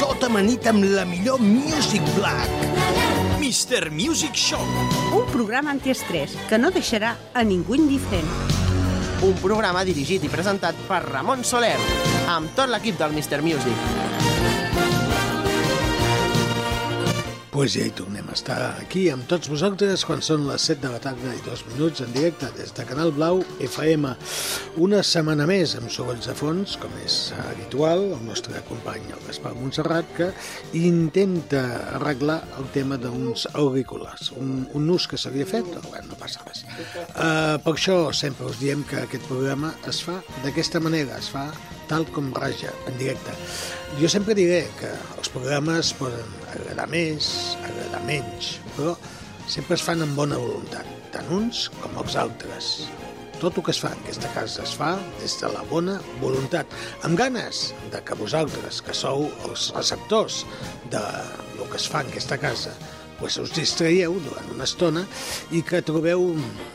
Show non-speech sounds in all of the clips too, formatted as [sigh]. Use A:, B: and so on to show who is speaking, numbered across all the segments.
A: Tot amanit tota amb la millor Music Black.
B: Mr. Music Show.
C: un programa antiestrès que no deixarà a ningú indiferent.
D: Un programa dirigit i presentat per Ramon Soler, amb tot l'equip del Mr. Music.
E: Pues ja hi tornem a estar aquí amb tots vosaltres quan són les 7 de la tarda i 2 minuts en directe des de Canal Blau FM. Una setmana més amb sorolls de fons, com és habitual, el nostre company el Gaspar Montserrat, que intenta arreglar el tema d'uns auriculars, un, un nus que s'havia fet, però bueno, no passa res. Uh, per això sempre us diem que aquest programa es fa d'aquesta manera, es fa tal com raja, en directe. Jo sempre diré que els programes poden agradar més, agradar menys, però sempre es fan amb bona voluntat, tant uns com els altres. Tot el que es fa en aquesta casa es fa des de la bona voluntat, amb ganes de que vosaltres, que sou els receptors de lo que es fa en aquesta casa, pues us distraieu durant una estona i que trobeu,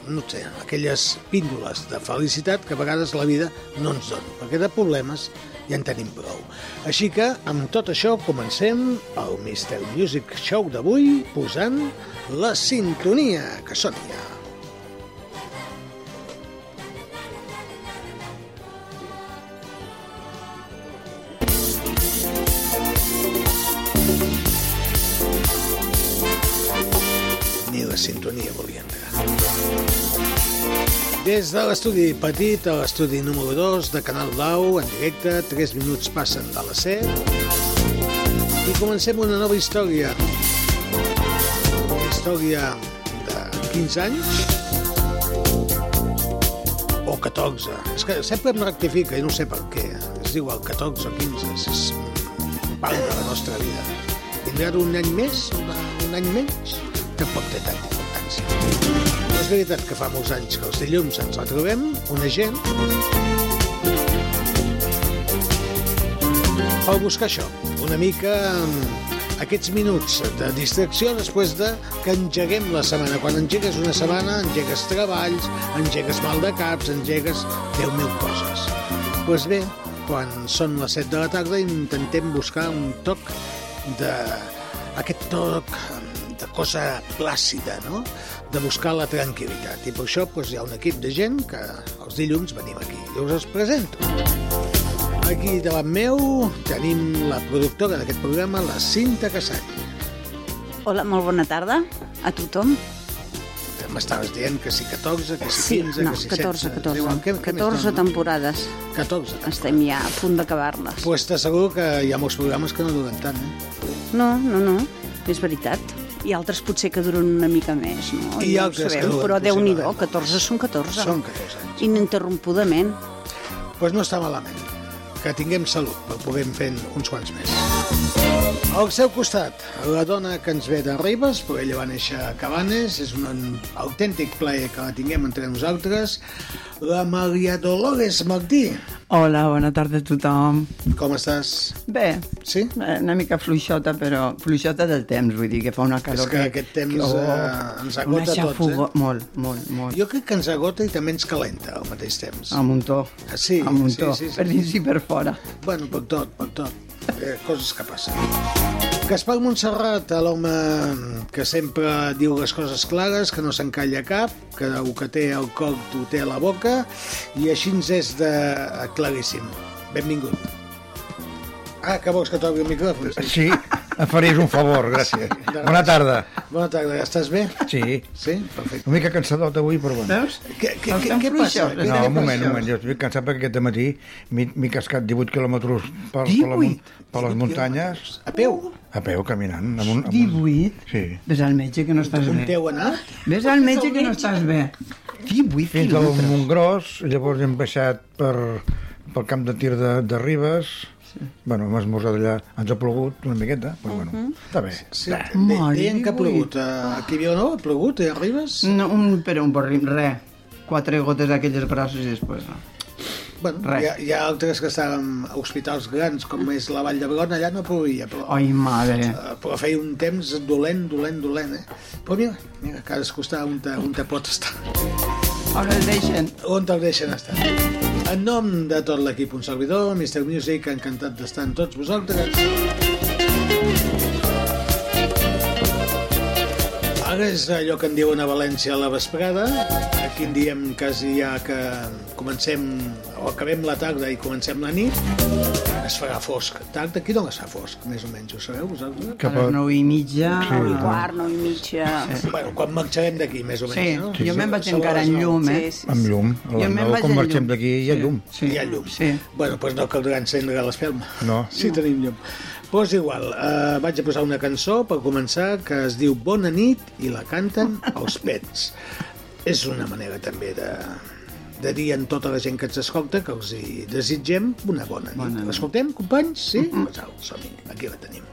E: no sé, aquelles píndoles de felicitat que a vegades la vida no ens dona, perquè de problemes ja en tenim prou. Així que, amb tot això, comencem el Mr. Music Show d'avui posant la sintonia que soni ja. Ni la sintonia volia entrar. Des de l'estudi petit a l'estudi número 2 de Canal Blau, en directe, 3 minuts passen de les 7 i comencem una nova història. Una història de 15 anys o 14. És que sempre em rectifica i no sé per què. Es diu el 14 o 15, és- és un pal de la nostra vida. Tindrà un any més, un- un any menys? Tampoc té tanta importància. No És veritat que fa molts anys que els dilluns ens retrobem, una gent, per buscar això, una mica mm, aquests minuts de distracció després de que engeguem la setmana. Quan engegues una setmana, engegues treballs, engegues mal de caps, engegues 10.000 coses. Doncs pues bé, quan són les 7 de la tarda intentem buscar un toc de... aquest toc mm, de cosa plàcida, no? de buscar la tranquil·litat. I per això doncs, hi ha un equip de gent que els dilluns venim aquí. Jo us els presento. Aquí davant meu tenim la productora d'aquest programa, la Cinta Casany.
F: Hola, molt bona tarda a tothom.
E: M'estaves dient que si 14, que si
F: Sí,
E: 15,
F: no,
E: que si
F: 14,
E: 16.
F: 14.
E: Diuen, què, què
F: 14
E: més dona?
F: temporades.
E: 14.
F: Estem ja a punt d'acabar-les.
E: Doncs pues t'asseguro que hi ha molts programes que no duren tant, eh?
F: No, no, no, és veritat. I altres potser que duren una mica més, no? no
E: I
F: ho
E: altres que
F: sabem,
E: duren
F: Però Déu-n'hi-do,
E: possiblement.
F: 14 són 14.
E: Són 14 anys.
F: Ininterrompudament.
E: Doncs pues no està malament. Que tinguem salut per poder fer uns quants més. Al seu costat, la dona que ens ve de Ribes, però ella va néixer a Cabanes, és un autèntic plaer que la tinguem entre nosaltres, la Maria Dolores Martí.
G: Hola, bona tarda a tothom.
E: Com estàs?
G: Bé,
E: Sí?
G: una mica fluixota, però fluixota del temps, vull dir que fa una calor.
E: És que aquest temps, eh, ens agota
G: una
E: a tots,
G: xafogó-
E: eh?
G: Molt, molt, molt.
E: Jo crec que ens agota i també ens calenta al mateix temps.
G: A muntó.
E: Ah, sí?
G: a muntó,
E: Sí, sí, sí.
G: per dins i per fora.
E: Bueno, per tot, per tot. Eh, coses que passen. Gaspar Montserrat, l'home que sempre diu les coses clares, que no s'encalla cap, que el que té al cor ho té a la boca, i així ens és de claríssim. Benvingut. Ah, que vols que t'obri el micròfon? Sí.
H: Sí, em faries un favor, gràcies. Bona tarda.
E: Bona tarda, estàs bé?
H: Sí,
E: Sí? Perfecte.
H: una mica cansadot avui, però bueno.
G: Veus?
E: Què, què,
G: El
E: què,
G: temps
E: què passa?
G: fluixós.
E: Què-
H: No,
E: què
H: un moment,
E: passa?
H: un moment. Jo estic cansat perquè aquest matí m'he cascat 18 quilòmetres per, per, la, mun-
G: 18?
H: per les muntanyes
E: A peu?
H: a peu, caminant. Amb un, amb un...
G: 18?
H: Sí.
G: Ves al metge que no estàs
E: Un
G: bé.
E: teu anat?
G: Ves al metge que no estàs bé. 18
H: Fins al
G: quilòmetres.
H: Montgròs, llavors hem baixat per, pel camp de tir de, de Ribes, Bueno, hem esmorzat allà, ens ha plogut una miqueta, però bueno,
G: Mhm.
H: està bé.
E: Sí,
H: Va.
E: de,
G: Mare
E: deien que ha
G: de
E: plogut. eh, Aquí a Vilanova ha plogut, eh, Ribes?
G: No, un, però un borrim, res. Quatre gotes d'aquelles grosses i després no.
E: Bueno,
G: Res.
E: hi ha, hi ha altres que estaven a hospitals grans, com és la Vall d'Hebron, allà no plovia, però,
G: Ai, madre.
E: eh, però feia un temps dolent, dolent, dolent, eh? Però mira, mira cadascú està on te, on te pot estar.
G: On el deixen?
E: on te'l deixen estar. En nom de tot l'equip, un servidor, Mr. Music, encantat d'estar amb tots vosaltres. Ara és allò que en diuen a València a la vesprada. Aquí en diem quasi ja que comencem o acabem la tarda i comencem la nit. Es farà fosc. Tard, aquí no es fa fosc, més o menys, ho sabeu vosaltres?
G: A
H: Cap a...
G: les nou i mitja...
F: Un quart, nou i mitja... Sí.
E: Bueno, quan marxarem d'aquí, més o
G: Sí,
E: menys, no?
G: jo me'n
E: Sobre
G: vaig
E: les
G: encara en
E: nou.
G: llum,
F: Sí,
G: eh?
F: sí.
H: Amb llum. A
G: Jo
H: les
G: me'n
H: nou,
G: vaig
H: quan
G: en
H: marxem
G: llum.
H: d'aquí, hi ha
G: Sí,
H: llum.
G: Sí.
E: Hi ha llum.
G: Sí.
E: Bueno, doncs no caldrà encendre l'esfelma.
H: No.
E: Sí, tenim llum. Doncs pues igual, eh, vaig a posar una cançó per començar que es diu Bona nit i la canten els pets. És una manera també de, de dir a tota la gent que ens escolta que els hi desitgem una bona nit. Bona nit. L'escoltem, companys? Sí? Mm -hmm. Pues au, som-hi. Aquí la tenim.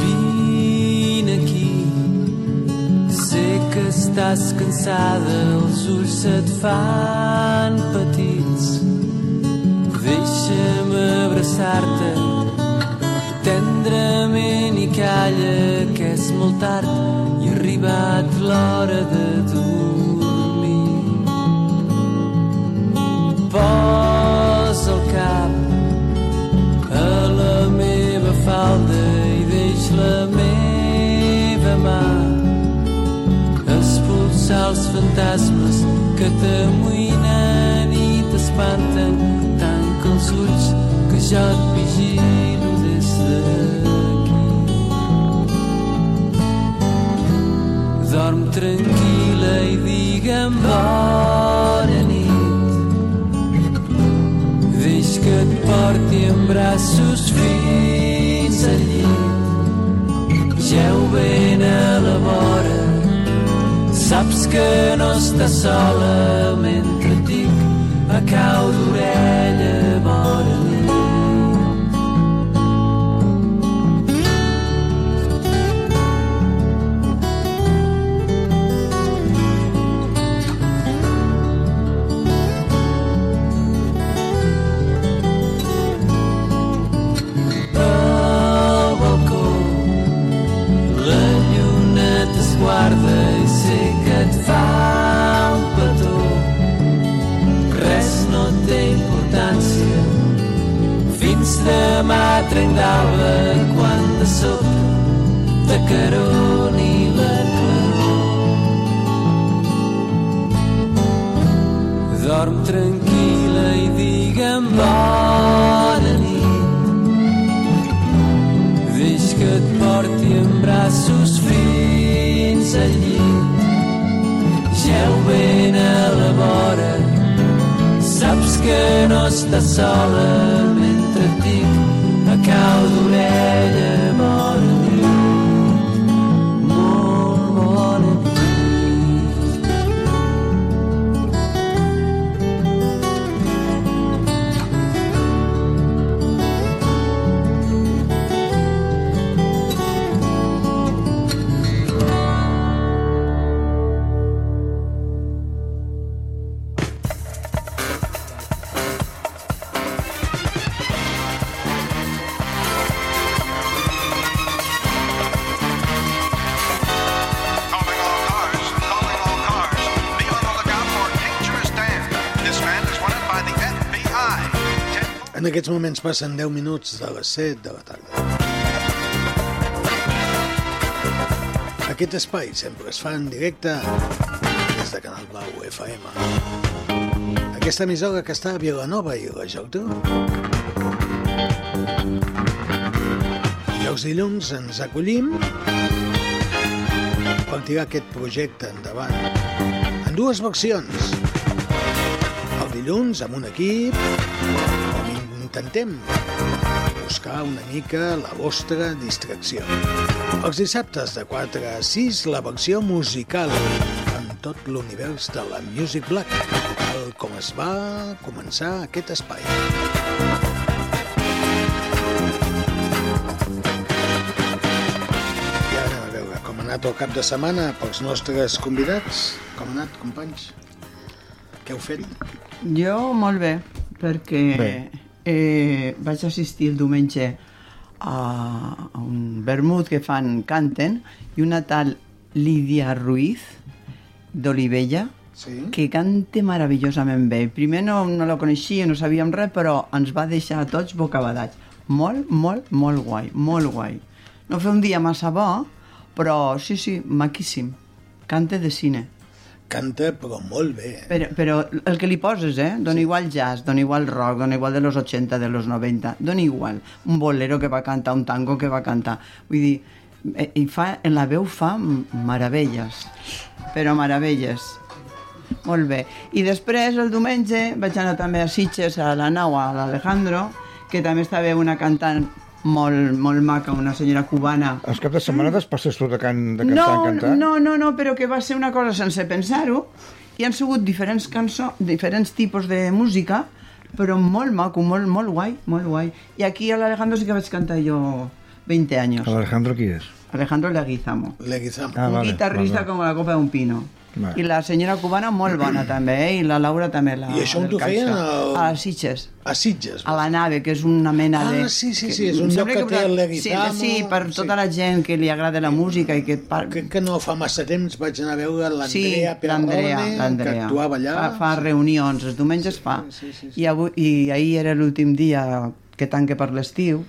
I: Vine aquí Sé que estàs cansada Els ulls se't fan petits Deixa'm abraçar-te Tendrament i calla Que és molt tard I ha arribat l'hora de dormir Posa el cap a la meva falda i deix la meva mà expulsar els fantasmes que t'amoïnen i t'espanten tanca els ulls que jo et vigilo des d'aquí dorm tranquil·la i digue'm bona nit Deix que et porti en braços fins al llit. Geu ben a la vora, saps que no estàs sola mentre et dic a cau d'orella vora nit. al balcó. La lluna t'esguarda i sé que et fa un petó. Res no té importància. Fins demà trenc d'alba quan de sobte t'acaroni la claror. Dorm tranquil·la i digue'm bona nit. Deix que et porti en braços fins al llit. Geu ben a la vora, saps que no estàs sola mentre et dic a cau d'orella bona nit. Molt bona nit.
J: Calling all cars, calling all cars. Be on the lookout for dangerous Dan. This man is wanted by the FBI. Ten-
E: En aquests moments passen 10 minuts de les 7 de la tarda. Aquest espai sempre es fa en directe des de Canal Blau FM. Aquesta emissora que està a Vilanova i la Geltrú. I Jocs Dilluns ens acollim per tirar aquest projecte endavant en dues versions. El dilluns amb un equip on intentem buscar una mica la vostra distracció. Els dissabtes de 4 a 6 la versió musical en tot l'univers de la Music Black, tal com es va començar aquest espai. I ara anem a veure com ha anat el cap de setmana pels nostres convidats. Com ha anat, companys? Què heu fet?
G: Jo molt bé, perquè
E: Bé.
G: eh, vaig assistir el diumenge a, a un vermut que fan canten i una tal Lídia Ruiz d'Olivella
E: Sí.
G: que canta meravellosament bé. Primer no, no la coneixia, no sabíem res, però ens va deixar a tots bocabadats. Molt, molt, molt guai, molt guai. No fer un dia massa bo, però sí, sí, maquíssim. Canta de cine.
E: Canta, però molt bé.
G: Però, però el que li poses, eh? Dona igual jazz, dona igual rock, dona igual de los 80, de los 90, dona igual. Un bolero que va cantar, un tango que va cantar. Vull dir, eh, i fa, en la veu fa m- meravelles, però meravelles. Molt bé. I després, el diumenge, vaig anar també a Sitges, a la nau, a l'Alejandro, que també estava una cantant molt, molt maca, una senyora cubana,
H: Els caps de setmana despasses tu de, can, de cantar
G: Mm. no,
H: en cantar?
G: No, no, no, però que va ser una cosa sense pensar-ho i han sigut diferents cançó, diferents tipus de música, però molt maco, molt, molt guai, molt guai. I aquí a l'Alejandro sí que vaig cantar jo 20 anys.
H: Alejandro qui és?
G: Alejandro Leguizamo.
E: Leguizamo.
H: Ah,
G: un
H: vale,
G: guitarrista
H: vale.
G: com la copa d'un pino.
H: Vale.
G: I la senyora cubana molt bona també, eh? I la Laura també la...
E: I això on t'ho
G: l'alcança.
E: feien? Al-
G: A Sitges.
E: A Sitges.
G: A la nave, que és una mena de...
E: Ah, sí, sí,
G: que-
E: sí, és un
G: em
E: lloc
G: sembla
E: que té el
G: sí,
E: Leguizamo,
G: sí, per tota la gent que li agrada la música i que par...
E: Crec que no fa massa temps vaig anar a veure l'Andrea
G: l'Andrea,
E: Perrone, que
G: l'Andrea.
E: actuava allà.
G: Fa, fa reunions, els diumenges fa. I, avui, I ahir era l'últim dia que tanque per l'estiu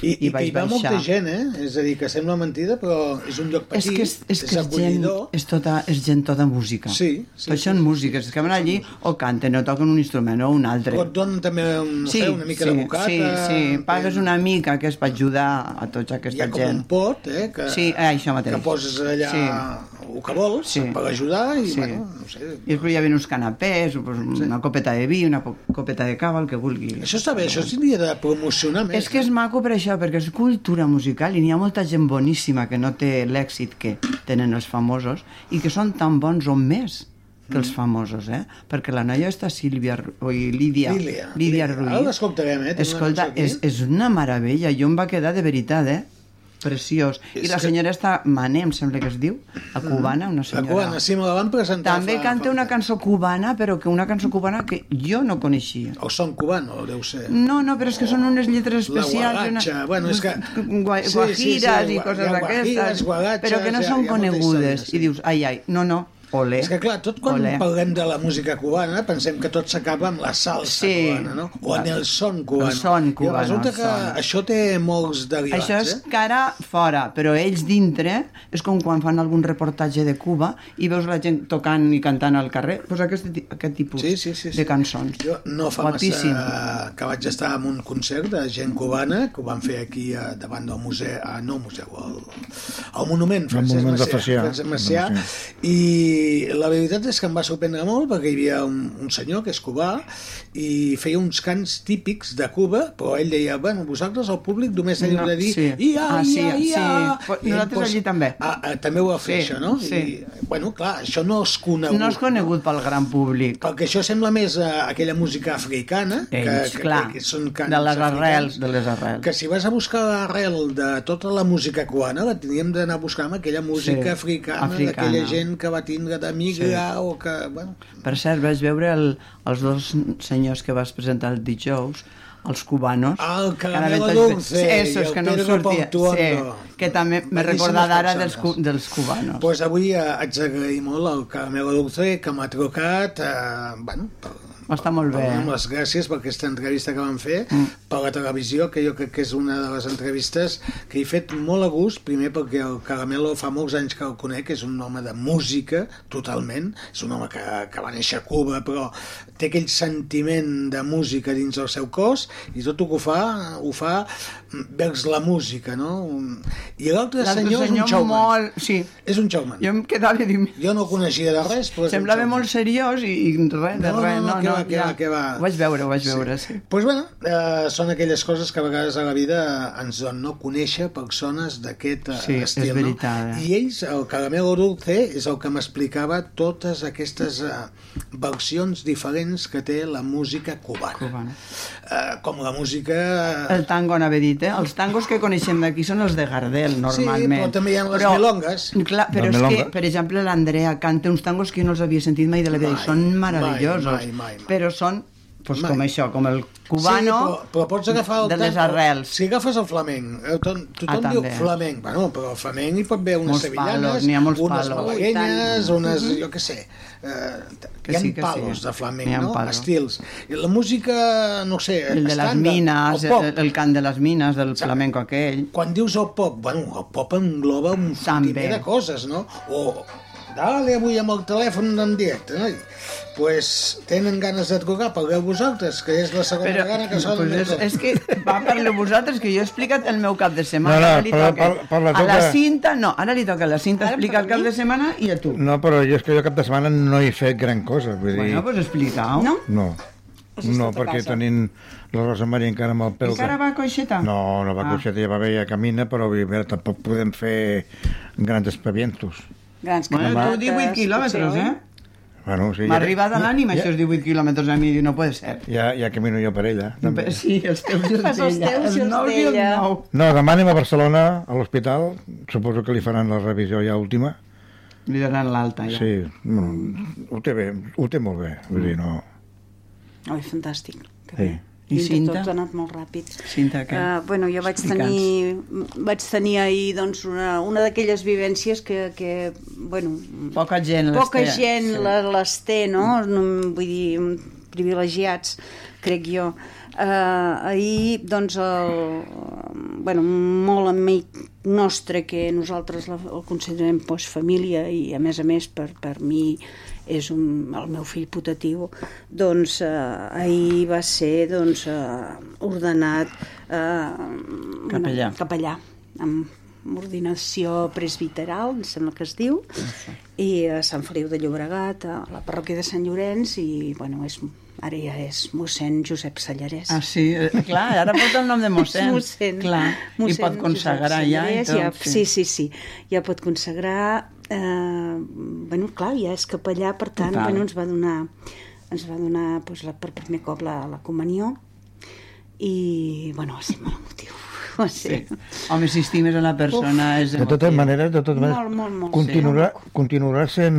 G: i, i, vaig
E: hi va
G: baixar.
E: molta gent, eh? És a dir, que sembla mentida, però és un lloc
G: És
E: petit,
G: que és, és, que és, gent,
E: acollidor.
G: és, tota, és gent tota música.
E: Sí, sí,
G: Tots
E: sí,
G: són músics, es quemen allí o canten o toquen un instrument o un altre.
E: Però et donen també un, no sé, una mica
G: sí,
E: de bocata.
G: Sí, sí, pagues una mica que és per ajudar a tots
E: Hi ha
G: aquesta
E: com
G: gent.
E: un pot, eh? Que,
G: Sí, eh, això mateix.
E: Que poses allà
G: Sí.
E: el que vols
G: Sí.
E: per ajudar i,
G: Sí.
E: bueno, no sé...
G: I després hi havia uns canapés, pues, una copeta de vi, una po- copeta de cava, el que vulgui.
E: Això està bé, això s'hauria de promocionar més. eh?
G: És que és maco per això, perquè és cultura musical i n'hi ha molta gent boníssima que no té l'èxit que tenen els famosos i que són tan bons o més que
E: Mm.
G: els famosos, eh? Perquè la noia està Sílvia... Ru- Oi, Lídia.
E: Lídia. Lídia.
G: Lídia
E: Ara
G: Ruiz.
E: l'escoltarem, eh? Tenim una
G: Escolta,
E: cançó aquí.
G: és, és una meravella. Jo em va quedar de veritat, eh? Preciós. I
E: És
G: la
E: que- Mm.
G: senyora està Mané, em sembla que es diu, la cubana,
E: La
G: una senyora...
E: cubana, sí, me la van presentar
G: També
E: fa-
G: canta
E: fa-
G: una cançó cubana, però que una cançó cubana que jo no coneixia.
E: O són cubano, deu ser.
G: No, no, però és que són unes lletres
E: La
G: especials. i
E: guaracha, bueno, és que-
G: Gua
E: Sí, sí, sí,
G: guajires
E: hi
G: i
E: ha
G: coses
E: guajires,
G: d'aquestes.
E: guarachas,
G: Però que no
E: hi ha-
G: són
E: hi ha molta
G: conegudes.
E: història, sí.
G: I dius, ai, ai, no, no, olé.
E: És que clar, tot quan
G: olé.
E: parlem de la música cubana pensem que tot s'acaba amb la salsa
G: Sí.
E: cubana, no? O en el son cubano.
G: El son cubano,
E: I resulta
G: el
E: que
G: son.
E: això té molts derivats,
G: Això és
E: eh?
G: cara fora, però ells dintre és com quan fan algun reportatge de Cuba i veus la gent tocant i cantant al carrer. Doncs aquest, ti- aquest tipus
E: Sí, sí, sí, sí.
G: de cançons.
E: Jo no fa
G: Guapíssim.
E: massa que vaig estar en un concert de gent cubana que ho van fer aquí a, davant del museu, a, no museu, al, al monument Francesc
H: monument de
E: Macià,
H: Facià.
E: Francesc Macià,
H: Sí.
E: i la veritat és que em va sorprendre molt perquè hi havia un, un senyor que és cubà i feia uns cants típics de Cuba, però ell deia, bueno, vosaltres al públic només teniu
G: No,
E: de dir
G: sí.
E: ia,
G: Ah, sí,
E: ia, ia.
G: sí. Però
E: I
G: nosaltres
E: doncs,
G: allí també.
E: Ah, ah, també ho va fer,
G: Sí,
E: això, no?
G: sí.
E: I, bueno, clar, això no és conegut.
G: No és conegut pel gran públic.
E: Perquè això sembla més eh, aquella música africana,
G: Ells,
E: que,
G: clar,
E: que, que són cants
G: de les
E: africans,
G: arrels, de les arrels.
E: Que si vas a buscar l'arrel de tota la música cubana, la teníem d'anar a buscar amb aquella música
G: Sí,
E: sí, africana,
G: africana.
E: d'aquella gent que va tindre de migrar sí. o que... Bueno,
G: Per cert, vaig veure el, els dos senyors que vas presentar el dijous, els cubanos.
E: Ah, el Caramelo
G: Ara ve tots-
E: Dulce
G: Sí,
E: i
G: esos
E: el
G: que no em
E: Pedro
G: sortia.
E: Portuondo.
G: Sí, que també m'he
E: Bellíssimes
G: recordat ara dels, cu-
E: persones.
G: dels cubanos.
E: Doncs pues avui eh, haig d'agrair molt al Caramelo Dulce que m'ha trucat eh, bueno, per,
G: Va estar molt bé.
E: Donem les gràcies per aquesta entrevista que vam fer mm. per la televisió, que jo crec que és una de les entrevistes que he fet molt a gust, primer perquè el Caramelo fa molts anys que el conec, és un home de música, totalment, és un home que, que va néixer a Cuba, però té aquell sentiment de música dins del seu cos i tot el que ho fa, ho fa vers la música, no? I l'altre
G: L'altre
E: senyor, és un showman.
G: molt... Sí.
E: És un showman.
G: Jo em quedava i dic...
E: Jo no coneixia de res, però és un
G: Semblava
E: showman.
G: molt seriós i, i res, de
E: No, no,
G: res.
E: no,
G: No,
E: que va, que
G: no, ja.
E: va, que va.
G: Ho vaig veure, ho vaig veure, sí.
E: pues bueno, eh, són aquelles coses que a vegades a la vida ens donen no conèixer persones d'aquest eh,
G: Sí, és
E: estil. No?
G: veritat, eh?
E: I ells, el Caramelo Dulce, és el que m'explicava totes aquestes eh, versions diferents que té la música cubana.
G: Cubana.
E: Eh, com la música...
G: El tango n'havia dit, eh? Els tangos que coneixem d'aquí són els de Gardel, normalment.
E: però també hi ha les milongas.
G: Clar, però
H: Les
G: és que,
H: milongas.
G: per exemple, l'Andrea canta uns tangos que jo no els havia sentit mai de la vida
E: Mai,
G: i són
E: mai,
G: meravellosos.
E: mai, mai, mai.
G: Però són doncs,
E: Mai.
G: com això, com el cubano
E: sí, però, però pots agafar el
G: de les
E: tango.
G: arrels.
E: Si agafes el flamenc, eh, to- tothom
G: Ah,
E: diu
G: també.
E: flamenc, bueno, però el flamenc hi pot haver unes
G: Molts
E: sevillanes,
G: palos, n'hi ha molts
E: unes
G: palos.
E: malaguenyes,
G: Ui, tant. Mm-hmm.
E: unes, jo què sé, eh,
G: Que
E: hi ha
G: sí, que sí.
E: palos de flamenc,
G: N'hi ha
E: no?
G: palos.
E: Estils. I la música, no sé,
G: El de les
E: estàndard,
G: mines, eh,
E: el pop.
G: el, el cant de les mines, del flamenco aquell.
E: Quan dius el pop, bueno, el pop engloba un
G: També.
E: fotimer de coses, no? O dale avui amb el telèfon en directe, no? pues tenen ganes de trucar, pagueu vosaltres, que és la segona
G: Però,
E: vegada que sona.
G: pues és, és que va parlar vosaltres que jo he explicat el meu cap de setmana
H: No, no,
G: Ara li
H: parla-
G: toca
H: parla- parla tu
G: a la
H: que-
G: cinta, no, ara li toca a la cinta
F: Ara em
G: explicar el
F: toca a
G: cap
F: mi?
G: de setmana i a tu
H: No, però jo és que jo cap de setmana no he fet gran cosa. Vull dir,
G: bueno, doncs explica-ho
F: No?
H: No.
F: estat
H: No,
F: a
H: perquè
F: casa.
H: tenint la Rosa Maria encara amb el pèl...
G: Encara va a coixeta?
H: No, no va ah. coixeta, ja va bé, ja camina, però vull dir, a veure, tampoc podem fer grans espavientos.
F: Grans
G: Bueno, tu
F: caminates,
G: 18 quilòmetres,
F: potser,
G: eh?
H: Bueno, sí,
G: M'ha arribat a l'ànima,
H: ja,
G: això és 18 quilòmetres a mi, diu, no pot ser.
H: Ja, ja camino jo per ella, també.
G: Però Sí, els teus i els
F: Els teus
G: d'ella.
F: i els
G: nous i els
F: d'ella.
G: nou.
H: No, demà anem a Barcelona, a l'hospital. Suposo que li faran la revisió ja última.
G: Li donen l'alta, ja.
H: Sí, bueno, ho té bé, ho té molt bé. Vull dir, no...
F: Oi, fantàstic. Que
H: Sí.
F: bé.
G: eh? I
F: Dintre
G: Cinta?
F: Tot ha anat molt ràpid.
G: Cinta, què?
F: Eh, bueno, jo vaig
G: Explica'ns.
F: tenir, vaig tenir ahir doncs, una, una d'aquelles vivències que, que bueno,
G: Poca gent les
F: poca
G: té.
F: gent
G: Sí.
F: la- les té, no? No, Vull dir, mm, privilegiats, crec jo. Uh, ahir, doncs, el, bueno, un molt amic nostre que nosaltres la, el considerem pues, família i, a més a més, per, per mi és un, el meu fill putatiu, doncs eh, ahir va ser doncs, eh, ordenat eh,
G: Capellà.
F: capellà amb ordinació presbiteral, em sembla que es diu, i a Sant Feliu de Llobregat, a la parròquia de Sant Llorenç, i bueno, és, ara ja és mossèn Josep Sallarès.
G: Ah, sí, eh, clar, ara porta el nom de mossèn.
F: mossèn.
G: Clar, i
F: Mossèn
G: pot consagrar
F: Josep
G: ja. I
F: Sallarès,
G: tot,
F: ja sí. sí, sí, ja pot consagrar... Eh, bueno, clar, ja és capellà, per tant,
G: Total.
F: bueno, ens va donar, ens va donar doncs, la, per primer cop la, la comunió i, bueno, va ser molt emotiu. [laughs] Va ser...
G: Sí. Home, si estimes a la persona... Uf, és
H: De totes
G: emotiu.
H: maneres, de totes
F: Molt,
H: maneres,
F: molt, molt. Mm.
H: continuarà,
F: Sí.
H: continuarà sent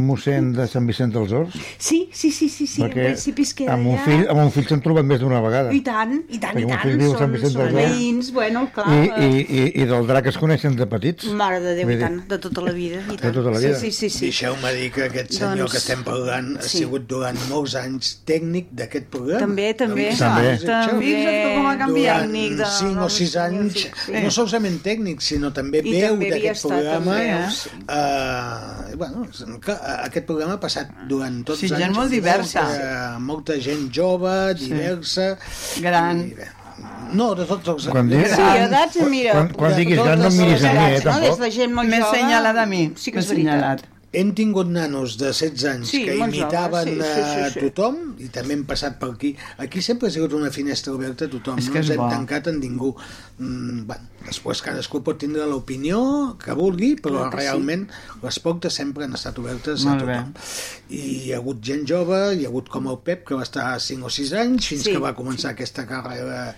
H: mossèn de Sant Vicent dels Horts?
F: Sí, sí, sí, sí, sí. en principi es queda
H: amb un
F: allà.
H: fill, amb un fill s'han trobat més d'una vegada.
F: I tant, i tant,
H: Perquè
F: i
H: un
F: tant.
H: fill viu a Sant
F: Són,
H: Vicent
F: són
H: del Vallès.
F: veïns, bueno, clar. eh,
H: I, i, i, I del drac es coneixen de petits.
F: Mare de Déu,
H: Vull
F: i
H: dir,
F: tant, de tota la vida. I tant.
H: tota la vida.
F: Sí, sí,
E: Sí.
F: sí. sí.
E: Deixeu-me dir que aquest senyor
F: Doncs,
E: doncs, que estem parlant ha
F: sí.
E: sigut durant molts anys tècnic d'aquest programa. Doncs
F: També, també.
H: També.
F: També.
G: Fixa't que com ha canviat.
E: Durant
F: Tècnic
E: 5 o 6 anys,
F: Sí.
E: no solament tècnic, sinó també
F: I
E: veu
F: també havia
E: d'aquest
F: estat,
E: programa.
F: també, eh?
E: Sí. Eh, bueno, que, eh, aquest programa ha passat durant tots
G: Sí,
E: els
G: gent
E: anys.
G: molt diversa.
E: Molta, molta gent jove, diversa.
G: Gran.
E: I, bé, no, de tots els...
H: Quan diguis,
F: Sí, edats, mira.
H: quan, quan diguis
E: Totes
H: gran, no em
E: les
H: miris a mi, eh,
F: Edats, no? Des
H: tampoc.
F: de gent molt
G: M'he
F: jove.
G: assenyalat a mi.
F: Sí que
G: m'he
F: és veritat.
G: assenyalat.
E: Hem tingut nanos de 16 anys
F: Sí,
E: que
F: molt joves,
E: imitaven
F: sí, sí,
E: eh,
F: sí, sí.
E: tothom i també hem passat per aquí. Aquí sempre ha sigut una finestra oberta a tothom,
G: És
E: no
G: que
E: ens
G: és
E: hem
G: bo.
E: tancat en ningú. Mm, bueno, després cadascú pot tindre l'opinió que vulgui, però
F: Clar que sí.
E: realment sí. les portes sempre han estat obertes
G: Molt
E: a tothom. I hi ha hagut gent jove, hi ha hagut com el Pep, que va estar 5 o 6 anys, fins
F: Sí,
E: que va començar aquesta carrera...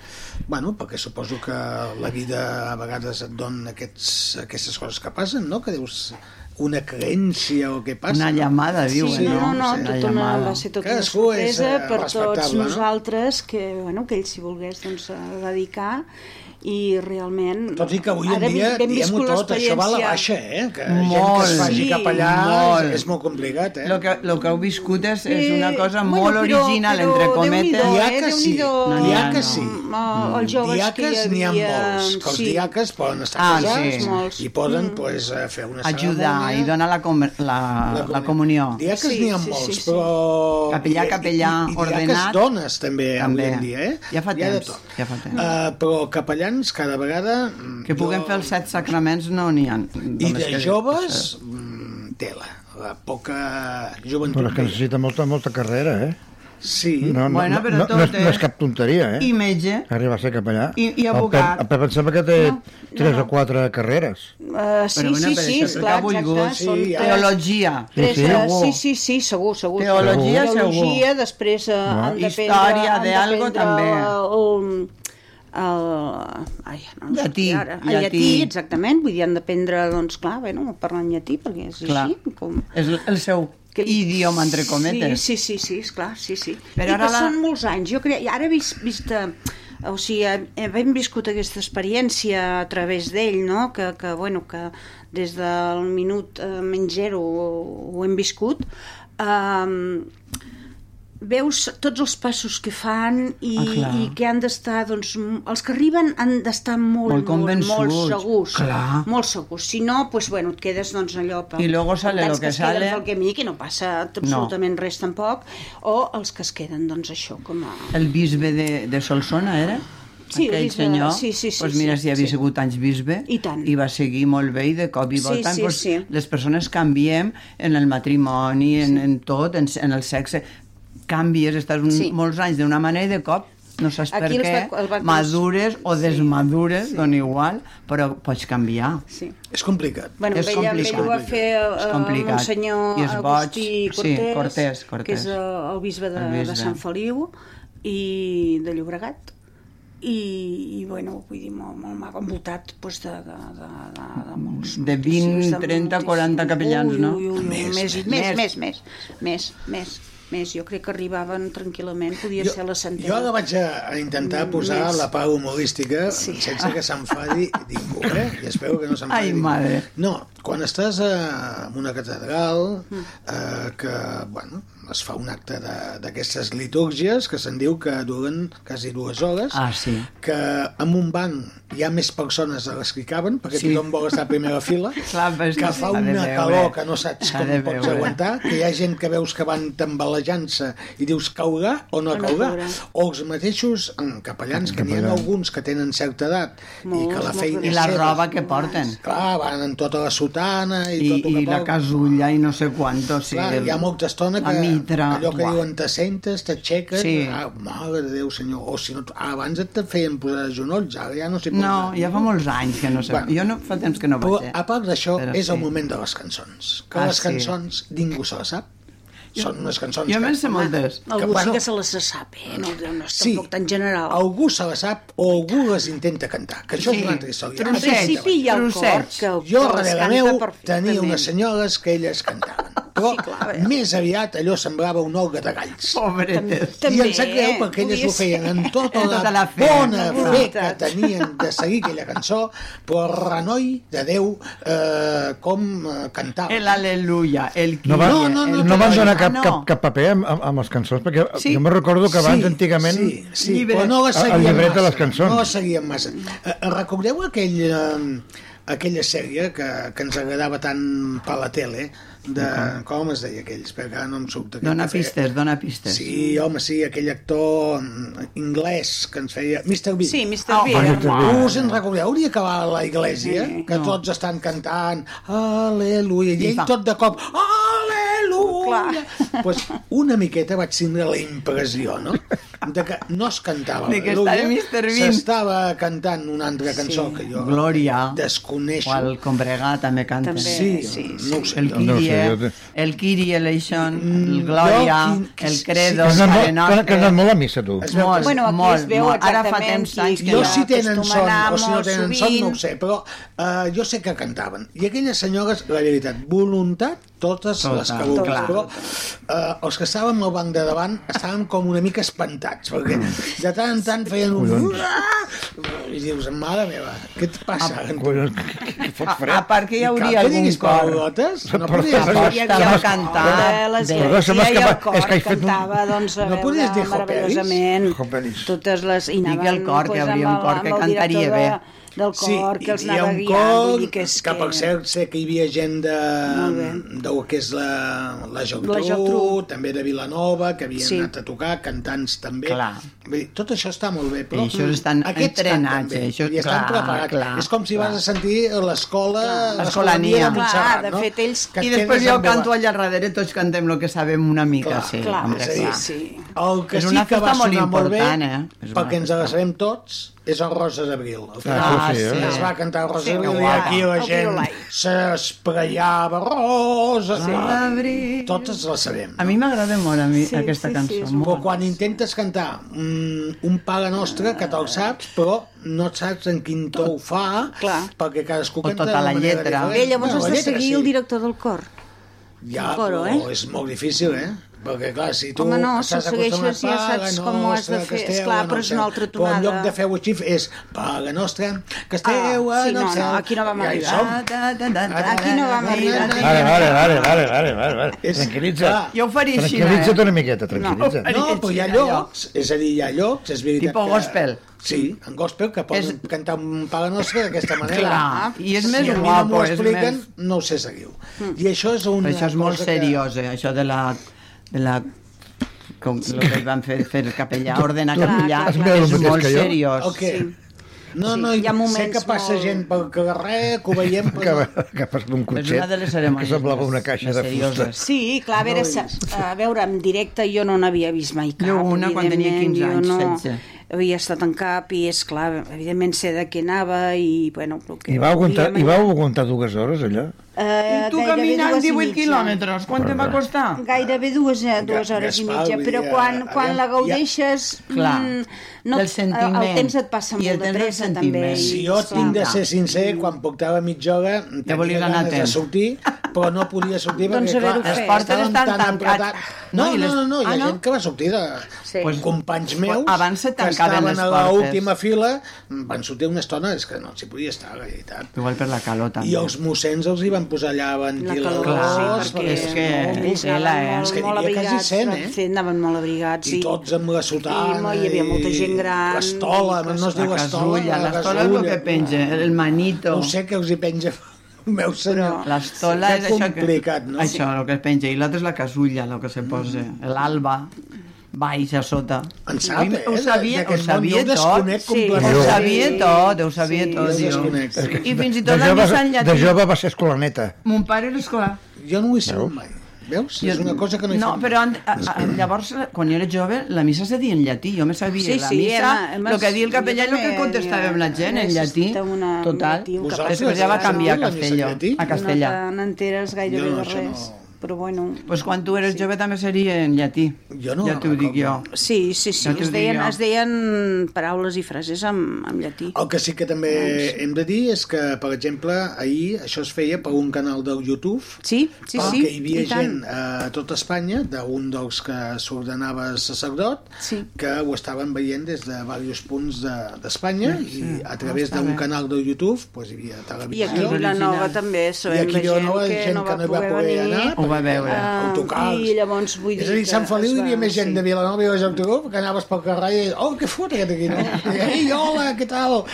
E: Bueno, perquè suposo que la vida a vegades et dona aquests, aquestes coses que passen, no? Que dius una carència o què passa?
G: Una llamada, diuen,
E: sí,
F: no, no,
G: Sí,
F: no,
G: la
F: tot una,
G: llamada.
F: va ser tota
E: Cadascú
F: una sorpresa
E: és, eh,
F: per tots
E: respectable, no?
F: nosaltres, que, bueno, que ell si volgués doncs, eh, dedicar i realment...
E: Tot i que avui en
F: ara vi-
E: dia,
F: hem
E: diguem-ho
F: viscut
E: tot, això va a la baixa,
F: l'experiència.
E: eh? Que gent que es
G: Molt.
E: faci
F: Sí,
E: cap allà
G: molt.
E: És, és molt complicat, eh?
G: Lo que, lo que heu viscut és, és
F: Eh,
G: una cosa
F: bueno,
G: molt
F: però-
G: original,
F: però
G: entre cometes.
E: Hi
F: Déu-n'hi-do,
E: ha
F: eh,
E: que sí,
F: Déu-n'hi-do.
E: n'hi ha
G: No,
E: que
G: no.
E: sí.
F: Mm, els joves que hi
E: Diaques n'hi ha
F: havia,
E: molts, que els
F: sí.
E: diaques poden estar
G: Ah,
E: casats
G: sí.
F: Molts. Mm.
E: i poden pues, eh, fer una
G: Ajudar i donar la, com, la, Ah, la, comunió.
E: Diaques
F: Sí,
E: n'hi ha
F: sí, sí,
E: molts,
F: sí.
E: però...
G: Capellà,
E: I- i-
G: capellà,
E: i, i,
G: ordenat.
E: Diaques dones també, també,
G: També.
E: avui en dia, eh?
G: Ja fa
E: Hi ha de
G: temps,
E: tot.
G: ja fa temps.
E: Eh, però capellans cada vegada... mm,
G: Que puguem
E: jo-
G: fer els set sacraments no n'hi ha.
E: I
G: Només
E: de
G: que-
E: joves, mm, tela, la poca joventut.
H: Però és que
E: que hi ha.
H: necessita molta, molta carrera, eh?
E: Sí,
H: No, no,
G: Bueno,
H: no,
G: però
H: no,
G: tot,
H: no, és, no és
G: eh?
H: cap tonteria, eh?
G: I metge.
H: Arriba a ser capellà.
G: I- i
H: El
G: advocat.
H: Pep, el Pep em sembla que té
F: No, no,
H: 3
F: no.
H: o 4 carreres.
F: Eh, sí,
G: Però bueno,
F: sí,
G: per
F: sí,
G: això
F: esclar,
G: explicar
F: exacte.
G: Bullgut,
F: són
E: sí, ja.
F: tres-
G: Teologia.
F: Tres,
H: Sí,
F: sí,
H: sí.
F: sí, sí, sí, segur, segur.
G: Teologia,
F: segur.
G: segur.
F: Teologia, després eh, han de prendre...
G: Història,
F: han de
G: de algo,
F: prendre
G: també.
F: El, el, ai, no em
G: Llatí,
F: sortirà ara. El
G: llatí.
F: llatí, exactament, vull dir, han de prendre, doncs, clar, bueno, parlant llatí, perquè és
G: Clar.
F: així, com...
G: És el seu
F: Que-
G: idioma, entre cometes.
F: Sí, sí, sí, sí esclar, sí, sí.
G: Però
F: Però I
G: ara
F: que
G: la-
F: són molts anys. Jo crec, ara vist, vista o sigui, hem viscut aquesta experiència a través d'ell, no? Que, que, bueno, que des del minut eh, menys zero ho, ho hem viscut, um, veus tots els passos que fan i,
G: Ah, clar.
F: ah, i que han d'estar, doncs, m- els que arriben han d'estar molt, molt,
G: Molt
F: molt
G: convençuts,
F: segurs.
G: clar.
F: Molt segurs. Si no, doncs, bueno, et quedes, doncs, allò...
G: I luego
F: amb
G: sale
F: tants
G: lo que
F: es queden
G: sale.
F: pel camí, que no passa absolutament res tampoc, o els que es queden, doncs, això, com a...
G: El bisbe de, de Solsona era?
F: Sí, el
G: Aquell
F: bisbe,
G: senyor,
F: sí, sí, sí,
G: doncs mira,
F: sí,
G: si havia
F: sí.
G: sigut anys bisbe
F: I tant.
G: i va seguir molt bé i de cop i
F: Sí,
G: volta
F: sí,
G: doncs,
F: sí.
G: les persones canviem en el matrimoni, en, en tot, en, en el sexe, canvies, estàs un,
F: Sí.
G: molts anys d'una manera i de cop no saps per
F: Aquí els
G: què,
F: va- el va-
G: madures o desmadures, sí. dona igual, però pots canviar.
F: Sí.
E: és complicat.
F: Bueno,
G: És
F: ella,
G: complicat.
F: ella ho va fer
G: És
F: eh,
G: complicat.
F: el senyor
G: I és boig.
F: Agustí
G: Sí,
F: Cortés,
G: Cortés, Cortés.
F: que és eh, el bisbe de,
G: El bisbe.
F: de Sant Feliu i de Llobregat i, i bueno, vull dir, molt, molt maco, envoltat doncs, de, de, de, de, de molts...
G: De 20,
F: moltíssims,
G: 30,
F: moltíssims.
G: 40 capellans,
F: ui,
G: no?
F: Ui, ui, ui, més, més, més,
G: més.
F: més, més, més, més, més. Jo crec que arribaven tranquil·lament, podia ser la centena.
E: jo ara vaig a, a intentar posar
F: Més.
E: la part humorística
F: Sí.
E: sense que
F: [laughs]
E: s'enfadi ningú, eh? I espero que no s'enfadi.
G: Ai,
E: ningú.
G: madre.
E: No, quan estàs eh, en una catedral
F: Mm.
E: eh, que, bueno, es fa un acte de- d'aquestes litúrgies que se'n diu que duren quasi dues hores,
G: Ah, sí.
E: que en un banc hi ha més persones de les que hi caben, perquè
G: Sí.
E: sí. tothom vol estar a
G: [laughs]
E: primera fila,
G: Clar, però és
E: que
G: que
E: fa
G: s'ha de
E: una
G: veure.
E: calor que no saps
G: S'ha
E: com
G: de
E: pots
G: veure.
E: aguantar, que hi ha gent que veus que van tambalejant-se i dius caurà o no
F: O no
E: caurà,
F: caurà.
E: o els mateixos mm, capellans, que n'hi ha
H: Capellans.
E: alguns que tenen certa edat i
F: Molts,
E: que la
F: molts.
E: feina
G: I
E: és
G: la
E: seva.
G: roba que porten.
E: Clar, van en tota la sotana i,
G: I,
E: tot el que
G: i la
E: vol.
G: casulla i no sé quant, o sigui...
E: Clar, hi ha molta estona que
G: la mitra,
E: allò que
G: uah.
E: diuen t'assentes, t'aixeques,
G: Sí.
E: ah, mare de Déu, senyor, o si no, abans et feien posar de genolls, ara ja no s'hi
G: No,
E: posen.
G: ja fa molts anys que no sé.
E: Bueno.
G: Bueno, jo no fa temps que no
E: Però,
G: vaig. eh?
E: a part d'això,
G: Però
E: és el
G: sí.
E: moment de les cançons. Que
G: Ah,
E: les
G: sí.
E: cançons ningú se les sap. Són unes cançons
G: Jo
E: que...
G: me'n sé moltes.
F: Algú
E: que, bueno,
F: sí que se les sap, eh? No, no és
E: Sí,
F: tampoc tan general.
E: algú se les sap o algú les intenta cantar, que això
G: Sí.
E: és una altra història.
F: Però en
E: Aquesta
G: trossets,
F: principi hi ha el cor
G: trossets.
F: que,
E: jo,
F: que les
E: darrere
F: canta
E: meu,
F: perfectament.
E: tenia unes senyores que elles cantaven. Però
F: Sí, clar, a
G: eh.
F: veure.
E: més aviat allò semblava un olga de galls.
G: Oh, Pobretes.
E: I em
F: També,
E: sap greu perquè elles
F: podia
E: ho feien en tota,
G: En tota
E: la,
G: la fe,
E: bona
G: en
F: la
E: fe que
F: voluntat.
E: tenien de seguir aquella cançó, però renoi de Déu eh, com eh, cantava.
G: El aleluya, el qui...
H: No, va, no,
E: no, no,
H: no, no,
E: no,
H: no van donar
G: Ah,
H: cap,
G: no.
H: cap, cap paper amb, amb, amb les cançons, perquè
G: Sí.
H: jo me recordo que abans, antigament,
E: Sí, sí,
G: llibret.
E: però no la
H: El- el
E: seguien
H: llibret de
E: massa,
H: les cançons.
E: No la seguien massa. Eh, recordeu aquell, eh, aquella sèrie que, que ens agradava tant per la tele, de, com es deia aquells, perquè ara no em surt. aquell
G: Dona
E: que feia-
G: pistes, dona pistes.
E: Sí, home, sí, aquell actor mm, anglès que ens feia... Mr. Bean.
F: Sí, Mr.
G: Ah,
F: Oh,
H: Mr. Bean.
E: Tu us en recordeu hauria que va a la iglesia,
F: Sí,
E: que
G: no.
E: tots estan cantant Aleluia, i ell
G: fa-
E: tot de cop Aleluia!
F: Clar.
E: pues una miqueta vaig tindre la impressió, no? De que no es cantava
G: De que estava
E: l'Al·leluia,
G: Mr. Bean.
E: s'estava cantant una altra cançó sí. que jo
G: Glòria.
E: desconeixo.
G: O el Combregà també canta.
F: També.
E: Sí, sí,
F: Sí, sí.
E: no ho sé.
G: El
E: doncs.
H: No ho sé,
G: Kyrie,
H: jo te-
G: el Kyrie eleison, el Glòria,
E: jo- qui-
G: el
E: qui-
G: Credo,
E: Doncs
H: Has
G: el
H: anat, molt, has
G: Parenostre...
E: eh.
H: anat molt a missa, tu.
E: Es veu que-
G: Molt,
F: Bueno, aquí
G: molt,
F: es veu
G: molt. Ara fa
F: exactament
G: temps anys
F: qui-
G: que
E: Jo
G: no.
E: si tenen
F: acostumen
E: son
F: anar
E: o si no
F: molt
E: tenen son no ho
F: sovint.
E: sé, però eh, jo sé que cantaven. I aquelles senyores, la veritat, voluntat, totes
G: Tota,
E: les que vulguis.
G: clar.
E: Però eh, els que estàvem al banc de davant estàvem com una mica espantats, perquè
G: Mm.
E: de tant en tant feien un... I dius, mare meva, què et passa?
H: Collons, que, que, que fot
G: A
H: fred.
G: part que Ah, hi hauria
E: que
G: algun
E: diguis
G: cor.
E: paraulotes? No
H: Però-
E: podies,
H: però-
E: dir-
G: Hòstia, va cantar.
F: les
G: Déu.
H: Perdó, se m'ha
F: Gràcia i el
H: escapat.
F: cor
H: És que he fet un-
F: cantava, doncs, a
E: No podies
F: veure,
E: dir Hoperis?
F: meravellosament.
H: Hoperis.
F: Totes les... I
G: Digui el cor, que
F: doncs,
G: hauria un
F: amb el-
G: cor que
F: amb el
G: cantaria
F: director
G: bé.
F: de- del cor, que els
E: hi ha
F: anava
E: un
F: guiant,
E: cor,
F: vull dir que és
E: que... per
F: que-
E: cert sé que hi havia gent de,
F: Molt bé.
E: de que és la, la Jotru,
F: La Geltrú.
E: també de Vilanova, que havien
F: Sí.
E: sí. anat a tocar, cantants també.
G: Clar.
E: Vull dir, tot això està molt bé,
G: I
E: però mm,
G: això estan
E: aquests
G: entrenats,
E: canten bé,
G: eh, això-
E: i estan
G: clar,
E: preparats.
G: clar,
E: és com si
G: clar.
E: vas a sentir l'escola...
G: L'escolania.
E: l'escolania de Montserrat,
F: Clar, de
E: no?
F: fet, ells-
E: Que
G: I
E: et
G: després
E: quedes
G: jo
E: amb
G: canto
E: la-
G: allà darrere, tots cantem el que sabem una mica,
E: Clar,
G: sí.
F: clar,
G: home,
E: És a
F: que
E: dir,
G: clar.
F: sí.
E: el que
G: És
E: sí
G: una
E: que va
G: festa molt
E: sonar molt bé,
G: important, eh? És una
E: perquè ens
G: festa.
E: la sabem tots, és el Roses d'Abril. El
H: Ah,
E: final
H: sí, eh?
E: Es va cantar Roses
F: Sí,
E: d'Abril
F: que
E: i
F: guapa.
E: aquí la
F: El
E: gent
F: pirulai.
E: s'espraiava roses.
G: Abril.
E: Totes la sabem.
G: A mi m'agrada molt a mi,
F: Sí,
G: aquesta
F: sí, sí,
G: cançó.
F: és
G: molt.
E: Però quan intentes cantar un, un pare nostre, que te'l saps, però no et saps en quin to ho fa,
F: Clar.
E: perquè cadascú
G: O tota la lletra.
F: Bé, llavors has
E: la
F: de
E: lletra
F: seguir el director del cor.
E: Ja,
F: del coro,
E: però
F: eh?
E: és molt difícil, eh? Perquè, clar, si tu
F: Home, no,
E: estàs
F: si ho segueixes
E: acostumat,
F: ja
E: "Paga
F: saps com ho has de
E: nostra,
F: fer",
E: que esteu
F: esclar,
E: en
F: però és
E: el
F: una
E: cel.
F: altra
E: Però en
F: tonada.
E: lloc de fer-ho així és Paga nostra, que esteu
F: Ah, sí,
E: en
F: no,
E: el
F: no,
E: cel.
F: aquí no vam
E: I
F: arribar.
E: som.
F: Aquí no vam arribar.
H: Vale, vale, vale, vale, vale, vale, vale.
E: És-
H: Tranquil·litza't.
E: clar.
G: Jo ho faria així,
H: Tranquil·litza't
G: eh?
H: una miqueta, tranquil·litza't.
E: No, però hi ha llocs, és a dir, hi ha llocs, és veritat
G: Tipo
E: que...
G: gospel.
E: Sí, en gospel, que poden
G: És-
E: cantar un paga nostra d'aquesta manera.
G: Clar, i és
E: si
G: més
E: a mi
G: guapo,
E: no m'ho
G: és
E: expliquen,
G: més-
E: no ho sé seguir.
F: Hmm.
E: I això és una
G: Però això és molt
E: cosa
G: seriós, eh? això de la... De la com el que van fer, fer el capellà, ordenar
H: tu-
G: capellà,
H: has mirat el
G: és
H: mateix
G: molt
H: que jo?
E: Que...
G: seriós.
E: El què? No,
F: Sí,
E: no,
F: hi ha
E: sé que
F: moments
E: passa
F: molt-
E: gent pel carrer, que ho
G: [laughs]
E: veiem,
H: Que,
E: però... no.
H: que passa un cotxet
G: És Doncs una de les cerimònies
H: que semblava una
G: més-
H: caixa
G: més
H: de fusta.
G: serioses.
F: Sí, clar, a veure, sa- a veure, en directe jo no n'havia vist mai cap.
G: Jo una quan tenia
F: evidentment,
G: 15 anys,
F: jo no
G: 16.
F: Havia estat en cap i, és clar, evidentment sé de què anava i, bueno... el Que
H: I vau aguantar,
F: volíem,
H: i vau aguantar dues hores, allò?
F: eh,
G: I tu
F: gairebé
G: caminant
F: dues i
G: 18
F: mitja.
G: quilòmetres, quant te va costar?
F: Gairebé dues, eh, dues
E: Ga-
F: hores i
E: Gaspar,
F: mitja,
E: vull
F: però
E: dir,
F: quan,
E: eh,
F: quan la
E: aviam,
F: gaudeixes...
G: Clar,
F: mm,
G: del sentiment.
F: El, el temps et passa
G: I el
F: molt de
G: temps del
F: pressa,
G: sentiment.
F: també. i,
E: Si jo
F: clar,
E: tinc de
G: clar.
E: ser sincer, quan portava mitja hora em
G: Ja volies
E: tenia
G: anar a
E: ganes de
G: temps.
E: sortir, però no podia
F: [laughs]
E: sortir
F: Doncs
E: perquè, clar,
F: haver-ho fet.
G: Les portes
E: estàvem
G: estan
E: tan
G: tancades.
E: apretats.
G: No,
E: No,
G: i
E: no,
G: les-
E: no, no, hi
G: Ah,
E: ha
G: no?
E: gent que va sortir de...
F: Sí.
E: Pues, companys meus
G: abans se
E: que
G: tancaven
E: estaven
G: les
E: a
G: portes.
E: l'última fila van sortir una estona, és que no s'hi podia estar, la veritat.
G: Igual per la calor, també.
E: I els mossens els hi van posar allà ventiladors.
G: calor,
F: Clar,
G: sí,
F: perquè
G: és que-
F: ells
G: és que la, eh?
F: anaven
G: És
E: que
F: molt, molt
E: n'hi havia quasi
F: abrigats,
E: cent,
F: van
E: eh?
F: fer- anaven molt abrigats.
E: I tots amb la sotana.
F: I hi havia molta gent gran,
E: L'estola,
F: i
E: no es
G: La
E: diu estola,
G: casulla, l'estola és el que penja, el manito.
E: No sé què els hi penja [laughs] el meu senyor.
G: L'estola
E: Que
G: és això que...
E: complicat, no? Mm.
G: Això, el que es penja. I l'altre és la casulla, el que se posa. L'alba, baix a sota.
E: En sap, eh?
G: Ho sabia, ho
E: D'aquest món
G: sabia
E: jo ho
G: tot.
E: desconec
F: Sí.
G: Ho
E: completament.
G: sabia tot, ho sabia
F: Sí,
G: tot.
E: jo
G: jo.
E: desconec.
G: I fins i
H: De
G: tot la
H: jove,
G: missa en
H: de
G: llatí.
H: jove va ser escolaneta.
G: Mon pare era escolar.
E: Jo no ho he sabut mai. Veus? És una cosa que no he
G: No,
E: fet
G: però an, a, a, llavors, quan jo era jove, la missa se dia en llatí. Jo me sabia
F: Sí,
G: la
F: sí,
G: missa,
F: hem- hem-
G: el que dia el capellà i el que
F: jo
G: contestàvem
F: també,
G: la gent en
F: hem
G: llatí.
F: assistit a una-
G: Total.
F: un llatí, un
E: Vosaltres
G: Després ja va
E: heu
G: canviar a
E: sabut la missa en
G: castellà.
E: llatí?
G: A castellà.
F: No te n'enteres gairebé
E: Jo no,
F: de
E: això
F: res.
E: no.
F: Però bueno...
G: Pues quan tu eres jove també seria en llatí.
E: Jo no
G: ja t'ho dic jo.
E: recordo.
F: Sí, sí, sí,
G: Ja t'ho
F: es deien,
G: dic jo.
F: es deien paraules i frases en, en llatí.
E: El que sí que també
G: Doncs.
E: hem de dir és que, per exemple, ahir això es feia per un canal del YouTube
F: Sí, sí, sí,
E: perquè ah, hi havia
F: i tant.
E: gent a tot Espanya, d'un dels que s'ordenava sacerdot,
F: Sí.
E: que ho estaven veient des de diversos punts de-
F: Mm,
E: d'Espanya de, sí, sí. i a través d'un canal de YouTube pues, hi havia
F: I
E: televisió.
F: aquí a Vilanova també sabem
E: aquí
F: de gent,
E: Vilanova,
F: que, no va poder, venir.
E: anar.
G: Ho va veure.
E: perquè,
F: Ah,
E: autocars.
F: i llavors vull
E: és a
F: dir
E: dir,
F: que
E: Sant Feliu
F: es
E: hi havia
F: va-
E: més gent
F: sí.
E: de Vilanova i la Geltrú que anaves pel carrer i oh, què fot aquest
F: [laughs]
E: aquí, no? I, Ei, hola, què tal?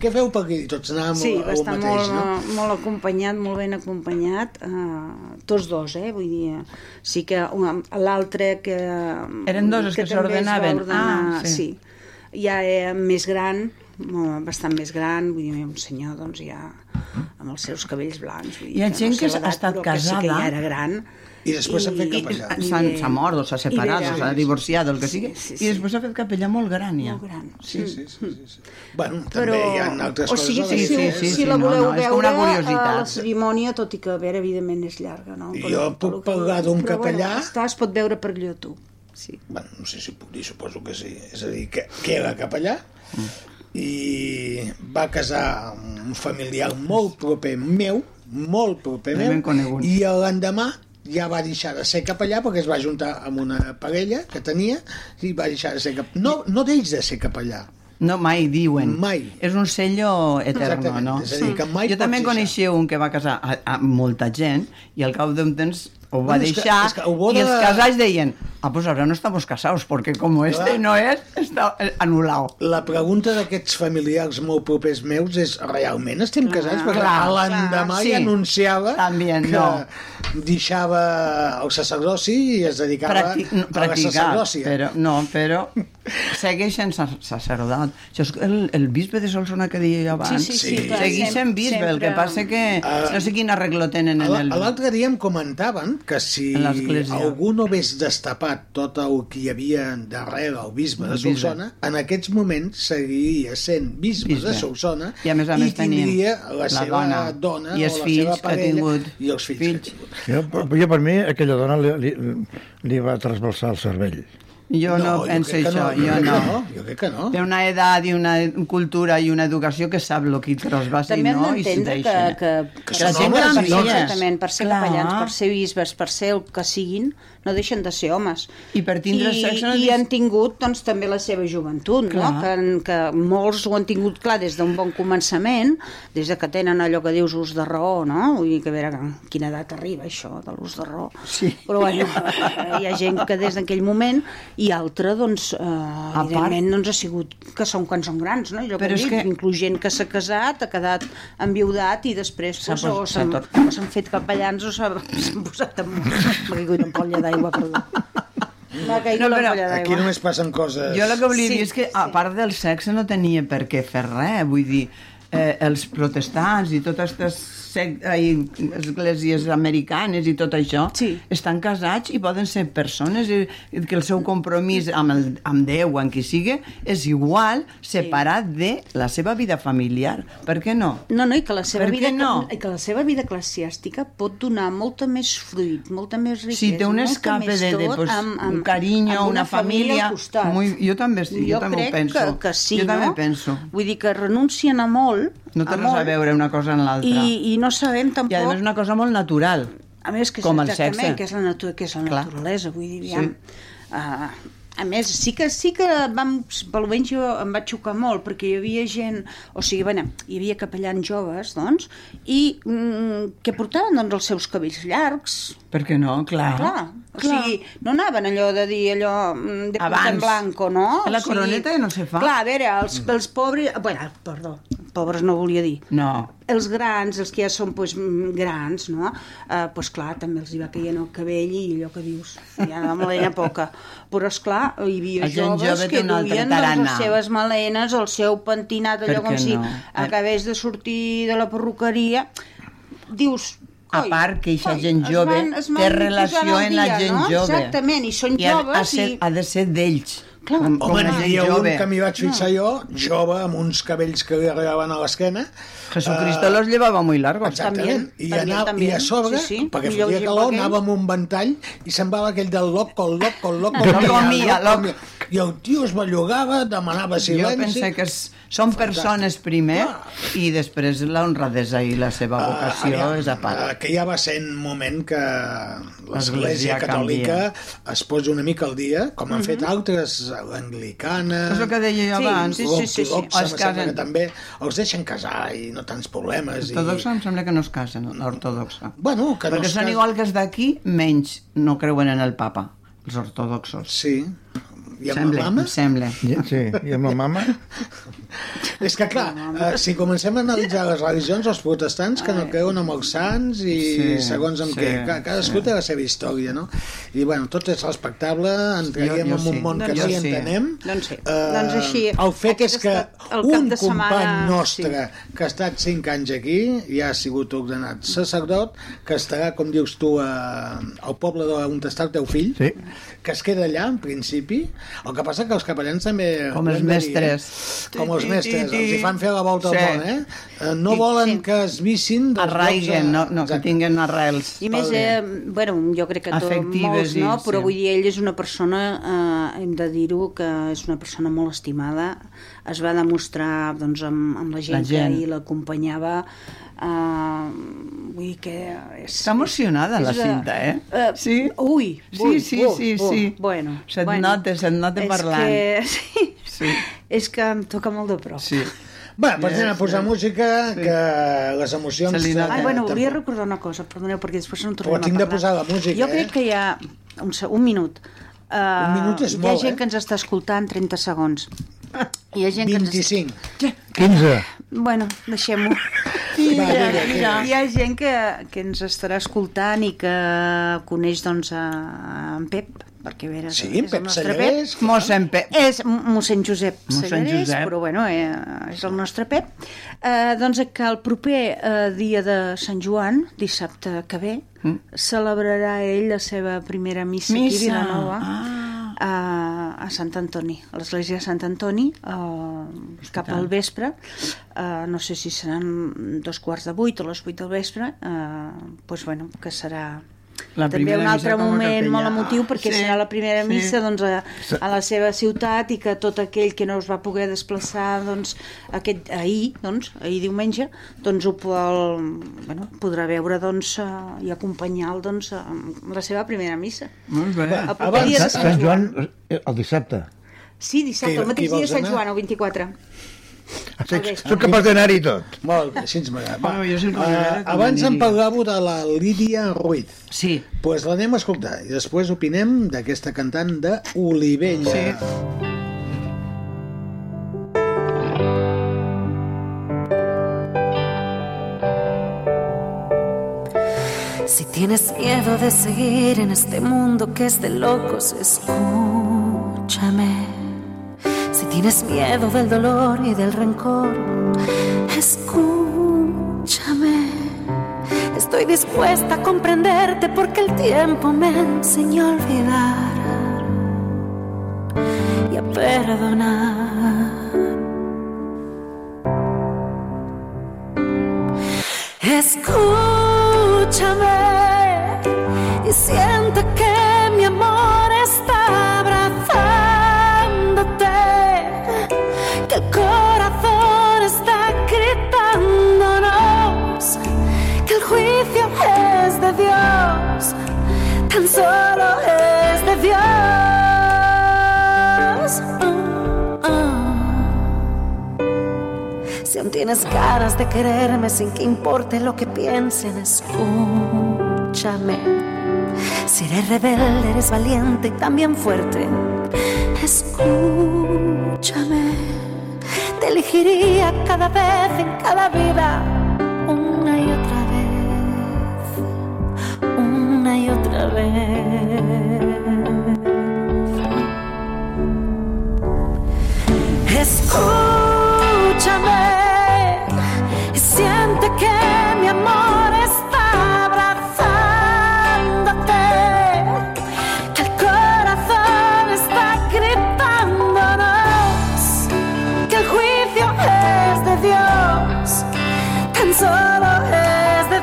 E: Què feu per aquí? I Tots anàvem
F: Sí,
E: a-
F: va
E: a un
F: estar
E: mateix,
F: molt, eh,
E: no?
F: molt acompanyat, molt ben acompanyat, eh, tots dos, eh, vull dir, eh, sí que un- l'altre que...
G: Eren dos els que
F: també es va
G: s'ordenaven.
F: ordenar,
G: Ah, sí.
F: sí. Ja eh, més gran, mo- bastant més gran, vull dir, un senyor, doncs ja amb els seus cabells blancs. Vull dir,
G: Hi ha
F: que
G: gent
F: no sé
G: que ha
F: l'edat,
G: estat
F: però Que sí que
G: casada.
F: ja era gran.
E: I després s'ha fet capellà.
F: i-
G: S'han s'ha mort o s'ha separat
F: Ibera.
G: o s'ha divorciat o el que
F: Sí,
G: sigui,
F: sí,
G: i
F: sí.
G: després s'ha fet capellà molt gran ja.
F: Molt gran.
E: Sí, sí, sí, sí, sí. Bueno, també hi ha altres
F: o
E: coses.
F: sigui,
E: a la
F: que si,
G: sí,
E: vida,
G: sí,
E: eh?
G: sí,
F: si la
G: no,
F: voleu
G: no, és
F: veure,
G: com una
F: eh,
G: curiositat.
F: la cerimònia, tot i que, a veure, evidentment és llarga, no?
E: I jo puc
F: tot el que-
E: pagar d'un
F: però,
E: capellà?
F: Bueno, està, es pot veure per YouTube. Sí.
E: bueno, no sé si puc dir, suposo que sí. És a dir, que, que era capellà i va casar un familiar molt proper meu, molt proper
G: També en
E: meu,
G: conegut.
E: i l'endemà ja va deixar de ser capellà perquè es va juntar amb una parella que tenia i va deixar de ser capellà. No, no deix de ser capellà.
G: No, mai diuen.
E: Mai.
G: És un sello eterno,
E: Exactament,
G: no?
E: és a dir, que mai
G: jo
E: pots
G: també
E: deixar.
G: coneixia un que va casar a, a molta gent i al cap d'un temps ho
E: No,
G: va
E: és que-
G: deixar
E: és que ho bo
G: i els
E: de-
G: casals deien ah, pues ahora no estamos casados porque como este no es, está anulado.
E: La pregunta d'aquests familiars molt propers meus és realment estem casats? Perquè
G: Ah, clar,
E: a l'endemà
G: clar,
E: ja
G: sí.
E: anunciava
G: També,
E: que
G: no.
E: deixava el sacerdoci i es dedicava
G: Practic, no,
E: a la
G: practicar,
E: sacerdòcia.
G: però, no, però segueix sent sac- sacerdot. Això és el, el bisbe de Solsona que deia abans.
F: Sí, sí, sí, clar,
G: Segueix sent
F: sempre-
G: bisbe, el que
F: sempre-
G: passa que
E: Ah.
G: no sé quin arreglo tenen
E: A
G: en
E: la-
G: el...
E: a L'altre dia em comentaven que si
G: En l'església.
E: algú no hagués destapat tot el que hi havia darrere el bisbe de
G: El bisbe.
E: Solsona, en aquests moments seguiria sent bisbe,
G: Bisbe.
E: de Solsona
G: I a més a més
E: tindria
G: tenien
E: la
G: la
E: seva dona,
G: dona
E: dona
G: i
E: o
G: els
E: la
G: fills
E: seva
G: que ha
E: parella
G: tingut.
E: i els fills,
G: Fills.
E: que ha tingut.
H: Jo, jo per mi, aquella dona li, li, li va trasbalsar el cervell.
G: Jo no, penso
E: crec que
G: això,
E: no,
G: jo
E: crec
G: no.
E: que no. Jo crec que no.
G: Oh. Té una edat i una cultura i una educació que sap el que trasbassa i
F: També hem
G: no, i se'n
F: d'entendre que,
G: deixa.
F: que,
E: Que
F: la
E: són
F: gent
E: homes
F: per
E: i
F: ser,
E: dones.
F: exactament, per ser
G: Clar.
F: capellans, per ser bisbes, per ser el que siguin, no deixen de ser homes.
G: I per tindre
F: I,
G: sexe no
F: I
G: deix-
F: han tingut doncs, també la seva joventut, no?
G: Clar.
F: que, han- que molts ho han tingut clar des d'un bon començament, des de que tenen allò que dius ús de raó, no? Vull dir que a veure a quina edat arriba això de l'ús de raó.
G: Sí.
F: Però bueno, hi ha gent que des d'aquell moment i altra, doncs, eh,
G: part-
F: evidentment, doncs ha sigut que són quan són grans, no? Jo
G: Però
F: Però
G: és
F: dic,
G: que-
F: que inclús gent que s'ha casat, ha quedat enviudat i després
G: S'ha
F: pues,
G: pos-
F: o
G: s'ha
F: s'han
G: tot-
F: o s'han fet capellans o s'ha- s'han posat en... M'ha caigut en polla d'aigua,
G: [laughs]
F: perdó. M'ha caigut
G: No,
F: no, en
G: però
F: polla
E: Aquí
F: d'aigua.
E: només passen coses...
G: Jo el que volia
F: Sí,
G: dir és que, a part del sexe, no tenia per què fer res. Vull dir, eh, els protestants i totes aquestes sec- ai, esglésies americanes i tot això
F: Sí.
G: estan casats i poden ser persones i- i que el seu compromís amb, el, amb Déu, amb qui sigui, és igual separat de la seva vida familiar. Per què no?
F: No, no, i que la seva
G: Per què
F: vida
G: no?
F: i que la seva vida eclesiàstica pot donar molta més fruit, molta més riquesa,
G: Si té un
F: molta
G: escape
F: més
G: de- de,
F: tot
G: pues, un carinyo,
F: amb
G: una família,
F: al costat.
G: muy- jo també sí, jo també ho
F: crec
G: penso.
F: Que, que sí,
G: Jo també
F: no?
G: penso.
F: Vull dir que renuncien a molt,
G: No té
F: a
G: res
F: molt,
G: a veure una cosa amb l'altra. I,
F: I, i no sabem
G: I a
F: tampoc...
G: més és una cosa molt natural.
F: A més, que és
G: Com el
F: exactament,
G: sexe.
F: que és la, natura, que és la
G: Clar.
F: naturalesa, vull dir, aviam. Sí. Uh, a més, sí que, sí que vam, pel menys jo em va xocar molt, perquè hi havia gent, o sigui, bueno, hi havia capellans joves, doncs, i mm, que portaven doncs, els seus cabells llargs,
G: Per què no? Ah, Clar.
F: Ah, clar. O sigui, no anaven allò de dir allò mm, de punta en
G: Abans.
F: blanco, no?
G: La
F: O sigui,
G: coroneta no se fa.
F: Clar, a veure, els, els pobres... Bueno, perdó, pobres no volia dir
G: No.
F: els grans, els que ja són pues, grans, no? Eh, pues, clar, també els hi va caient el cabell i allò que dius, ja la melena poca. Però, és clar, hi havia
G: La gent
F: joves
G: jove té
F: que
G: un altre
F: duien doncs,
G: tarannà.
F: les seves melenes, el seu pentinat, allò
G: Per
F: com
G: què
F: si
G: no?
F: acabés de sortir de la perruqueria. Dius,
G: A
F: coi,
G: part que eixa
F: coi,
G: gent
F: es
G: jove
F: van- es van
G: té
F: posant
G: relació
F: al
G: en la
F: dia,
G: gent
F: no?
G: jove.
F: Exactament, i són
G: ha-
F: joves
G: ha, ser,
F: i-
G: ha de ser d'ells.
F: Clar.
G: Com, com
E: Home,
G: la
E: hi
G: gent
E: havia un
G: jove.
E: que m'hi vaig fixar jo, jove, amb uns cabells que li arribaven a l'esquena. Ah.
G: Jesucristo los llevava muy largos.
E: Exactament. I,
F: també,
E: anava,
F: també.
E: I a sobre,
F: Sí, sí.
E: perquè
F: I
E: fotia
F: llavors
E: calor,
F: aquell-
E: anava amb un ventall i semblava aquell del loco, el loco, el loco.
G: Loco
E: el loco, el
G: mia,
E: loco,
G: loco.
E: mia. I el tio es bellugava, demanava
G: Jo
E: silenci.
G: penso que és, són persones primer i després la honradesa i la seva
E: Ah,
G: vocació
E: aviam,
G: és a part.
E: ah, Que ja va ser un moment que l'Església
G: L'Església Mhm.
E: Catòlica es posa una mica al dia, com han fet altres, l'anglicana...
G: És el que deia jo
F: Sí,
G: abans.
F: sí, sí, sí, sí.
E: l'ortodoxa,
G: Es
E: em sembla
G: casen.
E: que també els deixen casar i no tants problemes.
G: L'ortodoxa em sembla que no es casen, l'ortodoxa.
E: I... Bueno, que no
G: Perquè
E: es
G: són
E: cas-
G: igual que els d'aquí, menys no creuen en el papa, els ortodoxos.
E: Sí, I amb
G: sembla,
E: la mama? Doncs
G: em sembla.
H: I- Sí, i amb la mama?
E: És que, clar, eh, si comencem a analitzar les religions, els protestants que no creuen amb els sants i sí,
G: Sí,
E: segons amb
G: sí,
E: sí, què. Clar, cadascú sí. té la seva història, no? I, bueno, tot és respectable, entraríem
G: Jo- jo
E: en un
G: sí.
E: món que
G: Doncs
E: sí,
G: jo sí.
E: entenem.
F: Doncs sí.
E: Eh,
F: Doncs així,
E: El fet és
F: aquest
E: que
F: ha estat el cap
E: un
F: de setmana-
E: company nostre que ha estat 5 anys aquí i ha sigut ordenat sacerdot, que estarà, com dius tu, a, al poble d'on està el teu fill,
H: Sí.
E: que es queda allà, en principi. El que passa que els capellans també...
G: Com
E: ho
G: els
E: hem de dir, eh?
G: mestres.
E: Com els
G: Ti, ti,
E: mestres,
G: ti, ti.
E: els hi fan fer la volta
G: Sí.
E: al món, eh? Eh, No volen
F: Sí.
E: que es vissin... dels
G: Arraiguen, no,
E: llocs a-
G: no, que
E: Exacte.
G: tinguen arrels.
F: I més, eh, bueno, jo crec que tot,
G: Afectives
F: molts,
G: i-
F: no? Però
G: sí.
F: vull dir, ell és una persona, eh, hem de dir-ho, que és una persona molt estimada. Es va demostrar doncs, amb, amb la gent,
G: La gent.
F: que ahir l'acompanyava. Eh, vull dir que... És,
G: Està emocionada la
F: és de-
G: cinta, eh?
F: eh,
G: Sí.
F: Ui,
G: Sí,
F: ui,
G: sí,
F: oh,
G: sí,
F: oh.
G: sí.
F: Bueno,
G: Se't
F: bueno.
G: nota, se't nota
F: és
G: parlant.
F: Que, [laughs] sí,
G: Sí.
F: És que em toca molt de prop.
G: Sí.
E: Bé, doncs anem a posar
G: Sí.
E: música, que les emocions...
G: Se li nota.
F: Ai,
E: eh,
F: bueno,
E: tampoc-
F: volia recordar una cosa, perdoneu, perquè després no en
E: Però
F: tornem
E: Oh, tinc
F: a
E: de
F: parlar.
E: posar la música,
F: jo
E: eh?
F: crec que hi ha un, se- un minut. Uh,
E: Un minut és
F: hi ha
E: molt,
F: gent
E: eh?
F: que ens està escoltant 30 segons. Hi ha gent que
E: 25.
H: 15.
F: ens... Bueno, deixem-ho.
E: Va,
F: Hi
E: mira,
F: ha-
E: mira.
F: Hi ha gent que, que ens estarà escoltant i que coneix doncs, a, a en Pep, perquè a veure,
E: Sí,
F: és el
E: Pep
F: nostre
E: Sallarès.
G: Mossèn Pep.
F: és mossèn Josep
G: Mossèn
F: Sallarès,
G: Josep.
F: però bueno, eh, és el nostre Pep. Eh, doncs que el proper eh, dia de Sant Joan, dissabte que ve, mm. celebrarà ell la seva primera missa, aquí
G: Missa.
F: a Vilanova. eh,
G: Ah.
F: A, a Sant Antoni, a l'església de Sant Antoni, eh, cap al vespre, eh, no sé si seran dos quarts de vuit o les vuit del vespre, eh, doncs, bueno, que serà
G: La
F: també
G: primera
F: un altre
G: missa com a
F: moment
G: capellà.
F: molt emotiu perquè
G: Sí,
F: serà la primera
G: sí.
F: missa doncs, a, a la seva ciutat i que tot aquell que no es va poder desplaçar doncs, aquest, ahir, doncs, ahir diumenge doncs ho el, bueno, podrà veure doncs, eh, i acompanyar-lo doncs, amb la seva primera missa
G: Molt bé.
F: el proper
E: abans
F: dia de
H: Sant,
F: Sant
H: Sant
F: Joan
H: Joan, eh, el dissabte.
F: sí, dissabte,
E: Qui-
F: el
E: qui
F: mateix dia
E: vols
F: de Sant
E: anar?
F: Joan, el 24
H: Sí,
F: vespre.
H: Soc capaç d'anar-hi tot.
E: Molt bé, així ens m'agrada. Va,
G: Bueno, jo sempre
E: eh,
G: m'agrada que
E: abans
G: m'ho
E: em
G: digui.
E: parlàveu de la Lídia Ruiz.
G: Sí.
E: Doncs pues l'anem a escoltar i després opinem d'aquesta cantant d'Olivella.
G: Sí.
K: Si tienes miedo de seguir en este mundo que es de locos, escúchame. Si tienes miedo del dolor y del rencor, escúchame. Estoy dispuesta a comprenderte porque el tiempo me enseñó a olvidar y a perdonar. Escúchame y siente que eh, mi amor está abrazándote, que el corazón está gritándonos, que el juicio es de Dios, tan solo es de Dios. Ah, ah. Si aún tienes ganas de quererme sin que importe lo que piensen, escúchame. Si eres rebelde, eres valiente y también fuerte, escúchame. Te elegiría cada vez en cada vida, una y otra vez, una y otra vez. Escúchame y siente que mi amor está abrazándote, que el corazón está gritándonos, que el juicio es de Dios, tan solo es de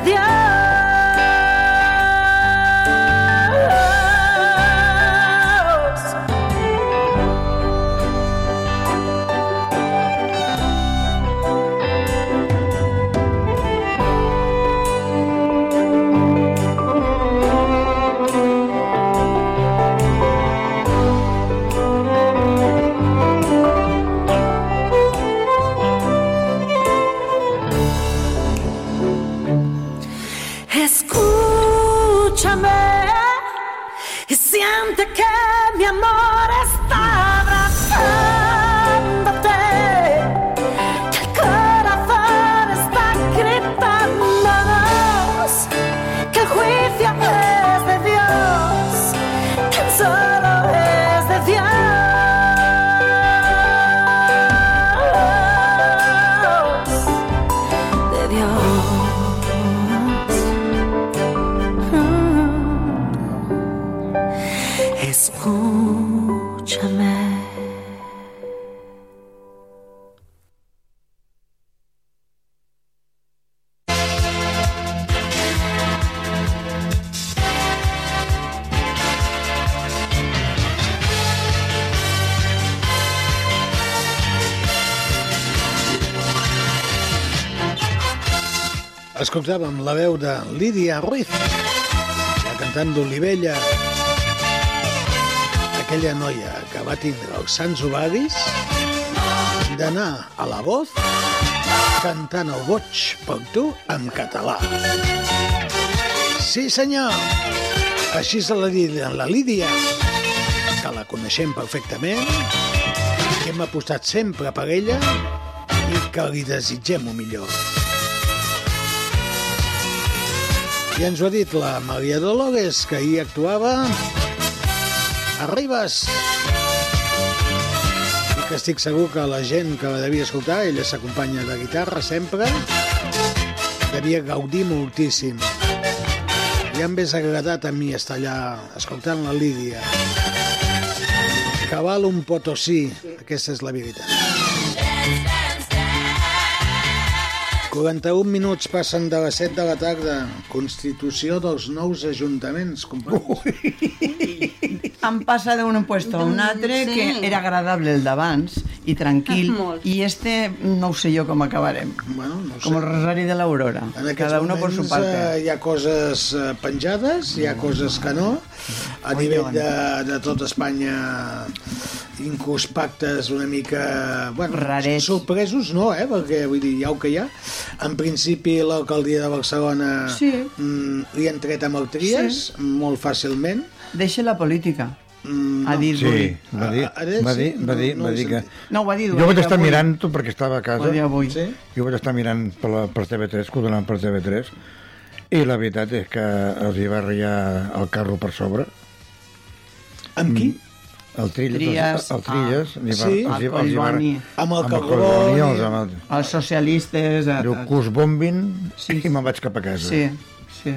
K: Dios. Escúchame y siente que mi amor está Escúchame.
E: Escoltàvem la veu de Lídia Ruiz, la cantant d'Olivella, aquella noia que va tindre els sants ovaris d'anar a la voz cantant el boig per tu en català. Sí, senyor! Així se la dit la Lídia, que la coneixem perfectament, que hem apostat sempre per ella i que li desitgem el millor. I ens ho ha dit la Maria Dolores, que hi actuava a Ribes. I que estic segur que la gent que la devia escoltar, ella s'acompanya de guitarra sempre, devia gaudir moltíssim. I em hauria agradat a mi estar allà escoltant la Lídia. Cabal un potosí, aquesta és la veritat. 41 minuts passen de les 7 de la tarda. Constitució dels nous ajuntaments, companys.
G: Han passat d'un puesto a un altre
C: Doncs Sí.
G: que era agradable el d'abans i tranquil,
C: Ah, molt.
G: i este no ho sé jo com acabarem.
E: Bueno, no ho
G: com el Rosari de l'Aurora.
E: En aquests
G: Cada uno per su
E: moments,
G: parte. Mm.
E: eh, hi ha coses eh, penjades, hi ha coses que no. A nivell de, de tot Espanya, inclús pactes una mica... Bueno,
G: Rarets.
E: Sorpresos no, eh? perquè vull dir, hi ha el que hi ha. En principi, l'alcaldia de Barcelona
G: Sí.
E: mm, li han tret amb el Trias, molt fàcilment.
G: Deixa la política.
E: Mm,
G: A dir-ho.
H: Sí, va dir,
E: Ara
H: va
E: sí,
H: dir, va
E: no-
H: dir,
E: no
H: va
E: l'he
H: dir que...
G: No, ho ha dit. ho
H: Jo
G: ha
H: vaig
G: dit
H: estar
G: avui.
H: mirant perquè estava a
G: Ho
H: casa.
G: ha dit avui.
E: Sí?
H: Jo vaig estar mirant per, la, per TV3, que ho donaven per TV3, i la veritat és que els hi va riar el carro per sobre.
E: Amb qui?
H: El Trilles,
G: Trilles, Ah.
H: els- el Trilles, li va,
E: Sí.
H: els, hi-
G: A
H: els hi va,
G: Collboni.
E: Amb el
H: amb el
E: Collboni.
H: Collboni, els, amb el,
G: Els socialistes... A,
H: diu,
G: a,
H: que us bombin
G: Sí.
H: i me'n vaig cap a casa.
G: sí, sí.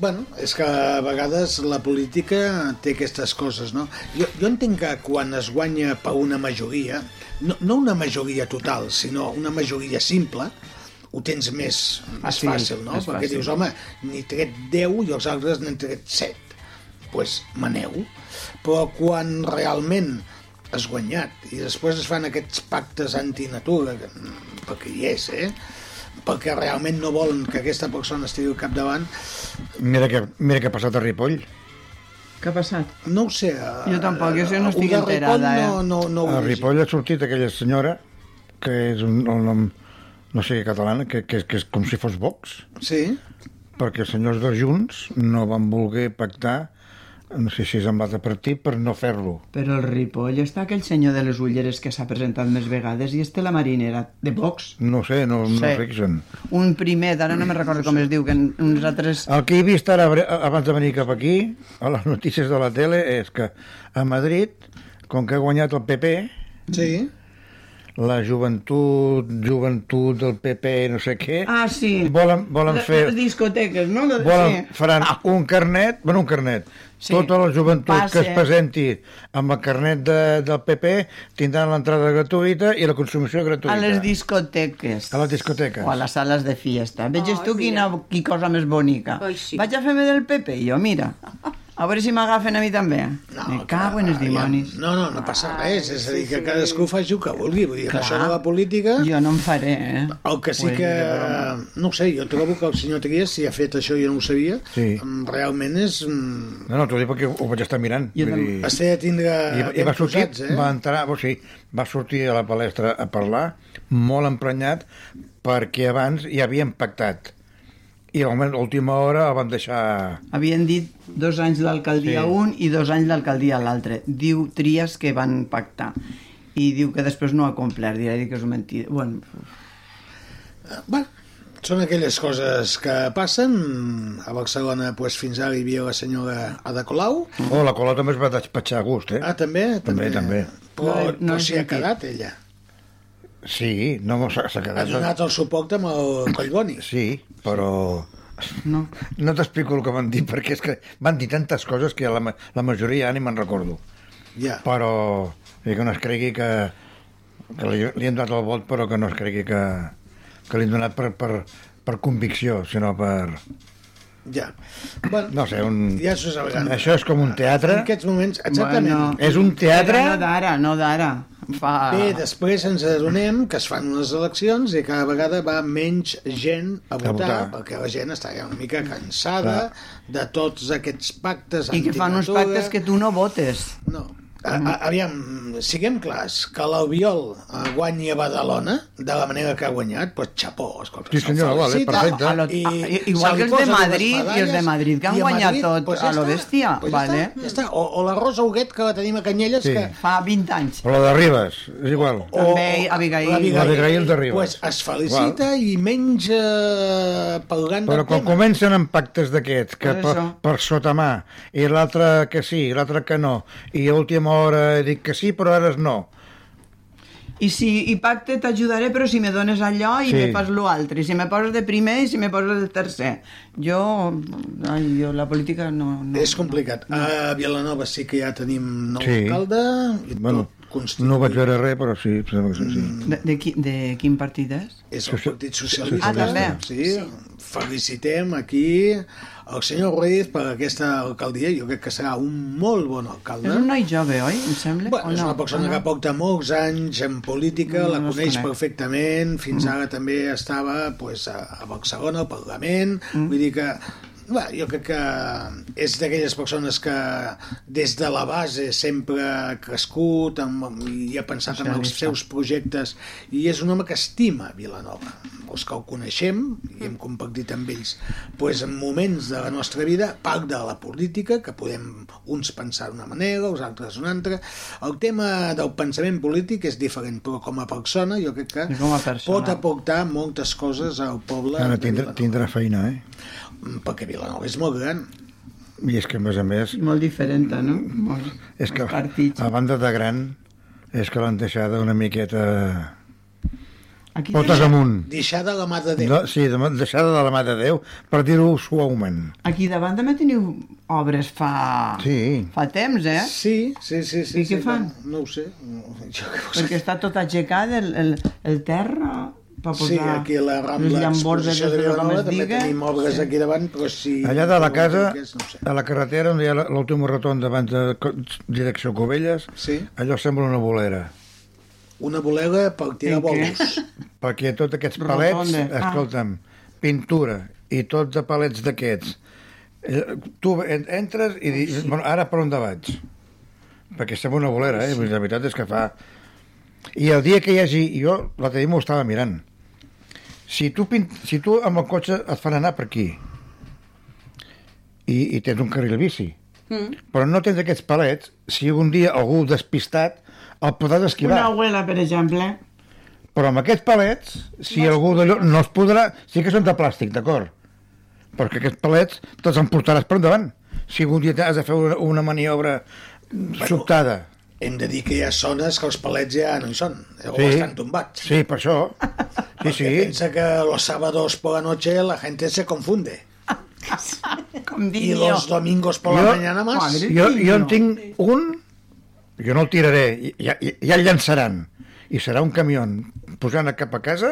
E: Bueno, és que a vegades la política té aquestes coses, no? Jo, jo entenc que quan es guanya per una majoria, no, no una majoria total, sinó una majoria simple, ho tens més, més
G: Ah, Sí,
E: fàcil, no?
G: més
E: Perquè
G: fàcil.
E: dius, home, n'hi tret 10 i els altres n'han tret 7. Doncs pues, maneu. Però quan realment has guanyat i després es fan aquests pactes antinatura, que, mm, perquè hi és, eh? perquè realment no volen que aquesta persona estigui al capdavant,
H: Mira que, mira que ha passat a Ripoll.
G: Què ha passat?
E: No ho sé.
G: Jo tampoc, jo sí no estic
E: ho de Ripoll
G: enterada, eh?
E: No, no, no ho
H: A
E: he llegit.
H: Ah, Ripoll ha sortit aquella senyora, que és un, el nom, no sé, catalana, que, que, que és com si fos Vox,
E: Sí,
H: perquè els senyors de Junts no van voler pactar no sé si és amb l'altre partit, per no fer-lo.
G: Però el Ripoll està aquell senyor de les ulleres que s'ha presentat més vegades i este la marinera de Vox.
H: No sé, no, no
G: Sí.
H: sé qui són.
G: Un primer, ara no me'n recordo com es diu, que en- uns altres...
H: El que he vist ara, bre- abans de venir cap aquí, a les [laughs] notícies de la tele, és que a Madrid, com que ha guanyat el PP,
E: sí.
H: la joventut, joventut del PP, no sé què,
G: Ah, sí.
H: volen, volen
G: Les-
H: fer...
G: Les discoteques, no? Les-
H: Volen,
G: sí. Ah.
H: faran un carnet, bueno, un carnet, sí.
G: Sí.
H: tota la joventut
G: Passe.
H: que es presenti amb el carnet de, del PP tindran l'entrada gratuïta i la consumició gratuïta.
G: A les discoteques.
H: A les discoteques.
G: O a les sales de fiesta. Veges
F: Ai,
G: tu quina, qui cosa més bonica.
F: Ai, sí.
G: Vaig a fer-me del Pepe, jo, mira. A veure si m'agafen a mi també. Me cago en els
E: Ah,
G: dimonis. Ah,
E: No, no, no passa res. És a dir, que cadascú faci el que vulgui. Vull dir, que això de la política...
G: Jo no en faré, eh?
E: El que sí
G: Pues,
E: que...
G: de broma.
E: No ho sé, jo trobo que el senyor Trias, si ha fet això, jo no ho sabia,
H: Sí.
E: mm, realment és... mm,
H: No, no, t'ho dic perquè ho vaig estar mirant.
G: Jo
H: vull
G: també.
H: dir-
E: Es té de tindre...
H: I, I
E: ben
H: va sortir,
E: posats,
H: eh? va entrar, o sigui, va sortir a la palestra a parlar, molt emprenyat, perquè abans ja havien pactat. I al moment, a última hora, el van deixar...
G: Havien dit dos anys l'alcaldia
H: Sí.
G: un i dos anys l'alcaldia l'altre. Diu Trias que van pactar i diu que després no ha complert, dirà que és mentida. Bueno,
E: Bé, són aquelles coses que passen. A Barcelona, doncs, fins ara hi havia la senyora Ada Colau.
H: Oh, la Colau també es va despatxar a gust, eh?
E: Ah, també?
H: També, també.
E: Però,
G: No
E: no,
G: he- no
E: no
G: he
E: s'hi ha
G: sentit.
E: quedat, ella.
H: Sí, no s'ha s'ha
E: Ha
H: quedat...
E: Ah, donat el suport amb el Collboni.
H: Sí, però
G: No.
H: No t'explico el que van dir, perquè és que van dir tantes coses que la, ma- la majoria ja ni me'n recordo.
E: Ja.
H: Però i que no es cregui que, que li, li han donat el vot, però que no es cregui que, que li han donat per, per, per convicció, sinó per...
E: Ja. Bueno,
H: No sé, un...
E: Ja s'ho sabrà.
H: Això és com un teatre.
E: En aquests moments, exactament.
G: Bueno. ah.
H: És un teatre...
G: Però No d'ara, no d'ara. Fa...
E: Bé, després ens adonem que es fan unes eleccions i cada vegada va menys gent a votar,
H: votar.
E: perquè la gent està ja una mica cansada de tots aquests pactes
G: I que fan uns
E: antinatura.
G: pactes que tu no votes.
E: No. A, a, aviam, siguem clars, que l'Albiol eh, guanyi a Badalona de la manera que ha guanyat, doncs xapó, escolta.
H: Sí, senyor,
E: se'l
H: vale,
E: felicita,
H: perfecte.
G: A lo- a-
E: se li
G: igual que els de
E: posen unes
G: Madrid i els de
E: medalles,
G: Madrid, que han
E: i a
G: guanyat tot
E: doncs ja
G: a lo
E: està,
G: bèstia,
E: doncs
G: vale.
E: Ja està, ja està. O, o la Rosa Huguet, que la tenim a Canyelles,
H: Sí.
E: que
G: Fa 20 anys.
H: Però la de Ribes, és igual.
G: També Abigail.
H: La d'Abigail de Ribes.
E: Pues es felicita Val. i menja pel·lugant
H: Però
E: del
H: quan
E: tema.
H: comencen amb pactes d'aquests, que
G: Per
H: per,
G: això.
H: per sota mà, i l'altre que sí, i l'altre que no, i a última hora dic que sí, però ara és no.
G: I si i pacte t'ajudaré, però si me dones allò
H: Sí.
G: i sí. me fas l'altre. I si me poses de primer i si me poses de tercer. Jo, ai, jo la política no... no
E: És complicat. A Vilanova sí que ja tenim nou
H: Sí.
E: alcalde. I
H: Bueno,
E: tot constituït.
H: no vaig veure res, però sí, em sembla que sí.
E: Mm,
G: De, de, qui, de quin partit és?
E: És el Partit Socialista.
G: Ah, també.
E: Sí. Felicitem aquí el senyor Ruiz per aquesta alcaldia. Jo crec que serà un molt bon alcalde.
G: És un noi jove, oi? Em sembla.
E: Bueno,
G: o no?
E: és una persona que porta molts anys en política,
G: No,
E: la
G: no Mm. els
E: coneix
G: conec.
E: perfectament, fins ara també estava pues, a, a Barcelona, al Parlament,
G: Mm.
E: vull dir que Bé, jo crec que és d'aquelles persones que des de la base sempre ha crescut amb, amb- i ha pensat en els
G: Socialista.
E: seus projectes i és un home que estima Vilanova els que el coneixem i hem compartit amb ells pues, en moments de la nostra vida part de la política que podem uns pensar d'una manera els altres d'una altra el tema del pensament polític és diferent però com a persona jo crec
G: I
E: que
G: com a persona.
E: pot aportar moltes coses al poble
H: Ara
E: de Vilanova.
H: tindrà, tindrà feina, eh?
E: Mm, perquè Vilanova és molt gran
H: I és que, a més a més,
G: Molt diferent, eh, no? Molt...
H: és que
G: Partits.
H: a banda de gran, és que l'han deixada una miqueta...
G: Aquí
H: Potes
G: davant,
H: amunt.
E: deixada la mà de Déu
H: No, sí, de- deixada de la mà de Déu, per dir-ho suaument.
G: aquí davant també teniu obres fa...
H: Sí.
G: Fa temps, eh?
E: Sí, sí, sí, sí.
G: I què
E: sí,
G: fan?
E: No, no ho sé. No, jo què vols
G: Perquè està tot aixecat, el, el, el terra... Per posar
E: Sí, aquí a la Rambla,
G: les llambordes
E: l'exposició de
G: que tothom
E: Vilanova,
G: es
E: també
G: diga.
E: tenim obres aquí davant, però si...
H: Allà de la casa,
E: No ho sé.
H: a la carretera, on hi ha la- l'última rotonda abans de Co- direcció Covelles,
E: Sí.
H: allò sembla una bolera.
E: Una bolega per tirar
G: I què?
E: bolos.
H: Perquè tots aquests palets,
G: Rotonda. Ah.
H: escolta'm, pintura i tot de palets d'aquests. Eh, Tu en- entres i dius, bueno, ara per on de vaig? Perquè sembla una bolera, eh? Vull dir, La veritat és que fa... I el dia que hi hagi... Jo la tenim ho estava mirant. Si tu, pint, si tu amb el cotxe et fan anar per aquí i, i tens un carril bici,
G: Mm.
H: però no tens aquests palets, si un dia algú despistat el podràs esquivar.
G: Una abuela, per exemple.
H: Però amb aquests palets, si no algú d'allò no es podrà... Sí que són de plàstic, d'acord? Perquè aquests palets te'ls emportaràs per endavant. Si algun dia has de fer una, una maniobra sobtada.
E: Hem de dir que hi ha zones que els palets ja no hi són, o sí. estan tombats.
H: Sí,
E: [laughs]
H: per això. Sí,
E: Perquè
H: sí.
E: Pensa que los sábados por la noche la gente se confunde. I
G: Com dic jo.
E: los domingos por la
H: Jo-
E: mañana más.
G: Madre.
H: Jo, jo en tinc un... Jo no el tiraré. Ja, ja, ja el llançaran. I serà un camió posant cap a casa,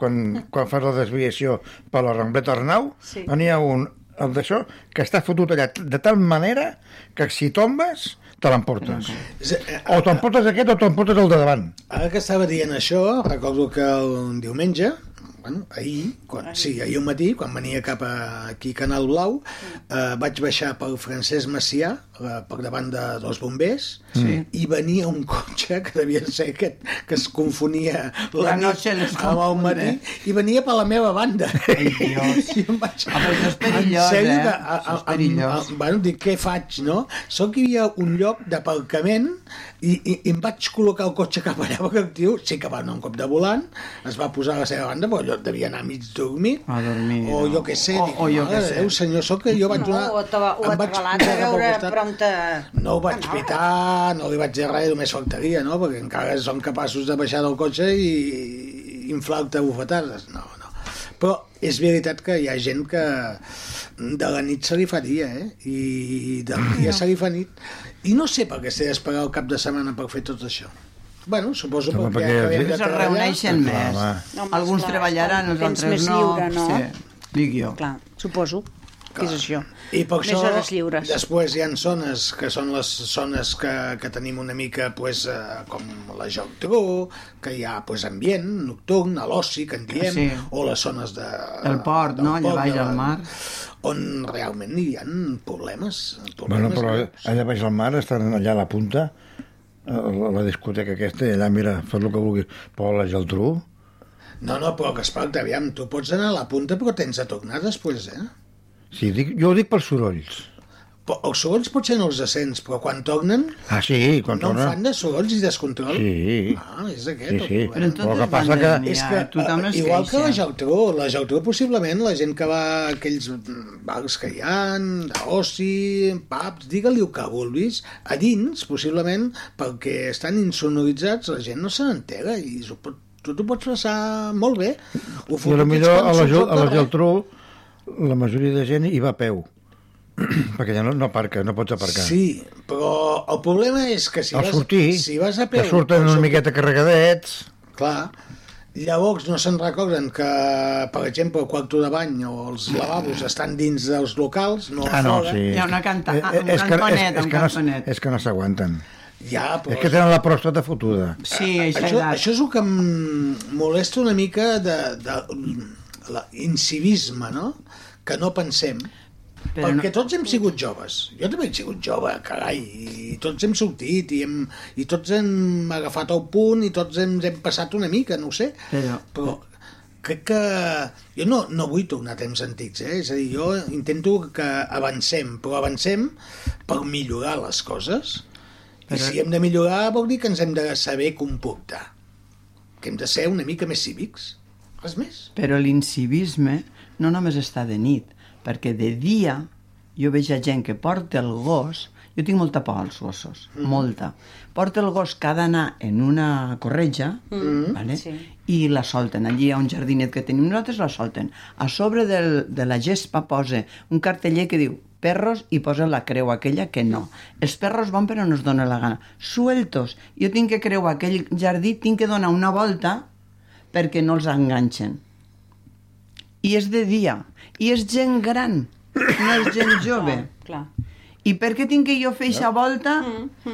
H: quan, quan fas la desviació per la Rambleta Arnau,
F: Sí.
H: on hi ha un el d'això, que està fotut allà de tal manera que si tombes, te l'emportes.
E: eh,
H: O t'emportes aquest o t'emportes el de davant.
E: Ara que estava dient això, recordo que el diumenge, bueno, ahir, quan, sí, ahir al matí, quan venia cap a, aquí a Canal Blau,
G: Mm.
E: eh, vaig baixar pel Francesc Macià, eh, per davant de, dels bombers, sí. i venia un cotxe que devia ser aquest, que es confonia la,
G: La noche les
E: nit amb el matí, i venia per la meva banda.
G: Ai, Dios.
E: [laughs] I em vaig...
G: Home, això és perillós,
E: en sèrio,
G: eh?
E: que a, a,
G: Això és
E: a, a,
G: perillós.
E: bueno, dic, què faig, no? Sóc que hi havia un lloc d'aparcament i, i, i em vaig col·locar el cotxe cap allà perquè el tio sí que va anar un cop de volant, es va posar a la seva banda, però jo devia anar mig dormit.
G: A dormir,
E: O
G: no.
E: jo què sé,
G: O-
E: dic,
G: o jo
E: mare
G: què sé.
E: de Déu, senyor, sóc que jo vaig
F: No,
E: donar...
F: o te va- o
E: em
F: et
E: vaig
F: regalant a
E: posar cap al
F: veure
E: costat.
F: prompte...
E: No ho vaig pitar, no li vaig dir res, només faltaria, no? Perquè encara són capaços de baixar del cotxe i inflar-te a bufetades. No, no. Però és veritat que hi ha gent que de la nit se li fa dia, eh? I del dia se li fa nit. I no sé per què s'ha d'esperar el cap de setmana per fer tot això. Bueno, suposo
H: Home,
E: perquè,
H: perquè-
E: acabem de
G: Es
E: treballar.
G: reuneixen
H: Clar,
G: més.
H: home.
F: Home,
G: Alguns
F: esclar,
G: treballaran, els
F: tens
G: altres
F: més
G: no.
F: lliure, no?
G: Sí, dic jo.
F: Clar, suposo que és això.
E: I per
F: Més hores lliures.
E: després hi ha zones que són les zones que, que tenim una mica pues, eh, com la Joctró, que hi ha pues, ambient nocturn, a l'oci, que en diem, sí.
G: Ah, Sí.
E: o les zones de...
G: El port,
E: del
G: no? Allà baix
E: de la-
G: al mar.
E: On realment hi ha problemes.
H: Bueno,
E: problemes
H: però eh,
E: greus.
H: allà baix al mar estan allà a la punta, a la, la discoteca aquesta, i allà, mira, fas el que vulguis. Però la Geltrú,
E: No, no, però que espalta, aviam, tu pots anar a la punta però tens de tornar després, eh?
H: sí, dic, jo ho dic per sorolls.
E: Però els segons potser no els descens, però quan tornen
H: Ah, sí, quan
E: no en
H: torna...
E: fan de segons i descontrol.
H: Sí,
E: Ah, és aquest
H: sí,
E: el
H: sí.
E: problema.
G: Però
H: Però
G: en
H: el
G: totes
H: que passa
G: bandes
H: que...
G: n'hi
E: És
G: ha,
E: que,
G: tothom
E: eh,
G: es
E: igual que la
G: queixa.
E: Geltrú, la Geltrú possiblement la gent que va a aquells mm, bars que hi ha, d'oci, pubs, digue-li el que vulguis, a dins, possiblement, perquè estan insonoritzats, la gent no se n'entera i s'ho pot, tu t'ho pots passar molt bé. Ho
H: I
E: fotut
H: potser
E: ets com
H: a la,
E: surts
H: Gel-
E: al
H: a la
E: carrer.
H: Geltrú la majoria de gent hi va a peu, [clears throat] perquè allà no, no aparca, no pots aparcar.
E: Sí, però el problema és que si,
H: Al
E: vas,
H: sortir,
E: si vas a peu...
H: que surten
E: al
H: una
E: sortir-
H: miqueta carregadets...
E: Clar, llavors no se'n recorden que, per exemple, el quarto de bany o els lavabos estan dins dels locals, no a
H: Ah, no,
E: fora.
H: sí.
G: Hi ha una canta- ah,
H: Eh, eh,
G: un
H: és que-
G: cantonet,
H: és- és
G: un
H: que no-
G: cantonet.
H: És que no s'aguanten.
E: Ja, però...
H: És que tenen la pròstata fotuda.
G: Sí, això,
E: això,
G: edat.
E: això és el que em molesta una mica de, de, l'incivisme, no? Que no pensem.
G: Però
E: perquè
G: no-
E: tots hem sigut joves. Jo també he sigut jove, carai, i tots hem sortit, i, hem, i tots hem agafat el punt, i tots ens hem passat una mica, no ho sé.
G: Però-
E: Però crec que... Jo no, no vull tornar a temps antics, eh? És a dir, jo intento que avancem, però avancem per millorar les coses, i
G: Però-
E: si hem de millorar vol dir que ens hem de saber comportar, que hem de ser una mica més cívics, res més.
G: Però l'incivisme no només està de nit, perquè de dia jo veig a gent que porta el gos, jo tinc molta por als gossos, mm. molta. Porta el gos que ha d'anar en una corretja, mm. vale?
F: sí.
G: i la solten. Allí hi ha un jardinet que tenim nosaltres, la solten. A sobre del, de la gespa posa un carteller que diu perros i posa la creu aquella que no. Els perros van però no es dona la gana. Sueltos. Jo tinc que creuar aquell jardí, tinc que donar una volta perquè no els enganxen. I és de dia. I és gent gran, no és gent jove.
F: Clar.
G: I per què tinc que jo fer aquesta volta?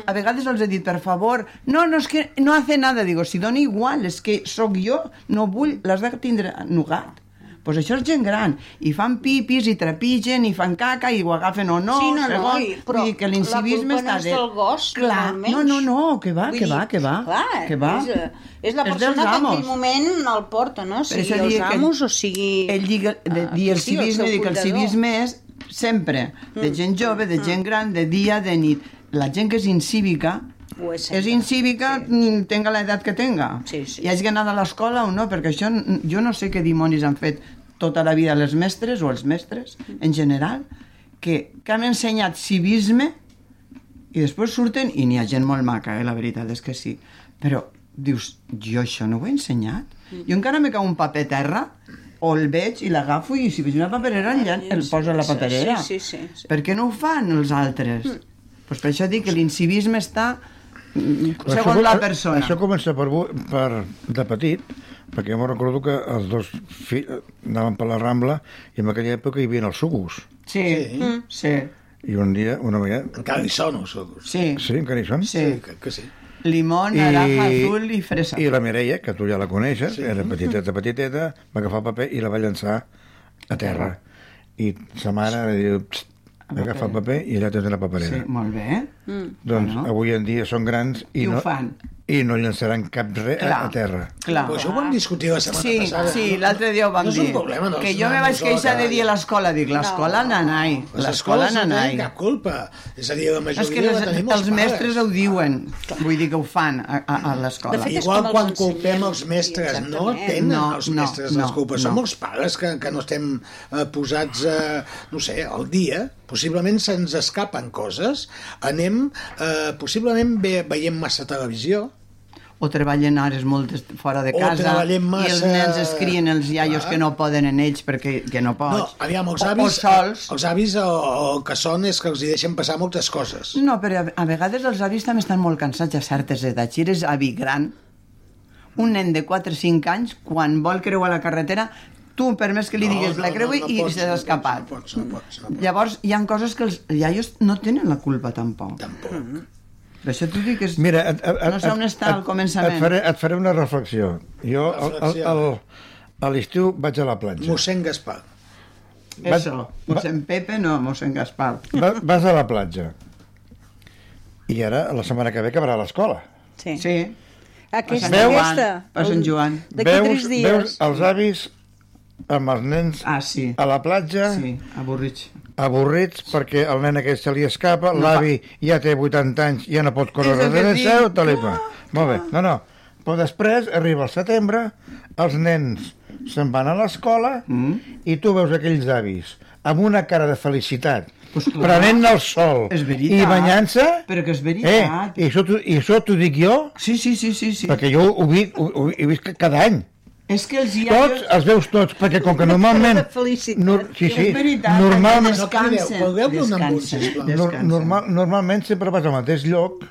G: A vegades els he dit, per favor, no, no, és que no hace nada. Digo, si dona igual, és que sóc jo, no vull, l'has de tindre nugat. Doncs pues això és gent gran. I fan pipis, i trepigen, i fan caca, i ho agafen o no.
F: Sí, no, no,
G: segons.
F: i- però
G: Vull dir que
F: la culpa
G: l'incivisme està
F: no és
G: de...
F: del gos,
G: clar,
F: almenys.
G: no, no, no, que va,
F: Vull
G: que
F: dir,
G: va, que va.
F: Clar,
G: que va.
F: És, eh, és la
G: dels
F: persona que en
G: amos.
F: aquell moment el porta, no?
G: Per
F: Sigui
G: això
F: els
G: dic que-
F: amos o sigui...
G: ell digue, de,
F: eh,
G: dir el
F: qui sigui
G: civisme,
F: seu
G: dic el
F: cuidador. Mm.
G: civisme és sempre, de gent jove, de gent gran, de dia, de nit. La gent que és incívica,
F: Ho és
G: és,
F: sempre,
G: incívica, sí. tenga l'edat que tenga.
F: Sí, sí.
G: I hagi anat a l'escola o no, perquè això, n- jo no sé què dimonis han fet tota la vida les mestres o els mestres,
F: Mm.
G: en general, que, que han ensenyat civisme i després surten i n'hi ha gent molt maca, eh? la veritat és que sí. Però dius, jo això no ho he ensenyat?
F: Mm.
G: Jo encara me cau un paper a terra o el veig i l'agafo i si veig una paperera el, llan- el poso a la paperera.
F: Ah, Sí, sí, sí, sí.
G: Per què no ho fan els altres? Doncs pues per això dic que l'incivisme està mm,
H: Però
G: segons la
H: això-
G: persona.
H: Això comença per, bu- per de petit, perquè jo me'n recordo que els dos fills anaven per la Rambla i en aquella època hi havia els sucos.
G: Sí, sí,
H: I un dia, una vegada...
E: Encara hi són els sodos.
G: sí.
H: Sí, encara hi són?
G: Sí.
E: Que, que sí.
G: Limón, naranja, azul i fresa.
H: I la Mireia, que tu ja la coneixes, sí. era petiteta, petiteta, va agafar el paper i la va llançar a terra. I sa mare li diu, "Psst, agafa el paper i allà tens la paperera.
G: Sí,
H: Sí.
G: molt bé. Mm.
H: Doncs
G: Bueno.
H: avui en dia són grans i,
G: I ho
H: no,
G: fan.
H: i no llançaran cap
E: Eh,
H: res a, a terra.
G: Clar.
E: Però això ho vam discutir la setmana
G: Sí,
E: passada.
G: sí,
E: no?
G: l'altre dia ho vam
E: no
G: dir.
E: És un problema, dels
G: que jo me
E: nanos
G: vaig
E: o
G: queixar de
E: de-
G: dir a l'escola, dic, l'escola no. nanai,
E: Les
G: l'escola
E: escoles no
G: nanai.
E: tenen cap culpa. És a dir, la majoria
G: És que les,
E: la tenim
G: els mestres
E: pares.
G: ho diuen, vull dir que ho fan a, a, a l'escola.
F: De fet, és
E: Igual
F: com els
E: quan
F: ensenyem.
E: culpem els mestres,
F: Sí,
E: no
F: exactament.
E: tenen
G: No,
E: els
G: no,
E: mestres les
G: no,
E: culpes. Som
G: no.
E: els pares que, que no estem eh, posats, eh, no sé, al dia. Possiblement se'ns escapen coses. Anem, eh, possiblement ve, veiem massa televisió.
G: O o treballen hores moltes fora de
E: O
G: casa i
E: treballem
G: els
E: massa-
G: nens es crien els iaios
E: Clar.
G: que no poden en ells perquè que no
E: No,
G: pots.
E: aviam, els
G: O-
E: avis,
G: O, sols.
E: els avis o, o que són és que els hi deixen passar moltes coses.
G: No, però a, a vegades els avis també estan molt cansats a certes edats. Si eres avi gran, un nen de 4 o 5 anys, quan vol creuar la carretera, tu, per més que li diguis, la creui i
E: pots,
G: s'ha
E: no
G: escapat.
E: pots, no pots, no pots.
G: Llavors, hi han coses que els iaios no tenen la culpa, tampoc.
E: Tampoc.
G: Això t'ho dic, és...
H: Mira, et, et,
G: no sé on està al començament.
H: Et faré, et faré una reflexió. Jo al- al-
E: Reflexió.
H: al- a l'estiu vaig a la platja.
E: Mossèn Gaspar.
H: va-
G: Eso, mossèn Pepe, no, mossèn Gaspar.
H: Va, vas a la platja. I ara, la setmana que ve, acabarà l'escola.
F: Sí.
G: Sí,
F: Aquesta,
H: Veus?
F: aquesta.
G: per Sant Joan.
F: D'aquí tres dies.
H: veus els avis amb els nens
G: Ah, sí,
H: a la platja,
G: sí, avorrits.
H: avorrits, perquè el nen aquest se li escapa,
G: No,
H: l'avi ja té 80 anys, ja no pot córrer
G: És el que
H: darrere
G: dic. Ah,
H: seu, tal i qual. Molt bé, no, no. Però després arriba el setembre, els nens se'n van a l'escola mm. i tu veus aquells avis amb una cara de felicitat,
G: Pues clar.
H: prenent el sol
G: És veritat.
H: i banyant-se.
G: Però que és veritat.
H: Eh, i, això, t'ho- I això t'ho dic jo,
G: Sí, sí, sí, sí, sí.
H: perquè jo ho, vi, ho, ho he vist cada any.
G: És que els iaios...
H: Tots, els veus tots, perquè com que normalment...
C: De felicitat.
H: No, sí, sí,
G: És veritat,
H: normalment,
G: perquè
E: No crideu, podeu donar un
G: descansen,
E: sisplau?
H: nor,
G: descansen.
H: normal, normalment sempre vas al mateix lloc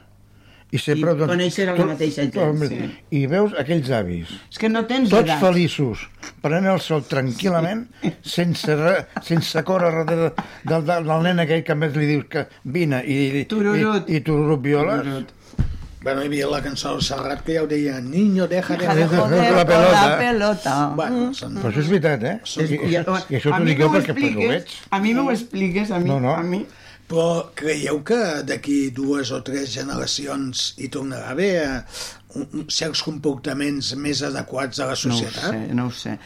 H: i sempre... doncs,
G: I coneixes la
H: tot-
G: mateixa gent,
H: tot-
G: sí.
H: I veus aquells avis,
G: És que no tens
H: tots
G: edat.
H: feliços, prenent el sol tranquil·lament, sense, re, sense córrer darrere del, del, del nen aquell que a més li dius que vine i, i,
G: Tururut.
H: i, i tururut violes.
G: Tururut.
E: Bueno, hi havia la cançó del Serrat que ja ho deia Niño, deja de...
G: Deja de joder
H: La
G: Mm-hmm. con
H: pelota.
G: la pelota.
E: Bueno, són...
H: Però això és veritat, eh? I, i, i això
G: A
H: t'ho
G: mi
H: dic
G: que
H: jo
G: ho
H: perquè, perquè ho
G: expliques-
H: veig.
G: A mi m'ho expliques, a mi,
H: No, no.
G: a mi.
E: Però creieu que d'aquí dues o tres generacions hi tornarà a haver eh, un- un- certs comportaments més adequats a la
G: No ho
E: societat?
G: sé, no ho sé.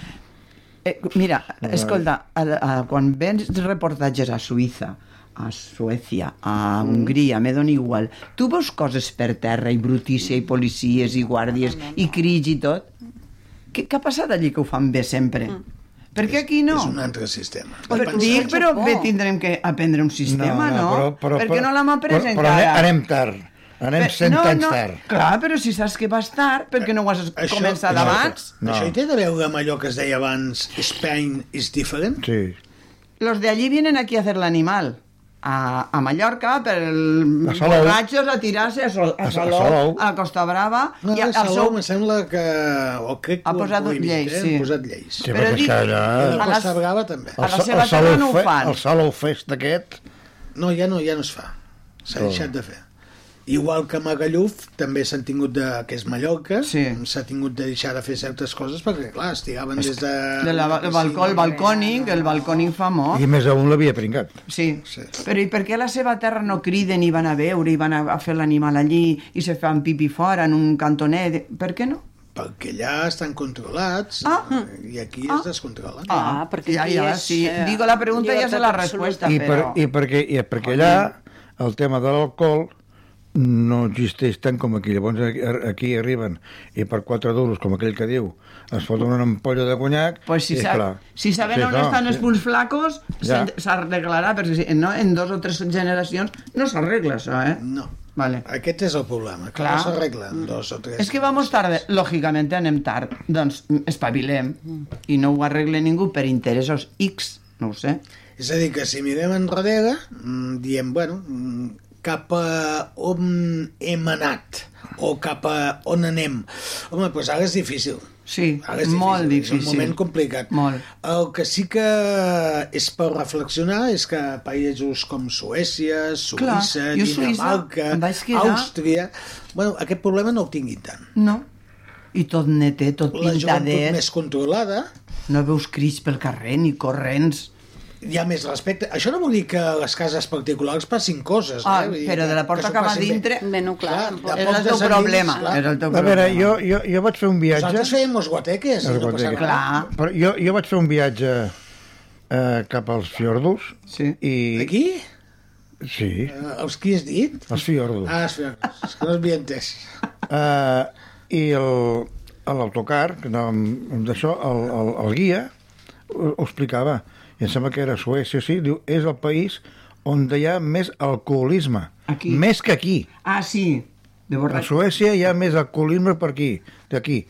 G: Eh, mira, escolta, a, a, quan vens reportatges a Suïssa, a Suècia, a
H: Mm.
G: Hongria, me dona igual, tu veus coses per terra i brutícia i policies i guàrdies i crits i tot? Què, què ha passat allí que ho fan bé sempre? Per què aquí no?
E: És un altre sistema.
G: Però, dic, però bé, tindrem que aprendre un sistema, no? Perquè no l'hem après
H: però, però
G: encara.
H: anem- anem tard. Anem
G: Per-
H: 100
G: no,
H: anys
G: no,
H: tard.
G: Clar, però si saps que vas tard, perquè no ho has
E: Això-
G: començat
E: això-
G: abans?
H: No.
E: No. Això hi té a veure amb allò que es deia abans, Spain is different?
H: Sí.
G: Los de allí vienen aquí a hacer el animal. A, a Mallorca, per el
H: A Salou.
G: borratxos, a tirar-se a, Sol, a,
H: A Sa- a
G: Salou, a,
H: Salou.
G: Costa Brava.
E: No,
G: i a,
E: ja,
G: a
E: Salou
G: Sou-
E: em sembla que... O crec que
G: Ha
E: ho han
G: posat
E: prohibit,
G: lleis,
E: eh?
G: sí. Ah.
E: Han posat lleis.
H: Sí,
G: Però
H: perquè és
G: dic-
H: que allà...
E: I
G: a
E: la
G: les-
E: Costa Brava també.
G: a la
H: Sa-
G: seva
H: Salou
G: terra no ho
H: Fe-
G: fan.
H: El Salou Fest aquest...
E: No, ja no, ja no es fa. S'ha
H: Oh.
E: deixat de fer. Igual que Magalluf, també s'han tingut de... que és Mallorca,
G: Sí.
E: s'ha tingut de deixar de fer certes coses perquè, clar, es tiraven des de...
G: de la, el balcó, el balcònic, el balcònic famós.
H: I més aún l'havia pringat.
G: Sí.
E: Sí.
G: Però i per què a la seva terra no criden i van a veure i van a, a fer l'animal allí i se fan pipi fora en un cantonet? Per què no?
E: Perquè allà estan controlats
G: Ah.
E: eh, i aquí es descontrolen.
F: Ah, perquè
G: ja,
F: aquí
G: ja,
F: és,
G: sí.
F: eh,
G: Digo la pregunta i ja sé la
F: llibertat
G: resposta,
H: I, per,
G: però...
H: i, perquè, I perquè allà el tema de l'alcohol no existeix tant com aquí. Llavors aquí, aquí arriben i per 4 duros, com aquell que diu, es foten una ampolla de conyac...
G: Pues si,
H: i,
G: sab
H: clar,
G: si sabem
H: sí,
G: on
H: clar,
G: estan els
H: sí.
G: punts flacos,
H: Ja.
G: s'en- s'arreglarà, perquè si, no, en dos o tres generacions no s'arregla això, eh?
E: No.
G: Vale.
E: Aquest és el problema, que
G: Clar.
E: no s'arregla en dos o tres.
G: És que vamos tarde, lògicament anem tard, doncs mm, espavilem, i no ho arregle ningú per interessos X, no ho sé.
E: És a dir, que si mirem enrere, mm, diem, bueno, mm, cap a on hem anat o cap a on anem. Home, doncs ara és difícil.
G: Sí,
E: Ara és
G: molt
E: És
G: difícil.
E: un moment complicat.
G: Molt.
E: El que sí que és per reflexionar és que països com Suècia,
G: Clar,
E: Suïssa,
G: jo Suïssa
E: Dinamarca,
G: em vaig quedar-
E: Àustria... Bueno, aquest problema no el tinguin tant.
G: No? I tot neté, tot
E: La joventut
G: pintadet,
E: més controlada,
G: no veus crits pel carrer ni corrents.
E: hi ha més respecte. Això no vol dir que a les cases particulars passin coses.
G: Ah,
E: eh? Vull dir
G: però
E: que-
G: de la porta
E: s'ho
G: cap a
E: passin bé.
G: dintre...
F: Bé, no, clar,
E: Clar,
F: tampoc.
E: de
G: És
E: pocs
G: el teu
E: descendents,
G: problema,
E: clar.
G: és el teu
H: A
G: problema.
H: veure, jo, jo, jo vaig fer un viatge...
E: Nosaltres fèiem els guateques. i no passava res.
G: Clar.
H: Però jo, jo vaig fer un viatge eh, cap als fiordos.
G: Sí.
H: I,
E: Aquí?
H: Sí,
E: Eh, Els qui has dit?
H: als fiordos.
E: Ah, espera, és que no els havia entès.
H: Eh, I el- a l'autocar, que anàvem d'això, el, el, el guia ho, ho explicava, i em sembla que era Suècia, sí, diu, és el país on hi ha més alcoholisme.
G: Aquí.
H: Més que aquí.
G: Ah, sí. de
H: A
G: borratxos.
H: Suècia hi ha més alcoholisme per aquí, d'aquí.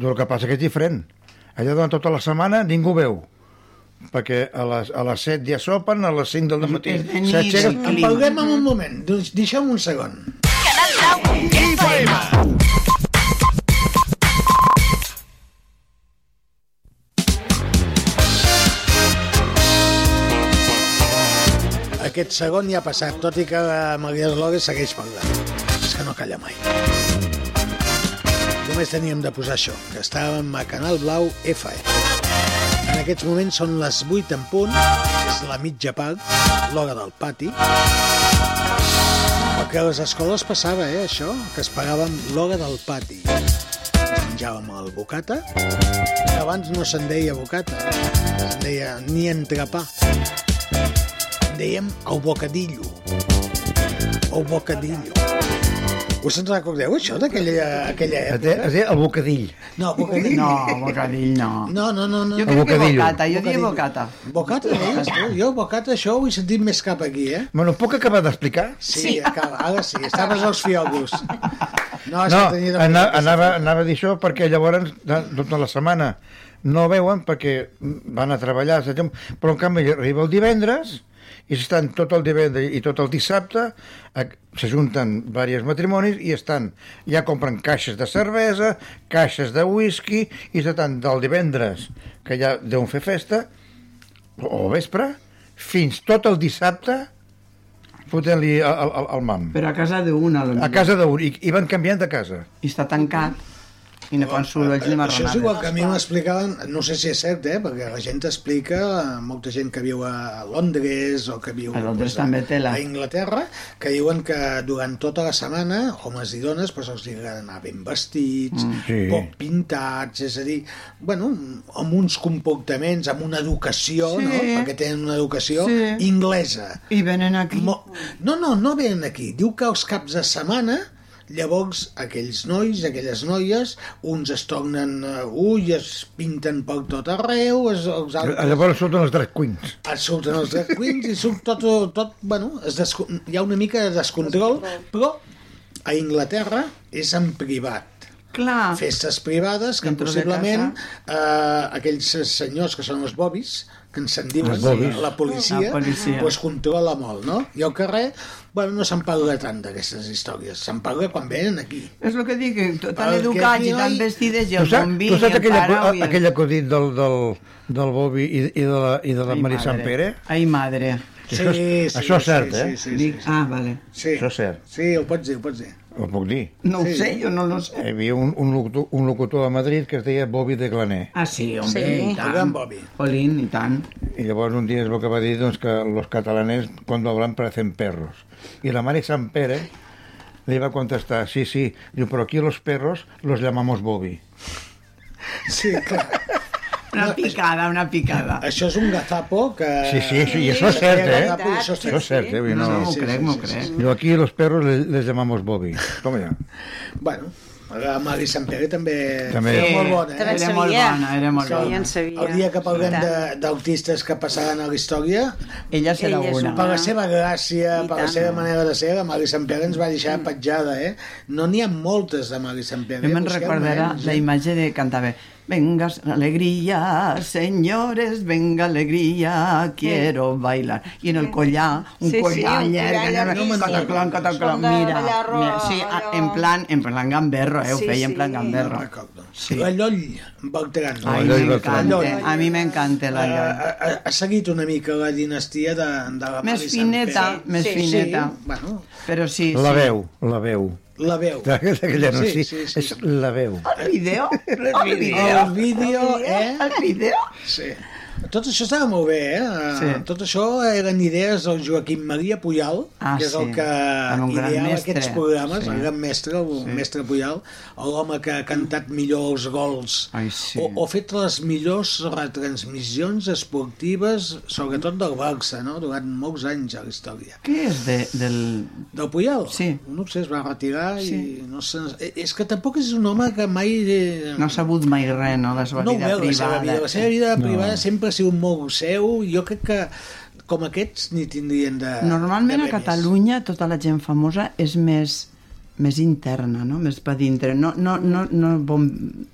H: El que passa que és diferent. Allà durant tota la setmana ningú veu perquè a les, a les 7 ja sopen, a les 5 del matí
E: És de nit,
H: s'aixequen...
E: el clima. Apaguem en un moment, doncs deixem un segon. Aquest segon ja ha passat, tot i que la Maria Eslove segueix parlant. És que no calla mai. Només teníem de posar això, que estàvem a Canal Blau FM. En aquests moments són les 8 en punt, és la mitja part, l'hora del pati. El que a les escoles passava, eh, això, que es pagàvem l'hora del pati. Ens menjàvem el bocata, que abans no se'n deia bocata, se'n deia ni entrepà. En dèiem el bocadillo. El bocadillo. Us en recordeu, això, d'aquella aquella
H: Es
E: època?
H: deia- es deia el bocadill.
E: No, bocadillo.
G: No, bocadill no.
E: No, no, no. no.
G: Jo crec que
H: Bocadillo.
G: bocata, jo diria bocata.
E: Bocata, deies tu? Jo, bocata, això ho he sentit més cap aquí, eh?
H: Bueno, puc acabar d'explicar?
E: Sí, acaba, ara sí, estaves als fiocos. No, és
H: No,
E: que Ah, tenia de-
H: ana- anava, anava a dir això perquè llavors de- tota la setmana no veuen perquè van a treballar, etcètera. però en canvi arriba el divendres i estan tot el divendres i tot el dissabte a- s'ajunten diversos matrimonis i estan, ja compren caixes de cervesa, caixes de whisky i de tant del divendres que ja deuen fer festa o vespre fins tot el dissabte fotent-li al, al, al mam
G: Però a casa d'una,
H: a
G: potser.
H: casa d'un i, i van canviant de casa
G: I està tancat i no fan sorolls ni
E: Això és igual
G: marronades.
E: que a mi m'explicaven, no sé si és cert, eh, perquè la gent t'explica, eh, molta gent que viu a Londres o que viu
G: A Londres
E: doncs,
G: també té la-
E: a Inglaterra, que diuen que durant tota la setmana, homes i dones, però se'ls agrada anar ben vestits, mm,
H: sí.
E: poc pintats, és a dir, bueno, amb uns comportaments, amb una educació,
G: Sí.
E: no? perquè tenen una educació
G: Sí.
E: inglesa.
G: I venen aquí.
E: Mo... No, no, no venen aquí. Diu que els caps de setmana llavors aquells nois, aquelles noies, uns es tornen eh, ull, es pinten poc tot arreu, es, els altres
H: Llavors surten els drag queens.
E: es surten els drag queens i surt tot, tot bueno, es desco... hi ha una mica de descontrol, però a Inglaterra és en privat
G: Clar.
E: festes privades que
G: Ah. Dentro de
E: possiblement eh, aquells senyors que són els bobis que ens en diuen
H: Els bobis.
E: la policia,
G: La policia.
E: Pues controla molt, no? I al carrer, bueno, no se'n parla tant d'aquestes històries, se'n parla quan venen aquí.
G: És el que dic, que tan
E: Perquè
G: educats
E: aquí
G: i tan
E: no hi-
G: vestides i
H: Tu
G: el
H: saps,
G: bon vi i
H: tu
G: el
H: saps aquell,
G: parau
H: acu-
G: i el...
H: aquell acudit del, del, del Bobi i, i de la, i de la
G: Ai,
H: Maria
G: madre.
H: Sant Pere?
G: Ai, madre.
H: Això és- això és cert, eh?
E: Sí, sí,
G: Dic,
E: sí,
G: ah, vale.
E: sí.
H: Això és cert.
E: Sí, ho pots dir, ho pots dir.
H: Ho puc dir.
G: No ho sé, jo no lo sé.
H: Hi havia un, un, locutor, un locutor a Madrid que es deia Bobi de Glaner.
G: Ah, sí, home,
E: Sí.
G: i
E: El gran
G: tant.
E: Bobby.
G: Jolín, i tant.
H: I llavors un dia es veu que va dir doncs, que los catalanes cuando hablan parecen perros. I la Maria Sant Pere li va contestar, sí, sí, diu, però aquí los perros los llamamos Bobi.
E: Sí, clar.
H: [laughs]
G: Una picada, una picada.
E: Això és un gazapo que...
H: Sí, sí, sí, i això és cert, eh?
E: Gazapo, Això és
H: Això és cert, eh? Vull dir,
G: No, no,
H: No,
G: m'ho
E: sí,
G: crec,
E: sí,
G: m'ho
E: sí,
G: crec.
H: Diu, aquí los perros les, les llamamos Bobi. Toma ja.
E: Bueno, la Mari Sant Pere també...
H: També.
E: Era
G: Sí,
E: molt bona, eh?
F: També en
G: Era molt
F: sabia.
G: bona, era molt
F: Sabia, en
G: bona.
F: sabia.
E: El dia que parlem
F: I tant.
E: de- d'autistes que passaran a la història,
G: Ella serà
F: Ella és
G: una.
E: per la
F: Ah.
E: seva gràcia,
F: I
E: per la
F: tant. Mm.
E: seva manera de ser, la Mari Sant Pere ens va deixar petjada, eh? No n'hi ha moltes de Mari Sant Pere.
G: Jo me'n
E: busquem,
G: recordarà
E: eh?
G: la imatge de cantava Venga alegría, señores, venga alegría, quiero bailar. I en el collar, un
F: Sí, sí,
G: collar
F: un
G: llarg,
F: collar
G: allò,
F: llarguíssim.
G: cataclán, cataclán,
F: Són de
G: mira.
F: ballarro,
G: mira, sí, a-
F: allò.
G: en plan, en plan gamberro, eh, ho
F: Sí,
G: feia en
F: sí.
G: plan
E: No
G: gamberro.
E: recordo.
G: Sí.
E: La Lloll Beltrán.
G: Ai,
H: Lloll Bertran.
G: m'encanta,
E: Lloll.
G: a mi m'encanta
E: Ah,
G: la Lloll.
E: ha, eh, ha- ha seguit una mica la dinastia de, de la
G: Més
E: Mari Sant
G: fineta,
E: Pere.
G: més
F: sí.
G: fineta.
E: Sí, bueno,
G: Però sí,
H: La
G: sí.
H: veu, la veu.
E: la veu.
H: D'aquell
E: Sí,
H: anunci,
E: sí, sí.
H: és la veu.
G: El vídeo, el vídeo,
E: El vídeo, eh?
G: el vídeo.
E: Sí. Tot això estava molt bé, eh?
G: Sí.
E: Tot això eren idees del Joaquim Maria Puyal,
G: Ah,
E: que és el
G: sí.
E: que
G: Era un gran
E: ideava
G: mestre.
E: aquests programes,
G: Sí.
E: el gran mestre, el sí. mestre Puyal, l'home que ha cantat millor els gols,
G: Ai, sí.
E: o, o fet les millors retransmissions esportives, sobretot del Barça, no? durant molts anys a la història.
G: Què és de, del,
E: Del Puyal?
G: Sí.
E: No ho sé, es va retirar
G: Sí.
E: i no sé... eh, És que tampoc és un home que mai... eh,
G: No ha sabut mai res, no? La seva
E: no ho
G: vida
E: veu, la
G: privada.
E: seva vida. La seva vida privada sempre ha sigut molt seu. Jo crec que com aquests ni tindrien de...
G: Normalment
E: de
G: a
E: premis.
G: Catalunya tota la gent famosa és més més interna, no? més per dintre. No, no, no, no bom,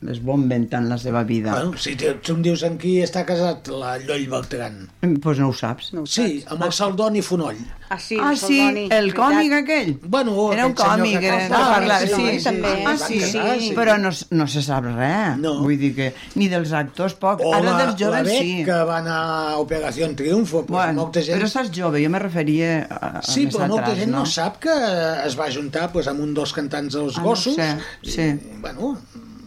G: es bomben tant la seva vida.
E: Bueno, si te- tu em dius amb qui està casat la Lloll Beltran.
G: Doncs pues no ho saps. No
E: Sí, amb el Saldoni Fonoll.
F: Ah, sí,
G: Ah, sí, el còmic aquell.
E: Bueno,
G: era
E: Oh, aquell
G: un
E: senyor
G: còmic,
E: que
G: era
E: cantava.
G: de parlar,
E: Sí,
G: sí.
E: sí, també.
G: Ah,
E: Van
G: sí,
E: casar, sí.
G: però no, s- no se sap res. No. Vull dir que ni dels actors poc.
E: O
G: Ara
E: la-
G: dels joves
E: la Bet,
G: sí.
E: que va anar a Operació en Triunfo, però
G: Bueno,
E: molta gent...
G: Però estàs jove, jo me referia a, a
E: Sí,
G: més
E: però molta
G: atrás,
E: gent no?
G: no
E: sap que es va juntar doncs, amb un dels cantants dels
G: Ah, no
E: gossos
G: sé, sí.
E: i, bueno,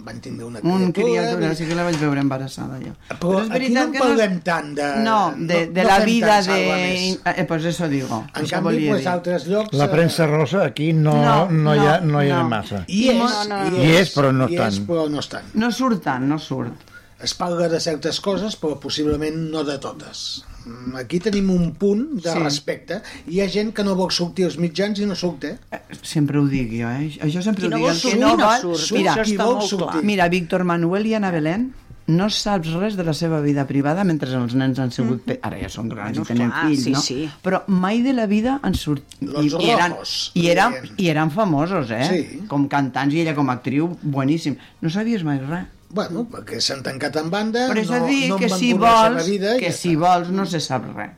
E: van tindre una
G: Un
E: criatura...
G: criatura, sí que la vaig veure embarassada, jo.
E: Eh, Però,
G: és
E: aquí no
G: veritat
E: en
G: que no-
E: parlem tant de...
G: No, de, de
E: no
G: la
E: fem
G: vida
E: tant
G: de...
E: salvamés.
G: Eh, pues eso digo.
E: En
G: això
E: canvi,
G: volia
E: pues,
G: dir.
E: altres llocs... eh,
H: La premsa rosa aquí no, no, no, hi, ha, no hi ha
G: no.
H: massa.
E: Hi és,
H: Hi és, però no
E: hi
H: tant.
E: és, però no estan.
G: No surt tant, no surt.
E: Es parla de certes coses, però possiblement no de totes. Mm, Aquí tenim un punt de
G: Sí.
E: sí. respecte. Hi ha gent que no vol sortir als mitjans i no surt, eh?
G: Sempre ho dic jo, eh? Això sempre
E: Qui
G: ho
E: no
G: dic.
E: vol
G: el que
E: sortir,
G: no
E: no
G: val...
E: surt. Surt,
G: Mira,
E: això està Qui vol molt sortir. clar.
G: Mira, Víctor Manuel i Ana Belén no saps res de la seva vida privada mentre els nens han
E: Mm.
G: sigut... pe- Ara ja són grans
F: Bueno,
G: i tenen
F: clar,
G: fills,
F: sí,
G: no?
F: sí.
G: Però mai de la vida han sortit...
E: Los
G: I, eren,
E: rojos,
G: i, eren,
E: deien.
G: I eren famosos, eh?
E: Sí.
G: Com cantants i ella com a actriu, boníssim. No sabies mai res.
E: Bueno, perquè s'han tancat en banda,
G: Però és
E: Eh, no,
G: a dir,
E: no en
G: que
E: van
G: si
E: voler la seva
G: vols,
E: vida, i
G: que
E: ja
G: si vols no se sap res.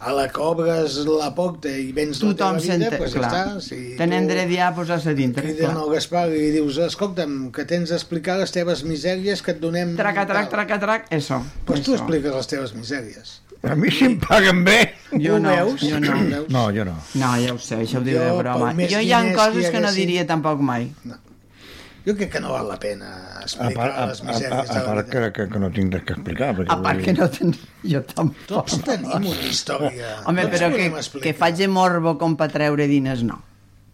E: a la que obres la porta i vens la teva
G: Tothom
E: vida,
G: s'entén,
E: pues ja
G: clar.
E: està. Si
G: Tenen
E: tu
G: dret ja a posar-se dintre.
E: criden
G: clar.
E: al Gaspar i dius, escolta'm, que tens d'explicar les teves misèries que et donem...
G: Traca, trac,
E: tal".
G: traca, trac, eso.
E: Pues tu expliques les teves misèries.
H: A mi si em paguen bé.
G: Jo
E: Ho
G: no,
E: veus?
G: jo no.
E: Ho veus?
H: No, jo no.
G: No, ja ho sé, això ho diré de
E: Jo,
G: broma.
E: pel més
G: Jo hi ha
E: diners que hi
G: coses que no
E: haguessin-
G: diria tampoc mai.
E: Jo crec que no val la pena
H: A
E: explicar
H: part, a,
E: les
H: a, a,
E: misèries
H: a
E: de la
H: part
E: vida.
H: que, que, que no tinc res que explicar. Perquè,
G: A part que no ten... jo tampoc.
E: Tots tenim una història.
G: Home,
E: Tots
G: però que,
E: podem
G: que
E: explicar.
G: faig de morbo com per treure diners, no.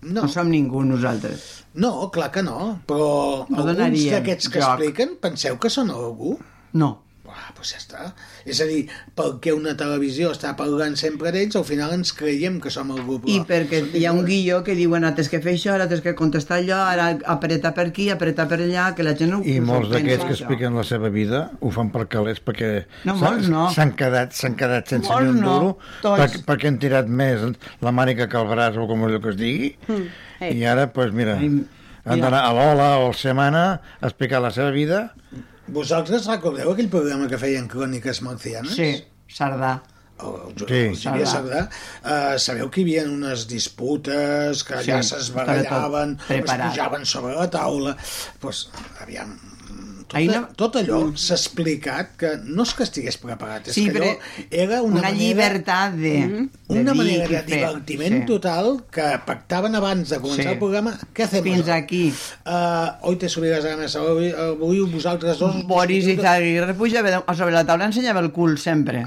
E: No.
G: No som ningú nosaltres.
E: No, clar que no, però
G: No
E: alguns
G: donaríem
E: d'aquests que
G: joc.
E: expliquen penseu que són algú?
G: No.
E: Ah, doncs ja està. És a dir, perquè una televisió està parlant sempre d'ells, al final ens creiem que som algú.
G: I
E: Però...
G: perquè hi ha un guió que diuen ara tens que fer això, ara tens que contestar allò, ara apreta per aquí, apreta per allà, que la gent no
H: I
G: no
H: molts
G: s'ho
H: d'aquests
G: pensa,
H: que
G: això.
H: expliquen la seva vida ho fan per calés perquè
G: No,
H: s'ha-
G: molts no.
H: s'han quedat, s'han quedat sense
G: Molts
H: ni un
G: no,
H: duro
G: tots.
H: per, perquè han tirat més la màniga que el braç o com allò que es digui
G: Eh.
H: i ara, doncs pues, mira, han
G: mira.
H: d'anar a l'Ola o al Semana a explicar la seva vida
E: Vosaltres recordeu aquell programa que feien Cròniques Marcianes?
G: Sí, Sardà.
E: Sí.
H: Sí.
E: Xavier Sardà, uh, sabeu que hi havia unes disputes, que allà
G: Sí,
E: sí, es barallaven,
G: estava tot
E: es
G: preparat.
E: pujaven sobre la taula... Pues, aviam, tot,
G: Ahir
E: no...
G: no- Mm.
E: tot allò s'ha explicat que no és que estigués preparat, és
G: Sí,
E: que allò
G: però
E: era una,
G: Una,
E: manera,
G: llibertat de...
E: Mhm.
G: de
E: una
G: dir
E: manera
G: i
E: de
G: fer.
E: divertiment
G: Sí.
E: total que pactaven abans de començar
G: Sí.
E: el programa. Què fem?
G: Fins aquí.
E: Uh, oi, te subiràs a més, avui, avui vosaltres dos...
G: Boris
E: discutiu-
G: Izaguirre pujava a sobre la taula ensenyava el cul sempre.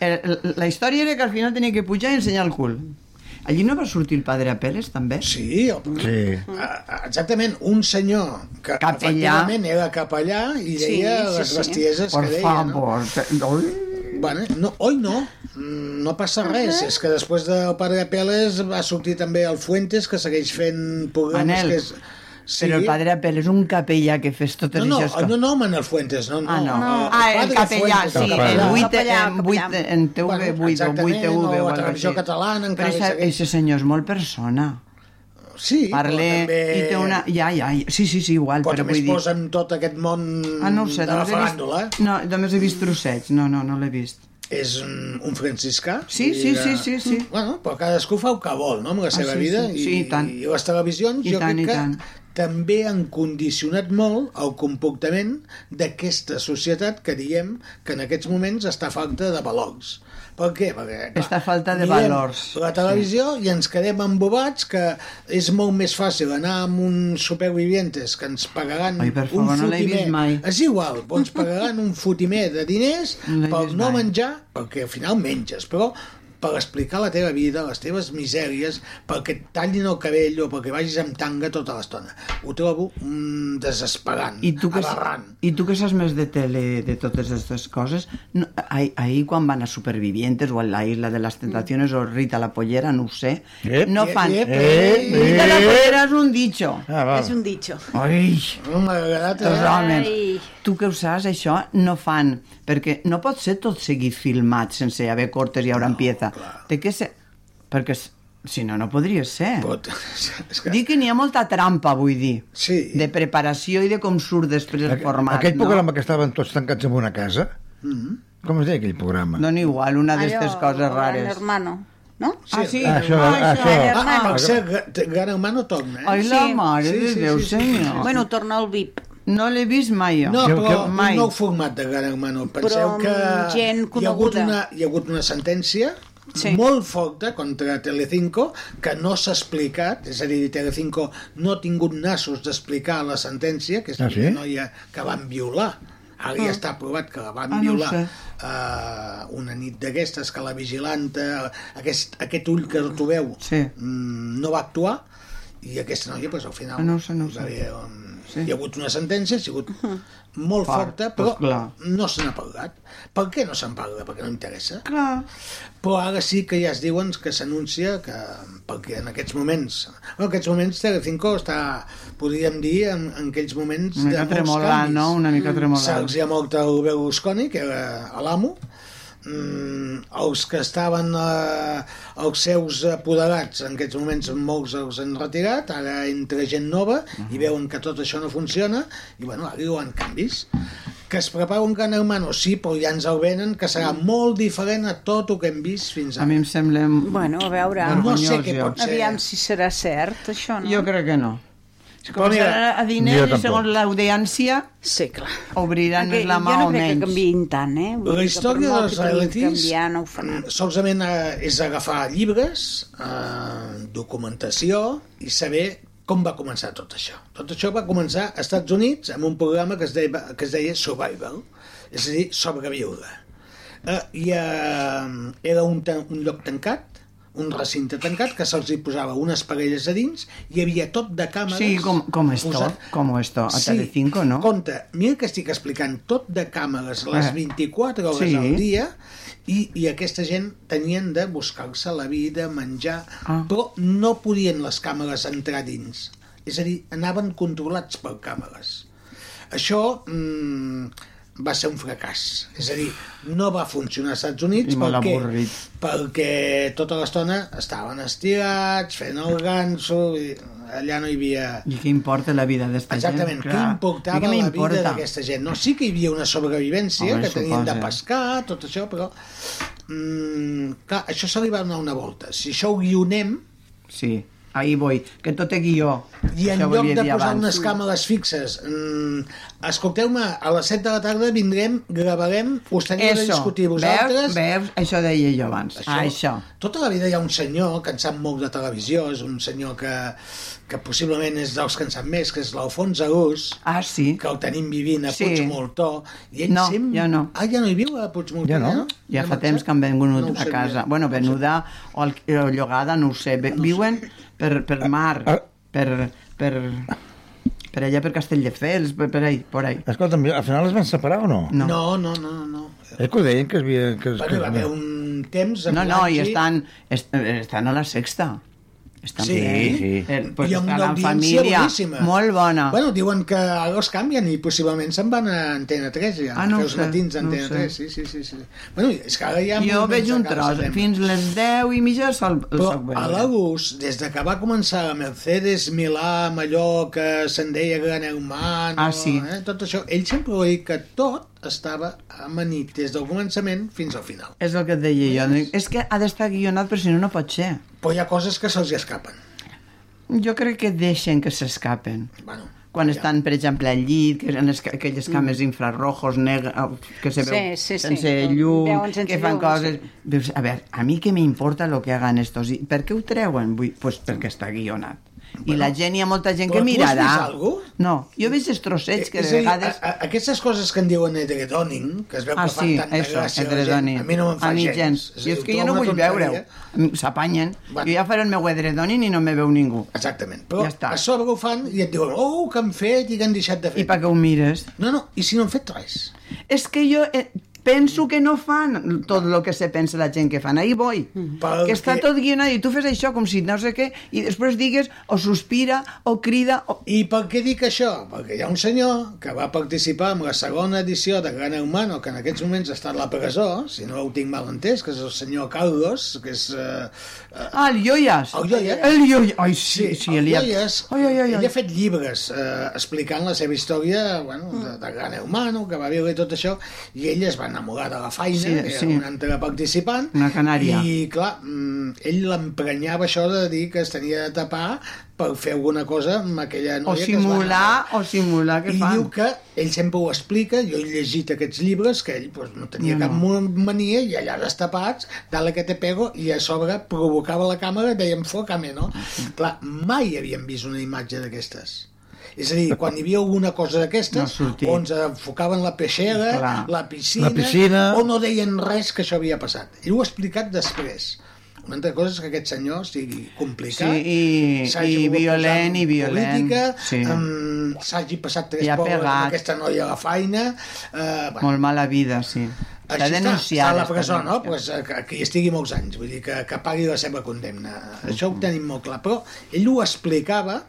G: El, el- la història era que al final tenia que pujar i ensenyar el cul. Allí no va sortir el padre Pérez, també?
E: Sí, el...
G: Mm.
H: sí.
E: Ah, Exactament, un senyor que
G: Capellà.
E: efectivament era capellà i
F: Sí,
E: deia
F: sí,
E: les
F: sí.
E: bestieses
G: Per
E: que deia.
G: favor. No?
E: No? Bueno, no, oi no, Mm, no passa res. És que després del pare Peles va sortir també el Fuentes, que segueix fent programes...
G: Manel,
E: que és...
G: Sí. Però el padre Pérez és un capellà que fes totes
E: No, no,
G: aquestes
E: no, no, Manel Fuentes, no, no.
G: Ah, no.
E: el
G: ah, el
E: padre
G: capellà,
E: Fuentes,
G: sí,
E: el capellà.
G: el 8,
F: Capellà,
G: en 8, en TV,
E: Bueno,
G: 8 o 8
E: exactament,
G: TV
E: o la
G: o algo
E: televisió
G: així.
E: catalana encara
G: Però
E: hi
G: ese,
E: segueix.
G: ese senyor és molt persona.
E: Sí, però
G: Parle
E: també...
G: i té una... Ja, ja, ja, sí, sí, sí, igual,
E: Però
G: però
E: també
G: vull
E: es
G: dir...
E: posa en tot aquest món
G: Ah, no ho sé,
E: de la
G: només he vist...
E: faràndula.
G: No, només he vist trossets, no, no, no l'he vist.
E: és un, un franciscà.
G: Sí,
E: i
G: sí,
E: era-
G: sí, sí, sí. Ah,
E: Bueno, però cadascú fa el que vol, no?, amb la seva
G: sí,
E: vida.
G: sí, sí, i tant.
E: I les televisions,
G: I
E: jo
G: tant, i
E: crec que
G: tant.
E: també han condicionat molt el comportament d'aquesta societat que diem que en aquests moments està falta de valors. Per què? Perquè, clar,
G: Està falta de
E: mirem
G: valors.
E: La televisió sí. i ens quedem embobats que és molt més fàcil anar amb un supervivientes que ens pagaran
G: Ai, per favor,
E: un
G: no l'he vist
E: fotimer.
G: mai.
E: És igual, però ens pagaran un fotimer de diners
G: No l'he
E: pel
G: vist
E: no
G: mai.
E: menjar, perquè al final menges, però per explicar la teva vida, les teves misèries, perquè et tallin el cabell o perquè vagis amb tanga tota l'estona. Ho trobo mm, desesperant,
G: I tu que,
E: aberrant.
G: I tu que saps més de tele, de totes aquestes coses, no, ahir, ahir quan van a Supervivientes o a la Isla de les Tentaciones o Rita la Pollera, no ho sé,
H: Ep.
G: no fan...
E: Ep,
H: ep,
G: Rita la
H: ep.
G: Pollera és un ditxo.
H: Ah, va.
F: És un ditxo.
G: Ai,
E: No m'ha agradat,
G: els
E: eh?
G: homes.
F: Ai.
G: Tu que ho saps, això no fan, perquè no pot ser tot seguit filmat sense haver cortes i haurà no, empieza. Té que ser... Perquè s- Si no, no podria ser.
E: Pot.
G: Que... Dic que n'hi ha molta trampa, vull dir.
E: Sí.
G: De preparació i de com surt després el format,
H: Aquell
G: no?
H: programa que estaven tots tancats en una casa, com es deia aquell programa?
G: Dona igual, una d'aquestes
F: Allò,
G: coses
F: Gran
G: rares.
F: hermano, no?
G: Ah, sí?
H: Això,
G: Ah,
H: això.
F: Gran
E: Ah,
F: hermano.
E: per cert, Ga- Gran Hermano torna, eh?
G: Ai, la
F: Sí.
G: mare
E: Sí,
G: de
E: sí,
G: Déu,
E: sí, sí,
G: senyor.
F: Bueno, torna al VIP.
G: No l'he vist mai, jo.
E: No,
H: Que-
E: però
H: que-
E: un
G: Mai.
E: nou format de Gran Hermano. Penseu
F: Però amb
E: que
F: gent
E: hi ha, hagut
F: coneguda.
E: una, hi ha hagut una sentència
F: Sí.
E: molt forta contra Telecinco que no s'ha explicat, és a dir, Telecinco no ha tingut nassos d'explicar la sentència, que és
H: Ah, sí?
E: la noia que van violar. Ara ja està aprovat que la van
G: Ah, no ho
E: violar
G: sé.
E: eh, una nit d'aquestes, que la vigilanta, aquest, aquest ull que tu veu,
G: Sí.
E: mm, no va actuar, i aquesta noia, pues, al final,
G: Ah, no ho sé, no ho
E: hi
G: sé.
E: va haver, um,
G: Sí.
E: hi ha hagut una sentència, ha sigut molt
G: Fort,
E: forta,
G: doncs
E: però
G: clar.
E: no se n'ha parlat. Per què no se'n parla? Perquè no interessa.
G: Clar.
E: Però ara sí que ja es diuen que s'anuncia que, perquè en aquests moments, en aquests moments Telecinco està, podríem dir, en, en aquells moments
G: Una mica
E: de molts
G: tremolant,
E: canvis.
G: no? Una mica tremolant.
E: Mm, Se'ls hi ha mort el Berlusconi, que era l'amo, Mm, els que estaven eh, els seus apoderats en aquests moments molts els han retirat ara entra gent nova i veuen que tot això no funciona i bueno, ara hi hauran canvis que es prepara un gran hermano, sí, però ja ens el venen que serà molt diferent a tot el que hem vist fins
G: Mm. A mi
E: ara
G: em sembla...
F: Bueno, a veure,
E: no sé
G: vergonyós,
E: què
G: jo.
E: pot ser
F: aviam si serà cert, això, no?
G: Jo crec que no. Si
E: Però mira,
G: començaran a
H: jo
G: diners i
H: tampoc.
G: segons l'audiència
F: Sí, clar.
G: obriran més
F: Aquell-
G: la mà
F: jo
G: o
F: no crec que
G: menys.
F: canviïn tant, eh? Vull dir
E: La
F: que
E: història
F: per molt
E: dels
F: que puguin
E: realities
F: Canviar, no ho faran.
E: solament eh, és agafar llibres, eh, documentació i saber com va començar tot això. Tot això va començar als Estats Units amb un programa que es deia, que es deia Survival, és a dir, sobreviure. Eh, i, eh, era un, tan- un lloc tancat, un recinte tancat, que se'ls hi posava unes parelles a dins, i hi havia tot de càmeres...
G: Sí, com- com esto,
E: eh,
G: com esto, a Telecinco, no?
E: Compte, mira que estic explicant tot de càmeres, les
G: Eh.
E: 24 hores
G: Sí.
E: al dia, i, i aquesta gent tenien de buscar-se la vida, menjar,
G: Ah.
E: però no podien les càmeres entrar dins. És a dir, anaven controlats per càmeres. Això mm, va ser un fracàs. És a dir, no va funcionar als Estats Units
G: I molt
E: perquè,
G: avorrit.
E: perquè tota l'estona estaven estirats, fent el ganso, i allà no hi havia...
G: I què importa la vida d'esta gent?
E: Exactament,
G: Clar.
E: què
G: I què
E: importava la vida
G: m'importa?
E: d'aquesta gent? No, sí que hi havia una sobrevivència,
G: Home,
E: que tenien
G: suposa.
E: de pescar, tot això, però... Mm, clar, això se li va donar una volta. Si això ho guionem,
G: Sí, ahí voy, que tot té guió.
E: i en
G: Això
E: lloc
G: volia
E: de
G: dir
E: posar
G: abans.
E: unes càmeres fixes, mm, escolteu-me, a les 7 de la tarda vindrem, gravarem, us teniu de
G: Eso,
E: discutir
G: veus,
E: vosaltres...
G: veus, això deia jo abans. Això. Ah, això.
E: Tota la vida hi ha un senyor que en sap molt de televisió, és un senyor que, que possiblement és dels que en sap més, que és l'Alfons Arús,
G: Ah, sí.
E: que el tenim vivint a
G: Sí.
E: sí. Puigmoltó i ell
G: No,
E: sempre...
G: ja no.
E: Ah, ja no hi viu a Puigmoltó,
H: Ja no.
G: Ja fa
E: marxat?
G: temps que han vengut
E: No ho
G: a
E: sabia.
G: casa. Bueno, venuda o, al- o llogada, no ho sé. Ve- Viuen per, per mar,
H: ah.
G: per, per, per allà, per Castelldefels, per, per ahí, por ahí.
H: Escolta'm, al final es van separar o no?
G: No.
E: No, no, no, no. no.
H: És que ho deien que es havia... Que es,
E: Bueno, hi va haver un temps... amb
G: No, no, i
E: l'Angie-
G: estan, est, estan a la sexta. Estan
E: Sí,
G: bé.
H: sí.
G: Eh, pues
E: I amb una
G: estan en
E: audiència
G: família.
E: boníssima.
G: Molt bona.
E: Bueno, diuen que ara els canvien i possiblement se'n van a Antena 3 ja.
G: Ah, no ho
E: Feus
G: sé,
E: matins a
G: no ho
E: Antena
G: sé.
E: 3, sí, sí, sí, sí. Bueno, és que ara hi ha...
G: jo
E: moviments
G: veig
E: de
G: un
E: cada
G: tros.
E: setmana.
G: Fins les 10 i mitja sol, el
E: Però
G: soc veure.
E: a l'Agus, des de que va començar la Mercedes Milà, amb allò que se'n deia Gran Hermano,
G: Ah, sí.
E: eh, tot això, ell sempre ho deia que tot estava amanit des del començament fins al final.
G: És el que et deia jo. És que ha d'estar guionat, però si no, no pot ser.
E: Però hi ha coses que se'ls hi escapen.
G: Jo crec que deixen que s'escapen.
E: Bueno,
G: quan estan, per exemple, al llit, que en esca-
E: Mm.
G: aquelles cames infrarrojos, negre, que se
F: Sí,
G: veu
F: sí, sí.
G: sense
F: Veuen
G: llum,
F: sense
G: que fan
F: llum,
G: coses...
F: sí.
G: Dius, a veure, a mi què m'importa el que hagan estos? I per què ho treuen? Vull, pues perquè està guionat. I la gent, hi ha molta gent
E: però
G: que
E: tu has
G: mirarà.
E: vist algo?
G: No, jo veig els trossets que
E: Eh, És
G: de
E: a dir,
G: vegades...
E: a, a, aquestes coses que en diuen edredoning, que es veu
G: Ah,
E: que fan
G: sí,
E: tanta
G: això,
E: gràcia a la gent,
G: edredoning.
E: a mi no me'n fa
G: a mi
E: gens. És
G: gens.
E: a
G: I
E: dir,
G: és
E: ho
G: que jo
E: trobo
G: no
E: una
G: vull
E: tonteria.
G: veure-ho. S'apanyen.
E: Bueno.
G: Jo ja faré el meu edredoning i no me veu ningú.
E: Exactament. Però
G: Ja està.
E: a sobre ho fan i et diuen, oh, que han fet i que han deixat de fer.
G: I per què ho mires?
E: No, no, i si no han fet res?
G: És que jo eh, Penso que no fan tot el que se pensa la gent que fan. Ahí voy.
E: Mm. Pel
G: que està
E: que-
G: tot guionat i tu fes això com si no sé què i després digues o sospira o crida o...
E: I per què dic això? Perquè hi ha un senyor que va participar en la segona edició de Gran Hermano, que en aquests moments està a la presó, si no ho tinc mal entès, que és el senyor Carlos, que és... Eh,
G: Ah, el Yoyas.
E: El Yoyas.
G: El Yoyas. Ai, sí, sí,
E: el
G: el
E: Yoyes,
G: Ai, ai, ai,
E: ell
G: ai.
E: ha fet llibres eh, explicant la seva història bueno, de, de gran humano, que va viure i tot això, i ell es va enamorar de la Faina,
G: Sí,
E: sí, que era sí.
G: sí.
E: una altra participant,
G: Una canària.
E: i clar, mm, ell l'emprenyava això de dir que es tenia de tapar per fer alguna cosa amb aquella
G: O
E: noia que es va enamorar.
G: simular, o simular que
E: I
G: fan.
E: diu que ell sempre ho explica, jo he llegit aquests llibres, que ell pues, no tenia
G: No,
E: no,
G: no.
E: cap mo- mania, i allà destapats, dale que te pego, i a sobre provocava la càmera, deia enfocame, no? Clar, mai havíem vist una imatge d'aquestes. És a dir, quan hi havia alguna cosa
G: No ha
E: d'aquestes,
G: sortit.
E: on enfocaven la peixera,
G: Clar.
E: la piscina,
H: La piscina.
E: o no deien res que això havia passat. I ho ha explicat després. Una altra cosa és que aquest senyor sigui complicat,
G: Sí, i-
E: s'hagi
G: i
E: volgut posar
G: violent,
E: en
G: i violent.
E: Política,
G: Sí.
E: amb- s'hagi passat tres
G: I ha
E: pobres
G: pegat.
E: amb aquesta noia a la feina. Eh, bueno,
G: Molt mala vida, sí.
E: així
G: Està
E: està
G: denunciada.
E: a la presó,
G: està
E: no?
G: denunciada.
E: Pues, eh, que, que hi estigui molts anys, vull dir, que, que pagui la seva condemna. Això ho
G: Mm-hmm.
E: tenim molt clar. Però ell ho explicava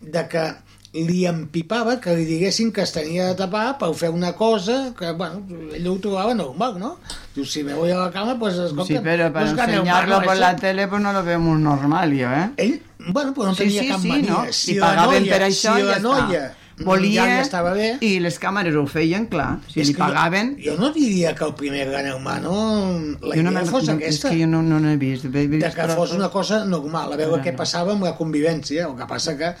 E: de que li empipava que li diguessin que es tenia de tapar per fer una cosa que, bueno, ell ho trobava normal, no? Diu, si me voy a la cama, pues, escolta...
G: Sí, però per ensenyar-lo per la tele pues no lo vemos normal, jo, eh?
E: Ell, bueno, però eh? no
G: sí,
E: tenia
G: sí,
E: cap
G: sí,
E: mania.
G: no?
E: Si
G: I
E: la
G: pagaven
E: noia-
G: per això
E: si
G: i
E: la
G: ja
E: noia mm,
G: està. Volia,
E: ja li estava bé.
G: i les càmeres ho feien, clar. Si
E: És
G: li
E: que
G: pagaven...
E: Jo, jo no diria que el primer gran humano la
G: jo
E: idea
G: no me'n-
E: fos
G: no,
E: aquesta.
G: És que jo no, no n'he vist. He vist
E: de que fos una cosa normal, a veure
G: Ara
E: què
G: no.
E: passava amb la convivència, el que passa que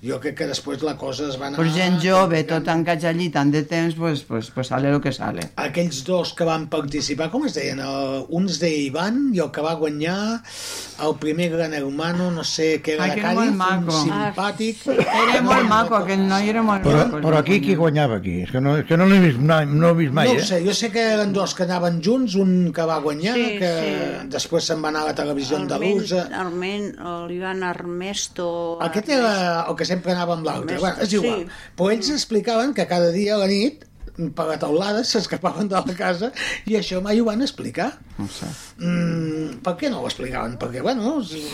E: jo crec que després la cosa es va anar...
G: Pues gent jove, tot encatxa allí tant de temps, pues, pues, pues sale lo que sale.
E: Aquells dos que van participar, com es deien? El, uns de Ivan i el que va guanyar el primer gran hermano, no sé què era
G: Ai,
E: de
G: que era molt
E: Cádiz,
G: maco.
E: un simpàtic...
F: Ah,
G: Era molt maco, aquell noi era molt
H: Però,
G: maco.
H: però aquí qui guanyava aquí? És que no, és que no l'he vist, mai, no he vist mai,
E: no ho
H: eh?
E: sé, jo sé que eren dos que anaven junts, un que va guanyar,
F: Sí,
E: que
F: sí.
E: després se'n va anar a la televisió andalusa...
F: Armen, l'Ivan Armesto...
E: Aquest era el que sempre anava amb l'altre.
F: Mestre,
E: Bueno, és igual.
F: sí.
E: Sí. Però ells explicaven que cada dia a la nit per la teulada [laughs] s'escapaven de la casa i això mai ho van explicar.
G: No sé.
E: Mm, per què no ho explicaven? Perquè, bueno, si-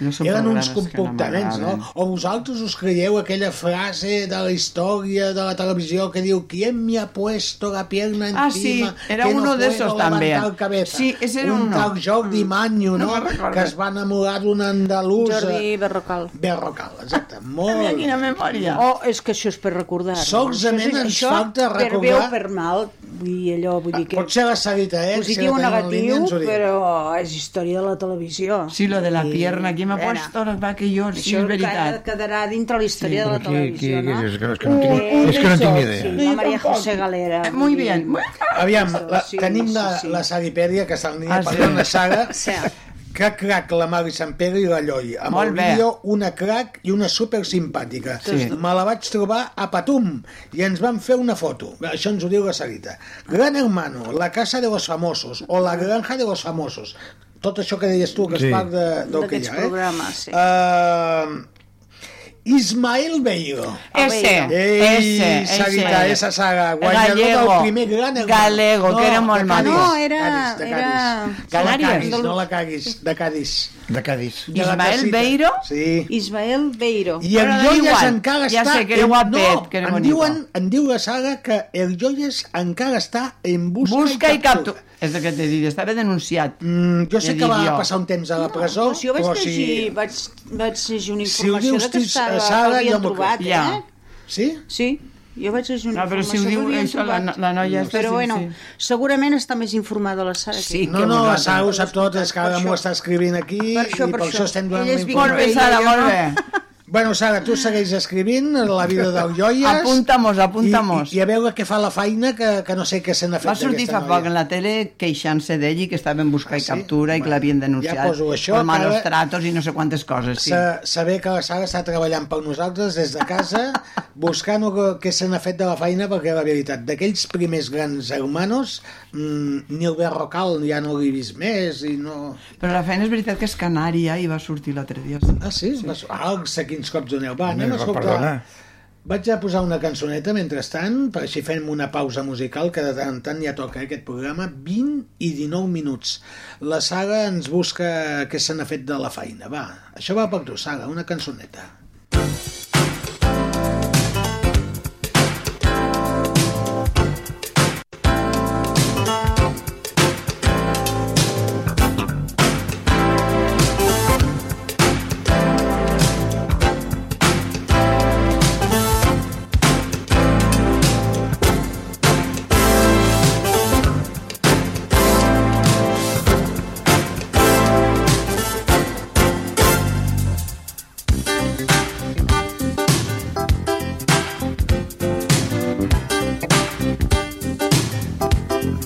G: Jo són
E: eren uns
G: programes que no
E: comportaments, no,
G: m'agraden.
E: O vosaltres us creieu aquella frase de la història de la televisió que diu «Quién me ha puesto la pierna encima?»
G: Ah, sí, era
E: que no
G: uno de
E: puedo
G: esos también.
E: levantar cabeza».
G: Sí, ese era
E: un
G: uno. Mm.
E: tal Jordi Manyo,
G: No
E: no?
G: me'n recordo.
E: que es va enamorar d'una andalusa.
F: Jordi Berrocal.
E: Berrocal, exacte. Molt
G: Quina
E: bé.
G: memòria.
F: Oh, és que això és per recordar. no?
E: Solament
F: Això és-
E: ens
F: això,
E: falta
F: Per bé o
E: recordar- Ah,
F: per mal, vull dir allò, vull dir que...
E: Pot ser la Sarita, eh? Si
F: positiu
E: la
F: o
E: tenim en línia,
F: negatiu,
E: ens ho dirà.
F: però és història de la televió.
G: Sí, lo de la
F: I,
G: pierna, aquí m'ha
F: a veure,
G: puesto, va que jo, sí,
F: Això
G: és veritat.
F: encara quedarà dintre la història de la
H: Però qui, qui,
F: televisió,
H: qui,
F: no? Eh,
H: és, que, és que no tinc, és que no tinc ni idea.
F: La María José Galera.
E: Ah,
G: Eh, Muy bien.
E: Aviam, la,
F: Sí,
E: tenim
F: sí,
E: la,
F: sí.
E: la Saripèdia, que està en línia
G: Ah,
E: ah, per
G: sí.
E: una
G: [laughs]
E: saga,
F: Sí.
E: que crac, la Mari Sant Pere i la Lloi. Amb
G: Molt
E: el
G: bé.
E: vídeo, una crac i una super simpàtica.
G: Sí.
E: Me la vaig trobar a Patum i ens vam fer una foto. Això ens ho diu la Sarita. Gran Hermano, La Casa de los Famosos o La Granja de los Famosos. Tot això que deies tu, que
H: Sí.
E: és part de- del que hi
F: D'aquests
E: ha.
F: programes, sí.
E: Eh? Uh, Ismael Beiro.
G: Ese,
E: Ei,
G: ese,
E: Sarita,
G: ese.
E: esa saga, guanyador del primer gran hermano.
G: Galego, que era molt
E: de
G: maco.
E: Cádiz,
F: No, era-
E: Cádiz, de
F: era-
E: Cádiz. Que la
G: Canàries.
E: caguis, no la caguis, de Cádiz.
H: De Cádiz.
E: De la
G: Ismael
E: casita.
G: Beiro?
E: Sí.
F: Ismael Beiro.
E: I el
G: Però da
E: Joies
G: igual,
E: encara
G: ja
E: està...
G: sé que era
E: en-
G: guapet,
E: no,
G: que era
E: em
G: bonito.
E: diuen, em diu la saga que el Joies encara està en busca,
G: Busca i
E: captura.
G: captura. És el que t'he dit, estava denunciat.
E: Mm, jo sé
G: He
E: que
G: dit
E: va
G: jo.
E: passar un temps a la presó,
F: Però si jo vaig
E: però
F: llegir,
E: si...
F: vaig, vaig llegir una
E: Oh, Si ho
F: informació
E: dius
F: de que
E: tu,
F: estava,
E: Sara,
F: que
E: jo
F: havien
E: m'ho
F: trobat,
G: crec. Ja.
F: eh?
E: Sí?
F: Sí, jo vaig llegir una
G: No, però si
F: informació
G: ho diu
F: que havien
G: això, la-
F: trobat.
G: la noia aquesta
F: Però
G: sí,
F: bueno,
G: sí.
F: segurament està més informada la Sara. que
G: Sí,
F: jo.
E: No, no, la
G: nosaltres.
E: Sara ho sap tot, és que ara
F: Per
E: m'ho
F: això.
E: està escrivint aquí
F: Per això, per
E: i per
F: això.
E: això estem donant
F: Ella
E: la
F: és
G: Molt
E: informació.
G: bé, Sara, molt bé.
E: Bueno, Sara, tu segueix escrivint la vida del Joies.
G: Apunta-mos, apunta-mos.
E: I, i, I a veure què fa la feina, que, que no sé què se n'ha fet
G: Va sortir fa
E: d'aquesta
G: poc
E: noia.
G: en la tele queixant-se d'ell i que estava en busca
E: Ah,
G: i
E: sí?
G: captura i que
E: Bueno,
G: l'havien
E: ja
G: denunciat
E: poso això,
G: per malos
E: cada-
G: tratos i no sé quantes coses. Sí.
E: Sa- Saber que la Sara està treballant per nosaltres des de
G: [laughs]
E: casa, buscant el que- què se n'ha fet de la feina, perquè la veritat, d'aquells primers grans hermanos, mmm, ni el Berrocal ja no l'he vist més, i no...
G: Però la feina és veritat que és canària i va sortir l'altre dia. Sí.
E: Ah, sí? sí. Ah, sé quins cops doneu. Va, anem a
H: Perdona.
E: escoltar. Vaig a posar una cançoneta mentrestant, per així fem una pausa musical, que de tant en tant ja toca eh, aquest programa, 20 i 19 minuts. La Sara ens busca què se n'ha fet de la feina. Va, això va per tu, Sara, una cançoneta.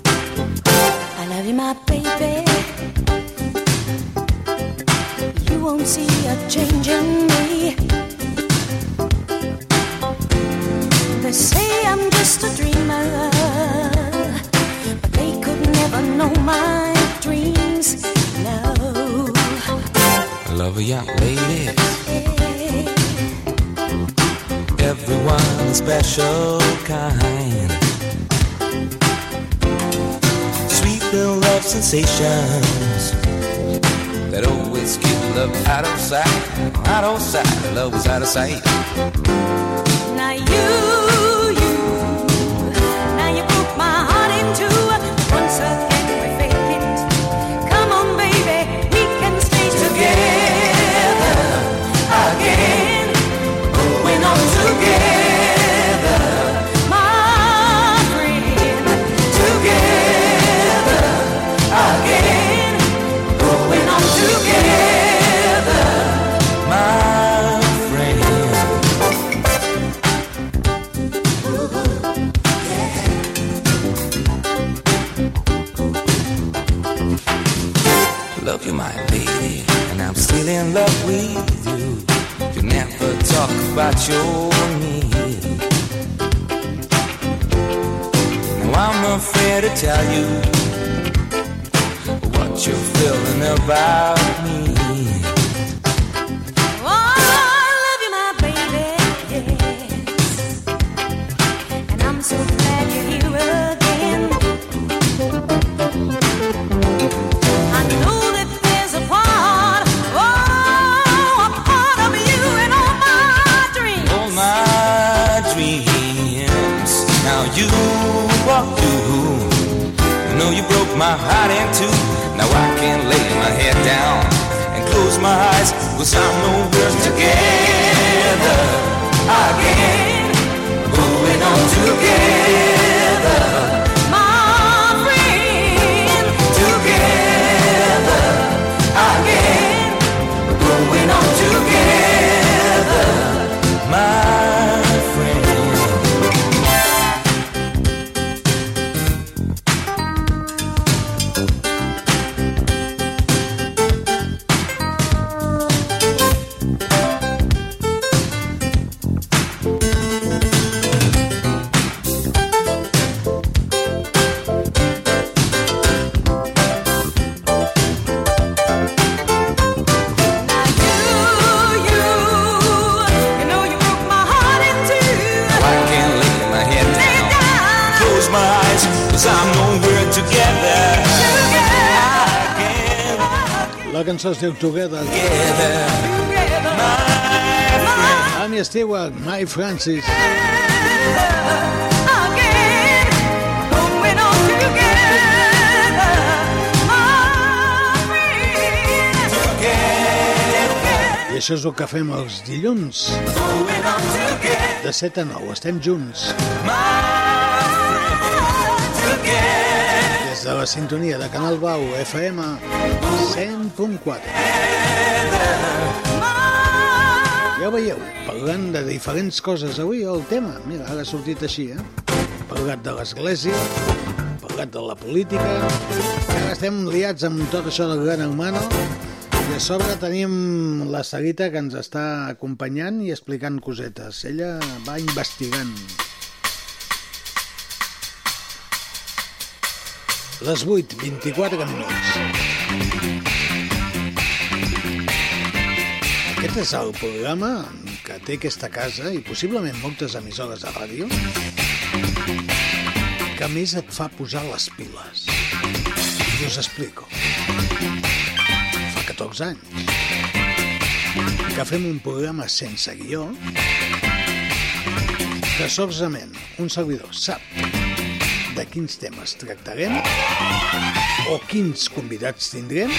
K: I love you, my baby. You won't see a change in me. They say I'm just a dreamer, but they could never know my dreams. No.
L: Love ya, lady. Everyone a special kind. Sweet little love sensations that always keep love out of sight. Out of sight, love was out of sight.
K: Now you, you, now you broke my heart in two. Once again we fake it. Come on, baby, we can stay together again. We're not together, my friend. Together again. We're not together,
L: my friend. Love you, my lady, and I'm still in love with you. You never talk about your need. Now I'm afraid to tell you what you're feeling about me.
K: Oh, I love you, my baby, yes. And I'm so glad you're here again. I know that there's a part, oh, a part of you in all my dreams.
L: all Oh, my dreams. Now you walk through. I know you broke my heart in two. Now I can lay my head down and close my eyes, cause I know we're together again. Going on together.
K: My friend,
L: Together again. Going on together. My friend.
K: you know you broke my heart in two.
L: I can't lay my head down. Close my eyes, cause I know we're together.
E: La cançó es diu Together. Amy Stewart, My Francis. I això és el que fem els dilluns. De 7 a 9, estem junts. Des de la sintonia de Canal Bau FM 100.4. Ja ho veieu, parlant de diferents coses avui, el tema, mira, ara ha sortit així, eh? Parlat de l'església, parlat de la política, ara estem liats amb tot això del gran hermano, i a sobre tenim la Sarita que ens està acompanyant i explicant cosetes. Ella va investigant. Les 8, 24 minuts. Aquest és el programa que té aquesta casa i possiblement moltes emissores de ràdio que més et fa posar les piles. I us explico. Fa 14 anys que fem un programa sense guió que solament un servidor sap de quins temes tractarem o quins convidats tindrem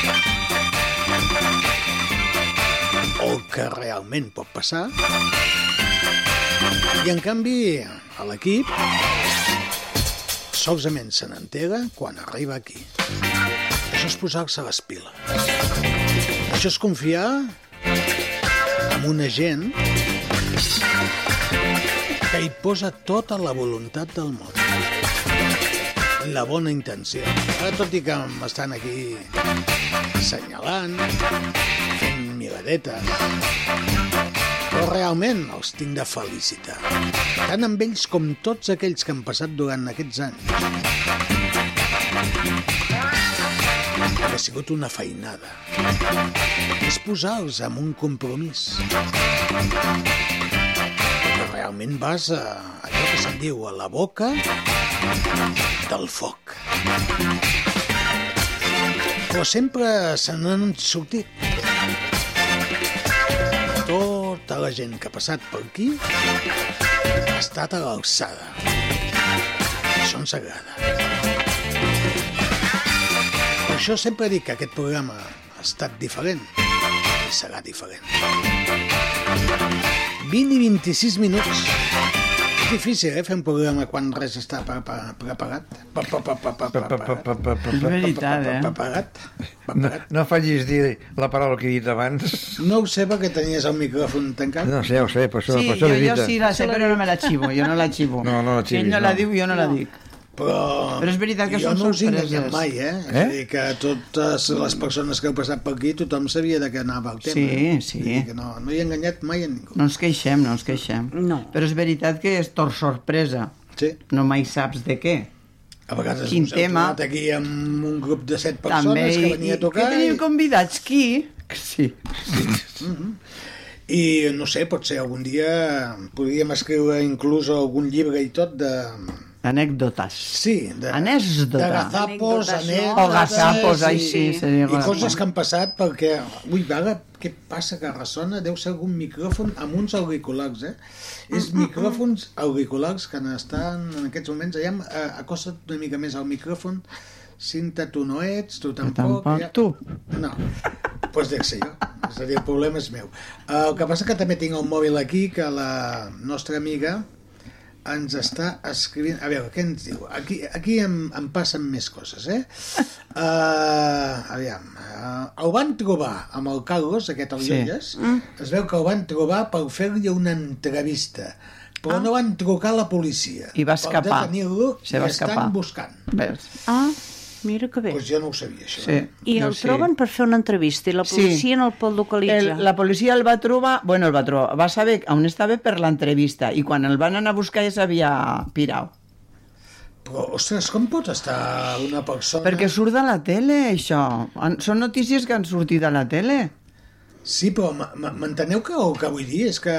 E: o el que realment pot passar i en canvi a l'equip solament se n'entera quan arriba aquí. Això és posar-se les piles. Això és confiar en una gent que hi posa tota la voluntat del món. La bona intenció. Ara, tot i que m'estan aquí senyalant, fent miradetes, però realment els tinc de felicitar. Tant amb ells com tots aquells que han passat durant aquests anys. Ha sigut una feinada. És posar-los en un compromís. Que realment vas a allò que se'n diu a la boca del foc. Però sempre se n'han sortit tota la gent que ha passat per aquí ha estat a l'alçada. Això ens agrada. Per això sempre dic que aquest programa ha estat diferent i serà diferent. 20 i 26 minuts. És difícil, eh, fer un programa quan res està pre pre preparat. Pre pre pre pre preparat.
H: És
G: veritat, eh?
E: Preparat.
H: No, no fallis dir la paraula que he dit abans.
E: No ho sé perquè tenies el micròfon tancat.
H: No sé, ja ho sé, per això,
G: Sí,
H: per
G: jo,
H: això l'he
G: jo
H: dit.
G: sí la sé, però no me la xivo, jo no la xivo.
H: No, no la
G: Si ell
H: xivis,
G: no la
H: no.
G: diu, jo no la dic.
E: Però,
G: Però és veritat que
E: jo
G: són
E: no us he
G: sorpreses.
E: enganyat mai, eh? eh? És a dir, que totes les persones que heu passat per aquí, tothom sabia de què anava el tema.
G: Sí,
E: eh?
G: sí.
E: És a dir, Que no, no he enganyat mai a ningú.
G: No ens queixem, no ens queixem.
F: No.
G: Però és veritat que és tor sorpresa.
E: Sí.
G: No mai saps de què.
E: A vegades
G: Quin
E: us heu
G: tema.
E: trobat aquí amb un grup de set persones
G: També.
E: que venia a tocar
G: Que teniu
E: i,
G: convidats, qui? Sí.
E: i, no sé, potser algun dia podríem escriure inclús algun llibre i tot de...
G: Anècdotes.
E: Sí, de,
G: Anècdota.
E: de
F: Anècdotes,
E: gazapos,
F: no?
E: anècdotes...
G: O gazapos,
E: i-
G: ai, sí, seria
E: I
G: bo.
E: coses que han passat perquè... Ui, vaga, què passa que ressona? Deu ser algun micròfon amb uns auriculars, eh?
F: Mm,
E: És micròfons auriculars que estan en aquests moments... Allà, eh, acosta't una mica més al micròfon. Cinta, tu no ets, tu tampoc...
G: tampoc, tu.
E: No, doncs pues dec ser jo. És a dir, el problema és meu. Eh, El que passa que també tinc el mòbil aquí, que la nostra amiga ens està escrivint... A veure, què ens diu? Aquí, aquí em, em passen més coses,
G: [laughs]
E: eh? Uh, aviam, uh, el van trobar amb el Carlos, aquest als
G: Sí.
E: sí. Llolles. Mm. Es veu que el van trobar per fer-li una entrevista, però ah. no van trucar a la policia.
G: I va
E: Per
G: escapar.
E: detenir-lo
G: Se va
E: i estan
G: escapar.
E: buscant.
G: Veus?
F: Ah, mira que bé.
E: Doncs pues jo no ho sabia, això.
G: Sí.
F: I
G: no
F: el
G: sé.
F: troben per fer una entrevista i la
G: Sí.
F: policia no el pot localitzar.
G: El, la policia el va trobar, bueno, el va trobar, va saber on estava per l'entrevista i quan el van anar a buscar ja s'havia pirau.
E: Però, ostres, com pot estar una persona...
G: Perquè surt de la tele, això. Han- Són notícies que han sortit a la tele.
E: Sí, però m- m- m'enteneu que el que vull dir és que...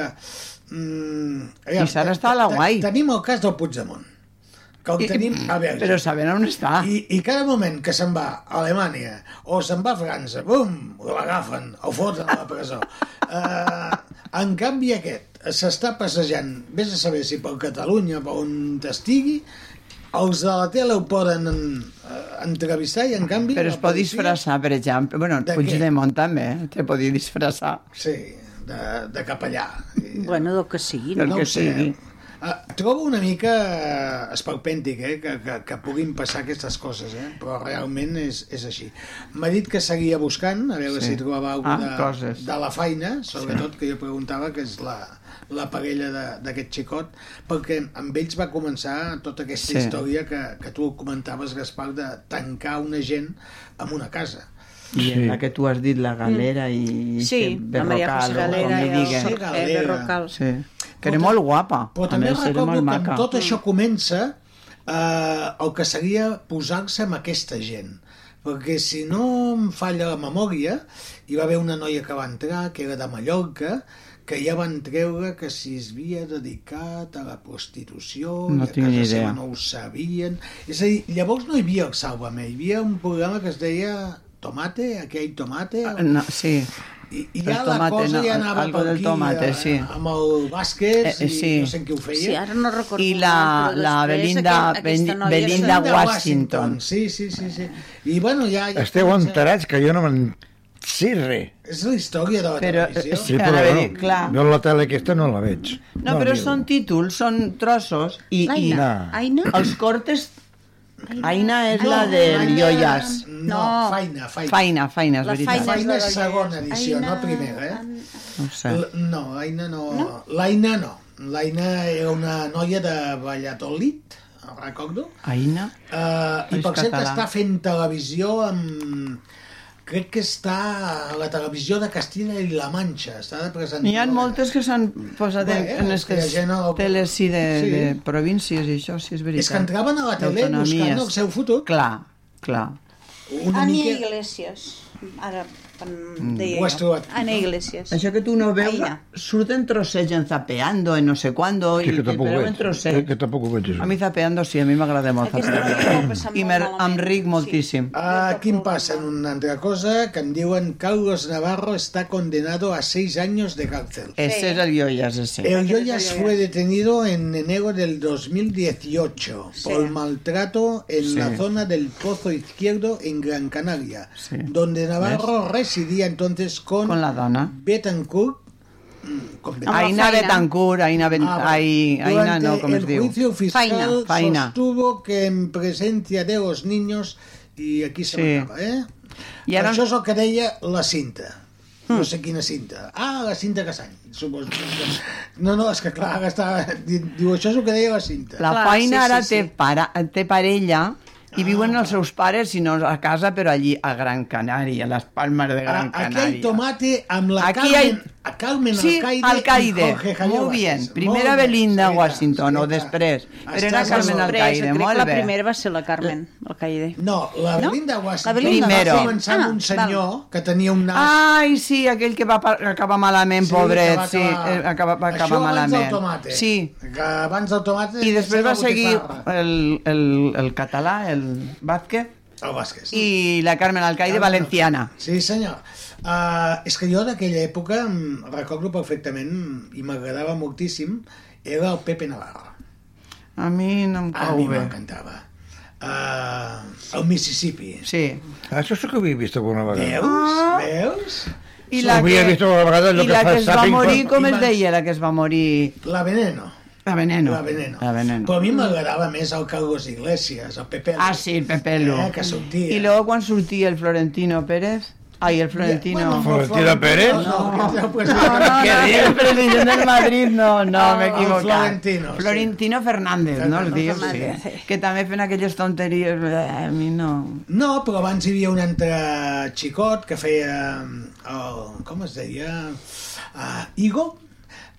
E: Mm,
G: I Sara està a la
E: te-
G: guai.
E: Tenim el cas del Puigdemont, que el tenim a Bèlgica.
G: Però Ah. saben on està.
E: I, I cada moment que se'n va a Alemanya o se'n va a França, bum, l'agafen, el foten a la
G: [laughs]
E: presó. Uh, en canvi aquest s'està passejant, vés a saber si per Catalunya, per on estigui, els de la tele ho poden eh, entrevistar i en canvi...
G: Però es
E: la
G: pot
E: policia-
G: disfressar, per exemple. Bueno,
E: De
G: Puigdemont també, eh? te podia disfressar.
E: Sí, de, de capellà. I,
F: Bueno, del que sigui,
G: El
F: no?
E: no
G: que
E: ho sé.
G: sigui.
E: Uh, trobo una mica eh, esperpèntic eh, que, que, que puguin passar aquestes coses, eh? però realment és, és així. M'ha dit que seguia buscant, a veure
G: Sí.
E: sí. si trobava alguna
G: Ah,
E: de,
G: coses.
E: de la feina, sobretot sí. que jo preguntava, que és la, la parella de- d'aquest xicot, perquè amb ells va començar tota aquesta
G: Sí.
E: sí. història que, que tu comentaves, Gaspar, de tancar una gent en una casa.
G: I sí. la que tu has dit, la galera i...
F: Sí,
G: este
F: la Maria José Galera
G: Berrocal, o com li
F: i el
G: diguen.
E: Sí,
F: Sor- eh,
E: Galera.
F: Berrocal.
G: Sí. Que era molt guapa.
E: Però
G: a
E: també
G: més, era
E: recordo
G: molt
E: que
G: maca.
E: amb tot això comença eh, el que seria posar-se amb aquesta gent. Perquè si no em falla la memòria, hi va haver una noia que va entrar, que era de Mallorca, que ja van treure que si es havia dedicat a la prostitució,
G: No
E: i a
G: tinc ni
E: casa
G: idea.
E: seva no ho sabien... És a dir, llavors no hi havia el Sálvame, hi havia un programa que es deia Tomate, aquell tomate...
G: No, sí.
E: I, I
G: Ah, El
E: ja la
G: tomate,
E: cosa
G: no,
E: ja anava
G: algo
E: per
G: del
E: aquí,
G: tomate,
E: eh,
G: sí.
E: amb el bàsquet,
G: Eh, eh,
E: i
G: sí.
E: no sé en qui ho feia.
F: Sí, ara no recordo.
G: I la-
F: molt, però
G: la
F: després
G: Belinda-
F: aquest- aquesta
G: Ben-
F: noia-
G: Belinda
F: Belinda
G: Washington.
E: Sí, sí, sí, sí. I bueno, ja... ja
H: Esteu enterats que jo no me'n sé res.
E: És la història de la
G: Però, eh,
E: televisió.
G: és que ara ve dir, clar.
H: jo la tele aquesta no la veig.
G: No, però
H: miro.
G: són títols, són trossos i, i
H: No.
F: Aina?
G: els cortes... Aina és la
E: No,
G: del
E: Aina-
G: Yoyas.
E: No, faina, faina.
G: Faina, faina, és
F: La
G: veritat.
F: Faina és la
E: Faina és
F: del
E: segona
F: Yoyas.
E: edició,
F: Aina-
E: no primera, eh?
G: No ho sé.
E: L- No, Aina no... L'Aina no. L'Aina era una noia de Valladolid, recordo.
G: Aina?
E: Uh, I
G: És
E: per cert que
G: català.
E: està fent televisió amb... Crec que està a la televisió de Castilla i la Manxa. Està de presentar...
G: N'hi ha moltes que s'han posat en,
E: Bé,
G: en
E: és que hi ha
G: aquestes
E: gent al-
G: teles sí, de,
E: Sí.
G: de províncies i això, sí, és veritat.
E: És que entraven a la tele
G: D'autonomies.
E: buscant el seu fotut.
G: Clar, clar.
E: Una
F: Ana
E: mica... Mm.
F: Iglesias. Ara em deia
E: Ho has
F: jo.
E: trobat.
F: Ana Iglesias.
G: Això que tu no veus,
F: Aina.
G: surten trossets en zapeando, en no sé quando,
H: Sí,
G: i,
H: que
G: i
H: tampoc ho
G: veuen
H: veig. Que,
G: trossets.
H: que tampoc ho veig,
G: A
H: això.
G: mi zapeando sí, a mi m'agrada molt
F: Aquesta noia
G: zapeando.
F: ho va passar
G: I
F: molt
G: me- em
F: malament.
G: ric moltíssim.
E: Ah, Aquí em passen una altra cosa que em diuen Carlos Navarro está condenado a seis años de cárcel.
G: Ese és el Yoyas, ese.
E: El Yoyas fue detenido en enero del 2018 por maltrato en
G: Sí.
E: la zona del Pozo Izquierdo en Gran Canaria,
G: Sí.
E: donde Navarro residía entonces con,
G: Con la dona.
E: Betancourt. mm, con Betancourt.
G: Aina
F: Faina.
G: Betancourt, Aina, Ben-
E: Ah, bueno.
G: Ai- Aina
E: Durante
G: no, com es
E: el
G: diu.
E: juicio fiscal
F: Faina,
G: faina.
E: sostuvo que en presencia de los niños y aquí se
G: Sí.
E: m'acaba, eh?
G: I ara-
E: Això és el que deia la cinta.
G: Hmm.
E: No sé quina cinta. Ah, la cinta Casany, suposo. No, no, és que clar, ara està... di- Diu, això és el que deia la cinta.
G: La
F: Clar,
G: faina
F: sí,
G: ara
F: sí,
G: té,
F: sí.
G: para, té parella i viuen els seus pares, si no a casa, però allí, a Gran Canària, a les Palmes de
E: A-
G: Gran
E: Ah, Aquell
G: Canària.
E: tomate amb la
G: Aquí
E: Carmen,
G: hay-
E: a Carmen
G: Sí,
E: Alcaide,
G: Alcaide.
E: i Jorge Javier
G: Molt
E: Vázquez.
G: bien.
E: Molt
G: Primera
E: bé.
G: Belinda
E: Sí, clar, sí,
G: Washington, o
E: clar.
G: després. Però era
E: Estàs
G: Carmen
E: molt-
G: Alcaide,
F: Sorpresa, crec
G: molt
F: que la
G: bé.
F: primera va ser la Carmen, el Caide.
E: No, la
F: No?
E: Belinda Washington
F: La Belinda
E: va
G: Primero.
E: començar amb un
F: Ah,
E: senyor que tenia un nas
G: Ai, sí, aquell que va pa- acabar malament, pobret,
E: que
G: sí, eh, acaba, va acabar
E: Això
G: malament.
E: Abans del tomate.
G: Sí,
E: Que abans del tomate...
G: i després
E: era
G: va seguir
E: botifarra.
G: el, el, el català, el Vázquez,
E: El Vázquez.
G: i la Carmen Alcaide valenciana.
E: Sí, senyor. Uh, és que jo d'aquella època em recordo perfectament i m'agradava moltíssim era el Pepe Navarro.
G: A mi no em
E: Ah, A
G: cau
E: mi
G: bé.
E: m'encantava. Uh, el Mississippi.
G: Sí. Ah.
H: Això sí que ho havia vist alguna vegada.
E: Veus? Veus?
G: I
H: Ho havia vist alguna vegada, allò
G: i
H: que
G: la
H: fa
G: que es va
H: Sapping
G: morir,
H: quan-
G: com es
E: Iman-
G: deia, la que es va morir...
E: La Veneno.
G: La veneno.
E: La Veneno.
G: La veneno.
E: Però a mi m'agradava més el Carlos Iglesias, el Pepe.
G: Ah, sí, el Pepelo.
E: Eh, que sortia.
G: I luego quan sortia el Florentino Pérez... Ai, el
E: Bueno,
G: Florentino...
H: Florentino Pérez?
E: No, no, no, pues,
G: No, no, no, [laughs] el president del Madrid, no, no,
E: El-
G: m'he equivocat.
E: el Florentino, sí.
G: Florentino Fernández, no, el diu, sí. Que també fent aquelles tonteries, eh, a mi no...
E: No, però abans hi havia un altre xicot que feia... El, com es deia? Uh, Igo.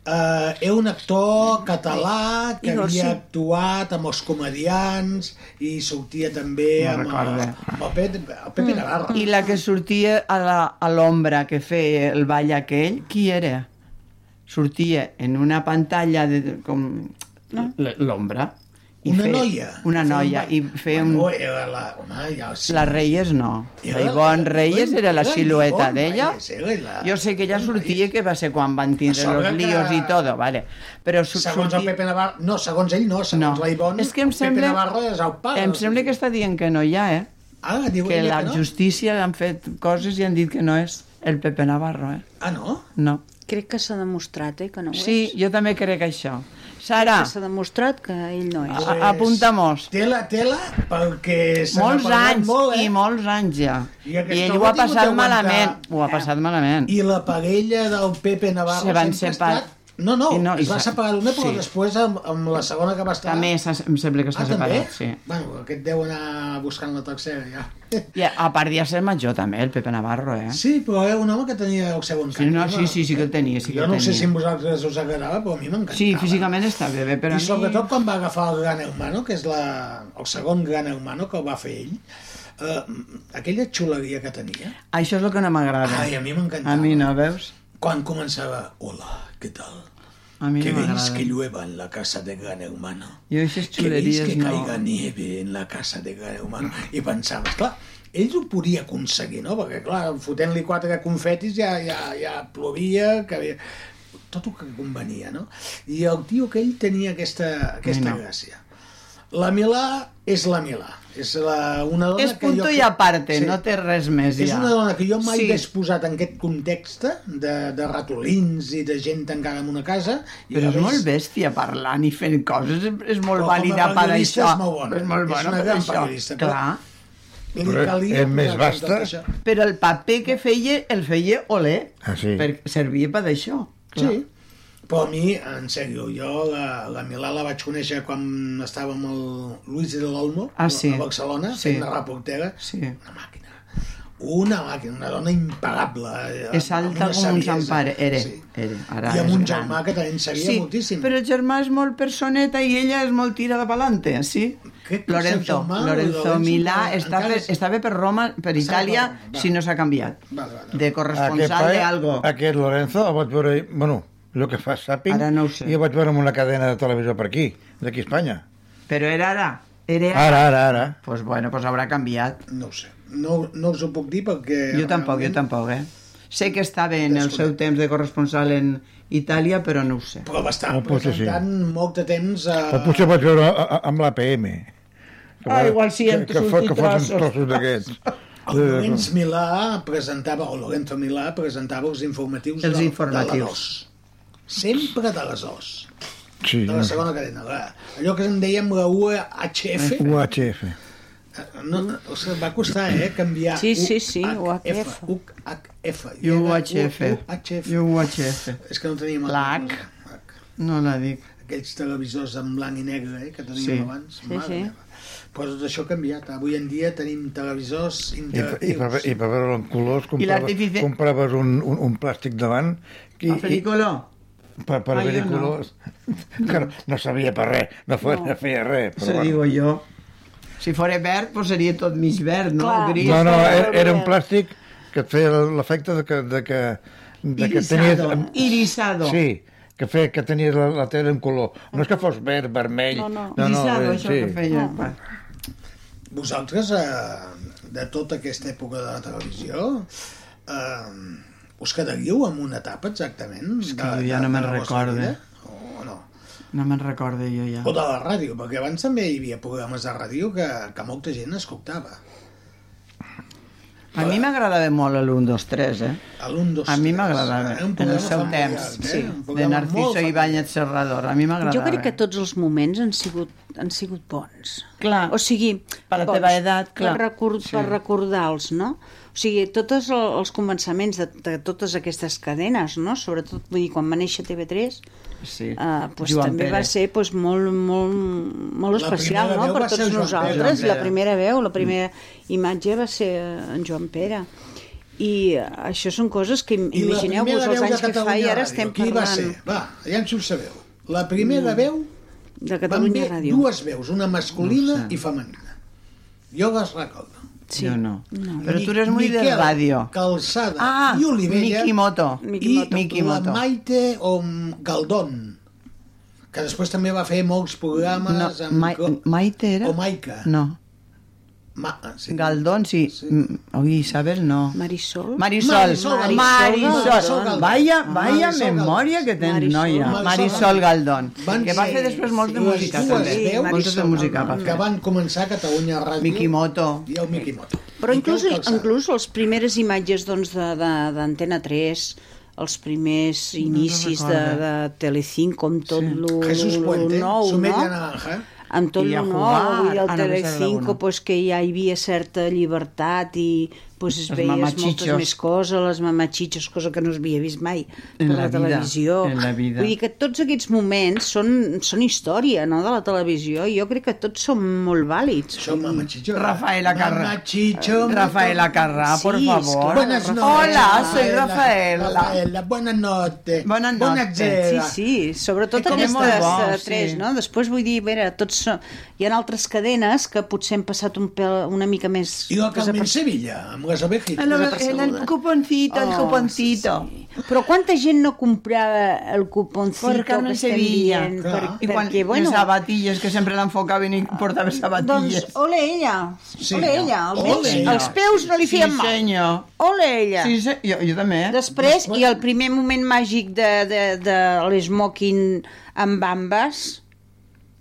E: Uh, era un actor català que
F: Igor,
E: havia
F: sí.
E: actuat amb els comedians i sortia també
G: No
E: amb, el,
G: recordo.
E: amb el, Pepe, el Pepe Navarro.
G: Mm. I la que sortia a la- a l'ombra que feia el ball aquell, qui era? Sortia en una pantalla de, com l- l'ombra. i
E: Una
G: feia-
E: noia. Feia
G: Una
E: un
G: noia.
E: ball.
G: I feia
E: Bueno,
G: un...
E: era la, home, ja, sí.
G: La Reyes no. La Ivonne Reyes era la silueta d'ella. Jo sé que ella sortia que va ser quan van tindre
E: A sobre
G: los líos
E: que-
G: i todo, vale. Però su-
E: Segons el
G: sortia-
E: Pepe Navarro... No, segons ell no, segons la Ivonne,
G: és que em
E: el
G: sembla,
E: Pepe Navarro és el pare.
G: em
E: del-
G: sembla que està dient que no hi ha, eh?
E: Ah, diu
G: que
E: ella
G: la
E: que no?
G: justícia han fet coses i han dit que no és el Pepe Navarro, eh?
E: Ah, no?
G: No.
F: Crec que s'ha demostrat, eh, que no ho
G: Sí,
F: és.
G: jo també crec això. Sara,
F: Que S'ha demostrat que ell no és.
G: a- apunta-mos.
E: Doncs Tela, tela, perquè se n'ha
G: Molts
E: parlat
G: anys,
E: molt, eh?
G: i molts anys ja.
E: I
G: I,
E: aquesta
G: ell ho
E: ho ha
G: ha
E: tingut
G: passat
E: d'aguantar.
G: malament. Ho ha passat malament.
E: Eh? I la parella del Pepe Navarro
G: Se van
E: sempre ha
G: separar.
E: Estat... No, no,
G: I no,
E: no
G: i
E: es va
G: se-
E: separar d'una, però
G: sí.
E: després amb, amb la segona que va estar...
G: També s'ha- em sembla que
E: Ah,
G: està
E: també?
G: separat, sí.
E: Bueno, aquest deu anar buscant la tercera, ja.
G: I a, a part ja ser major també, el Pepe Navarro, eh?
E: Sí, però era un home que tenia el seu encant.
G: Sí, no, sí,
E: home.
G: sí, sí que el tenia, sí que
E: jo
G: el
E: no sé
G: tenia.
E: si a vosaltres us agradava, però a mi m'encantava.
G: Sí, físicament està bé, bé però
E: I
G: a mi...
E: sobretot quan va agafar el Gran Hermano, que és la, el segon Gran Hermano que el va fer ell, eh, aquella xuleria que tenia,
G: Això és el que no m'agrada.
E: Ai, a mi m'encantava.
G: A mi no, veus?
E: quan començava, hola, què tal?
G: A mi
E: que
G: no
E: veis que
G: m'agrada.
E: llueva en la casa de gran hermano.
G: Jo aquestes
E: Que veis que
G: xuleries no.
E: caiga nieve en la casa de gran hermano. I pensaves, clar, ells ho podia aconseguir, no? Perquè, clar, fotent-li quatre confetis ja, ja, ja plovia, que havia... tot el que convenia, no? I el tio que ell tenia aquesta, aquesta
G: No.
E: no. gràcia. La Milà és la Milà. És la, una dona
G: És
E: que
G: punto
E: jo...
G: i aparte, no té res més
E: És
G: ja.
E: una dona que jo mai sí.
G: Sí.
E: hagués posat en aquest context de, de ratolins i de gent tancada en una casa. I
G: Però és
E: l'hagués-
G: molt bèstia parlant i fent coses, és, és molt
E: Però com a
G: vàlida per
E: periodista
G: això.
E: és molt bona.
G: És molt
E: És
G: bona
E: una
G: per
E: gran
G: això.
E: periodista, però-
G: Clar.
E: Li
H: Però
E: calia
H: és més
E: posar tot
H: vasta?
E: això.
G: Però el paper que feia, el feia olé,
H: Ah, sí.
G: perquè servia per això. clar.
E: Sí. Però a mi, en sèrio, jo la, la Milà la vaig conèixer quan estava amb el Luis de l'Olmo
G: Ah, sí.
E: a Barcelona,
G: Sí.
E: fent de reportera.
G: Sí.
E: Una màquina. Una màquina, una dona impagable. eh,
G: És
E: amb
G: alta
E: una
G: com un
E: saviesa.
G: Sant Pare. Era,
E: Sí.
G: era. Ara
E: I amb
G: és
E: un
G: gran.
E: germà que també en sabia
G: sí,
E: moltíssim.
G: però el germà és molt personeta i ella és molt tirada pelante, sí?
E: Crec que
G: Lorenzo,
E: el germà,
G: Lorenzo,
E: Lorenzo, encara-
G: Milà està per,
E: encara és-
G: estava per Roma, per Itàlia,
E: per Roma, va.
G: si no s'ha canviat.
E: Vale, vale.
G: De corresponsal de algo.
H: Aquest Lorenzo el vaig veure, bueno, el que fa Sàping,
G: Ara no ho sé.
H: i el vaig veure en una cadena de televisió per aquí, d'aquí a Espanya.
G: Però era ara. Era ara.
H: Ara, ara, ara.
G: Pues bueno, pues haurà canviat.
E: No ho sé. No, no us ho puc dir perquè...
G: Jo tampoc, jo
E: realment-
G: tampoc, eh? Sé que estava en el seu temps de corresponsal en Itàlia, però no ho sé.
E: Però va estar
H: Ah, potser sí.
E: presentant molt de temps a...
H: Però potser el vaig veure a, a, amb l'APM. Que
G: Ah,
H: va-
G: igual sí, en
H: que, que, fos, que fos uns trossos d'aquests. Eh,
E: El Lorenz Milà presentava, o Lorenzo Milà presentava els informatius
G: Els
E: de, de la
G: informatius.
E: 2. Sempre de les 2.
H: Sí,
E: De la segona cadena. La, allò que en dèiem la
H: Eh,
E: UHF.
H: UHF.
E: No, no, o sigui, va costar, eh, canviar
F: Sí, sí, sí,
E: UHF.
F: UHF.
E: UHF. I
G: I
E: era
G: UHF.
E: UHF.
G: I UHF.
E: És que no teníem...
G: La H. No la dic.
E: Aquells televisors en blanc i negre eh, que teníem
G: Sí.
E: abans.
F: Sí, sí.
E: meva. Però tot això ha canviat. Avui en dia tenim televisors
H: I, i, per,
E: interactius.
H: i per veure en colors compraves,
G: l'artifici-
H: compraves un, un, un plàstic davant i,
G: El
H: i,
G: Felicoló.
H: per, per
G: Ah, jo
H: veure
G: no.
H: colors [laughs] que no, no sabia per res no, feia, no. feia res però
G: Això bueno. digo jo. Si fora verd, pues seria tot mig verd, no?
F: Clar.
G: O Gris.
H: no, eh, no, era, era un
F: Gabriel.
H: plàstic que et feia l'efecte de que, de que, de que tenies...
G: Irisado. Irisado.
H: Sí, que feia que tenies la, la tele en color. No és que fos verd, vermell...
F: No, no.
H: eh,
G: Irisado, això que feia. No.
E: Vosaltres, eh, de tota aquesta època de la televisió, eh, us quedaríeu amb una etapa exactament?
G: És que jo ja no me'n
E: la vostra
G: recordo,
E: vida?
G: eh?
E: O no?
G: No me'n recordo jo ja.
E: O de la ràdio, perquè abans també hi havia programes de ràdio que, que molta gent escoltava.
G: A mi m'agradava molt l'1, 2, 3, eh?
E: A l'1, 2,
G: A mi m'agradava, en el seu temps,
E: eh?
G: sí, de Narciso Ibáñez Serrador. A mi m'agradava.
F: Jo crec que tots els moments han sigut, han sigut bons.
G: Clar.
F: O sigui,
G: Per la
F: bons,
G: teva edat, clar.
F: Per, record, sí. per recordar-los, no? O sigui, tots el, els convencements de, de totes aquestes cadenes, no? Sobretot, vull dir, quan va néixer TV3,
G: Sí.
F: Uh, pues
G: Joan
F: també va
G: Pérez.
F: ser pues, molt, molt, molt
E: La
F: especial
E: primera
F: no?
E: veu
F: per
E: va ser
F: tots
E: Joan eh?
F: nosaltres.
G: Pere.
F: La primera veu,
E: Mm.
F: la primera imatge va ser eh, en Joan Pere. I eh, això són coses que
E: I la primera
F: imagineu-vos
E: veu
F: els
E: de
F: anys que fa
E: Catalunya
F: i ara
E: Ràdio,
F: estem
E: qui va ser?
F: parlant
E: Va, aviam si ho sabeu. La primera veu
F: de
E: Van
F: Catalunya
E: bé
F: Ràdio.
E: dues veus, una masculina i femenina. Jo les recordo.
F: Sí.
G: Jo no.
F: No.
G: Però tu eres molt de
E: Miquel
G: ràdio.
E: Calçada
G: Ah,
E: i Olivella
G: Mikimoto.
E: i
F: Mikimoto.
G: Mikimoto.
E: la Maite o Galdón, que després també va fer molts programes
G: No,
E: amb...
G: Mai,
E: co-
G: Maite era?
E: O Maica.
G: No.
E: Ma... ah, sí.
G: Galdón, sí.
E: Sí.
G: Mm, Oi, Isabel, no.
F: Marisol?
G: Marisol.
E: Marisol, Marisol
G: Marisol.
E: Galdón.
G: Vaya, vaya
E: Marisol Galdón.
G: memòria que tens,
F: Marisol
G: noia.
E: Galdón.
G: Marisol Galdón.
E: Van
G: Que va
E: ser
G: fer després molts de
E: les
G: música,
E: dues
G: també.
E: veus
G: Moltes de
F: Marisol
G: música va
F: Galdón.
E: que
G: fer.
E: van començar a Catalunya Ràdio
G: Mikimoto.
E: i el Mikimoto.
F: Però inclús,
E: Miquel Calçada.
F: inclús les primeres imatges doncs, de- de- d'Antena 3, els primers inicis de,
G: recordo.
F: de Telecinco amb tot sí. lo,
E: Jesús
F: lo,
E: Puente,
F: nou,
E: Sumeria
F: no?
E: Naranja.
F: amb tot
G: I a
F: lo nou,
G: jugar
F: i el
G: a Novícia de Laguna.
F: Telecinco pues, que ja hi havia certa llibertat i pues es
G: Els
F: veies moltes
G: mamachichos.
F: més coses, les mamachitxos, cosa que no es havia vist mai per la,
G: En la vida,
F: televisió.
G: en la vida.
F: Vull dir que tots aquests moments són, són història no? de la televisió i jo crec que tots són molt vàlids. Som
E: mamachitxos.
G: Rafaela Carrà.
E: Mamachicho.
G: Rafaela Carrà,
F: Sí,
G: por
F: és
G: favor.
F: clar, Buenas
E: noches,
G: Hola, soy
E: Rafaela.
G: Rafaela.
E: Rafaela, buenas noches.
G: Buenas noches.
F: Sí, sí, sobretot
G: Eh, com és
F: aquestes
G: molt bo,
F: eh, tres,
G: sí.
F: no? Després vull dir, a veure, tots són... hi ha altres cadenes que potser han passat un pèl una mica més...
E: Yo acá en
F: desaperce-
E: Sevilla, amb les ovejitas.
G: El, el cuponcito, el
F: Oh,
G: cuponcito.
F: Però quanta gent no comprava el cuponcito
G: Por
F: que
G: Carmen
F: estem
G: Sevilla.
F: dient?
G: Clar. I
F: Per,
G: quan
F: perquè, bueno,
G: les sabatilles, que sempre l'enfocaven i portava sabatilles.
F: doncs, ole ella,
E: Sí,
F: ole ella, els,
G: Ole
F: peus,
G: ella.
F: els peus no li feien
G: sí,
F: mal.
G: senyor.
F: Ole ella.
G: Sí, se... jo, jo també. eh?
F: Després, i el primer moment màgic de, de, de l'esmoking amb bambes,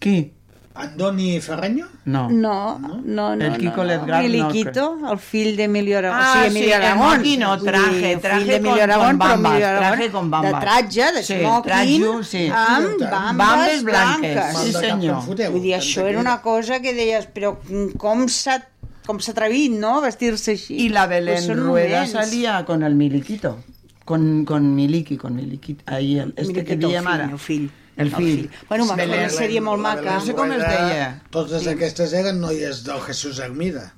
G: Qui?
E: Andoni Ferreño?
G: No.
F: No, no, no. no
G: El Kiko
F: no.
G: Ledgar no,
F: Miliquito, el fill d'Emilio Aragón.
G: Ah,
F: o sigui, Emilio
G: sí, el
F: Aragón.
G: Moquino, traje,
F: Vull dir, el
G: traje
F: fill d'Emilio
G: con-
F: Aragón,
G: con
F: però
G: bambas,
F: Emilio Aragón
G: traje con bambas.
F: De tratge, de
G: Sí,
F: smoking,
G: trajo, sí.
F: amb
E: Sí,
F: bambes,
G: Bambes blanques.
F: blanques.
G: Sí, senyor.
F: Vull dir, això era una cosa que deies, però com s'ha com s'ha atrevit, no?, a vestir-se així.
G: Y la Belén
F: Pues són
G: Rueda
F: moments.
G: salía con el miliquito. Con, con Miliki, con Miliquito. Ahí, el, este
F: Miliquito,
G: que diem ara.
F: El fill,
G: El fill.
F: Bueno, va fer
G: Belén-
F: una sèrie molt maca.
G: No sé com es deia.
E: Totes aquestes eren noies del Jesús Hermida.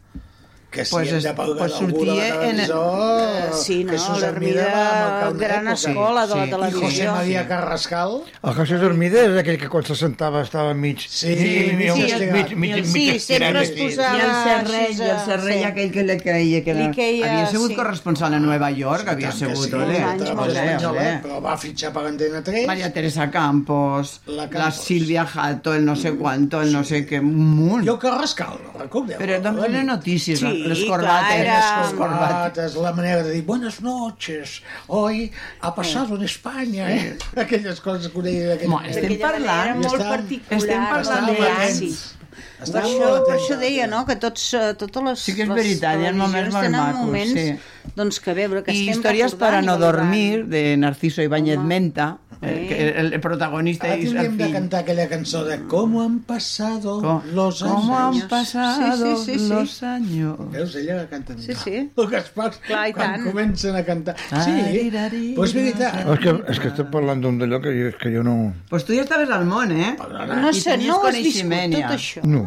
E: Que si
G: Pues
E: pues hem
G: es-
E: de pagar
G: pues
E: pues algú de la
G: sortia en-
E: televisió,
F: Eh, sí, no,
E: Jesús Hermida
F: l'Hermida,
E: va marcar una
F: gran
E: època.
F: escola de la
G: Sí. I
E: I José
F: televisió.
E: María Carrascal...
H: El Jesús Dormida és aquell que quan se sentava estava mig...
E: Sí,
H: mig,
E: sí,
H: mig,
E: el-
H: mig, mig,
F: sí,
H: mig
F: sempre
H: estirat,
F: es
H: mig-
F: posava-
G: I el Serrell,
F: Ah, Sí,
G: i el Serrell
F: sí.
G: aquell que li creia que era...
F: Li creia,
G: havia sigut
F: sí.
G: corresponsal a Nova York, havia sigut,
E: sí,
G: ole,
E: molts anys, molts
G: ¿eh? ole,
E: anys,
G: ole.
E: eh? Però va fitxar per Antena 3.
G: Maria Teresa Campos,
E: La
G: la,
E: Campos. Mm.
G: Silvia Jato, el no sé quanto, el no sé què, un munt.
E: Jo Carrascal, no recordeu?
G: Però doncs
E: Doni?
G: eren notícies,
F: Sí,
G: les
F: clar,
G: corbates,
F: era-
G: les corbates.
E: corbates, la manera de dir buenas noches, hoy ha pasado en España, eh? Aquelles coses que ho deien d'aquella
G: Mo,
E: manera.
G: estem
F: D'aquella manera
G: parlant-
F: molt
E: Estem-
F: particular.
G: estem parlant
F: de
G: de
E: anys.
F: Per
E: Estàvem
F: això,
E: molt
F: per
E: atents.
F: això deia, no?, que tots, eh, totes les
G: Sí que és
F: les
G: veritat, hi ha moments
F: televisions
G: molt
F: tenen
G: macos,
F: moments,
G: sí.
F: Doncs que bé, però que
G: Y
F: estem
G: historias para
F: recordant
G: no
F: i valorant.
G: dormir, de Narciso Ibáñez
F: Home.
G: Menta, eh,
F: Eh.
G: que el, el protagonista
E: Ara
G: es al
E: tindríem de
G: fin.
E: cantar aquella cançó de ¿Cómo han pasado
G: Co-
E: los años?
G: ¿Cómo han
F: años.
G: pasado
F: Sí, sí, sí, sí.
G: los años?
E: Veus, ella la canta millor.
F: Sí, sí.
E: [laughs] El Gaspar,
F: Clar, i
E: quan
F: tant.
E: comencen a cantar. Sí,
G: Tarirari,
E: doncs veritat.
H: És que, és que estem parlant d'un d'allò que, jo- que jo no...
G: Pues tú ya estabas al món, ¿eh?
F: No
G: I
F: sé,
G: tenies
F: no ho has viscut
G: coneixement,
F: tot
G: ja.
F: això.
H: No.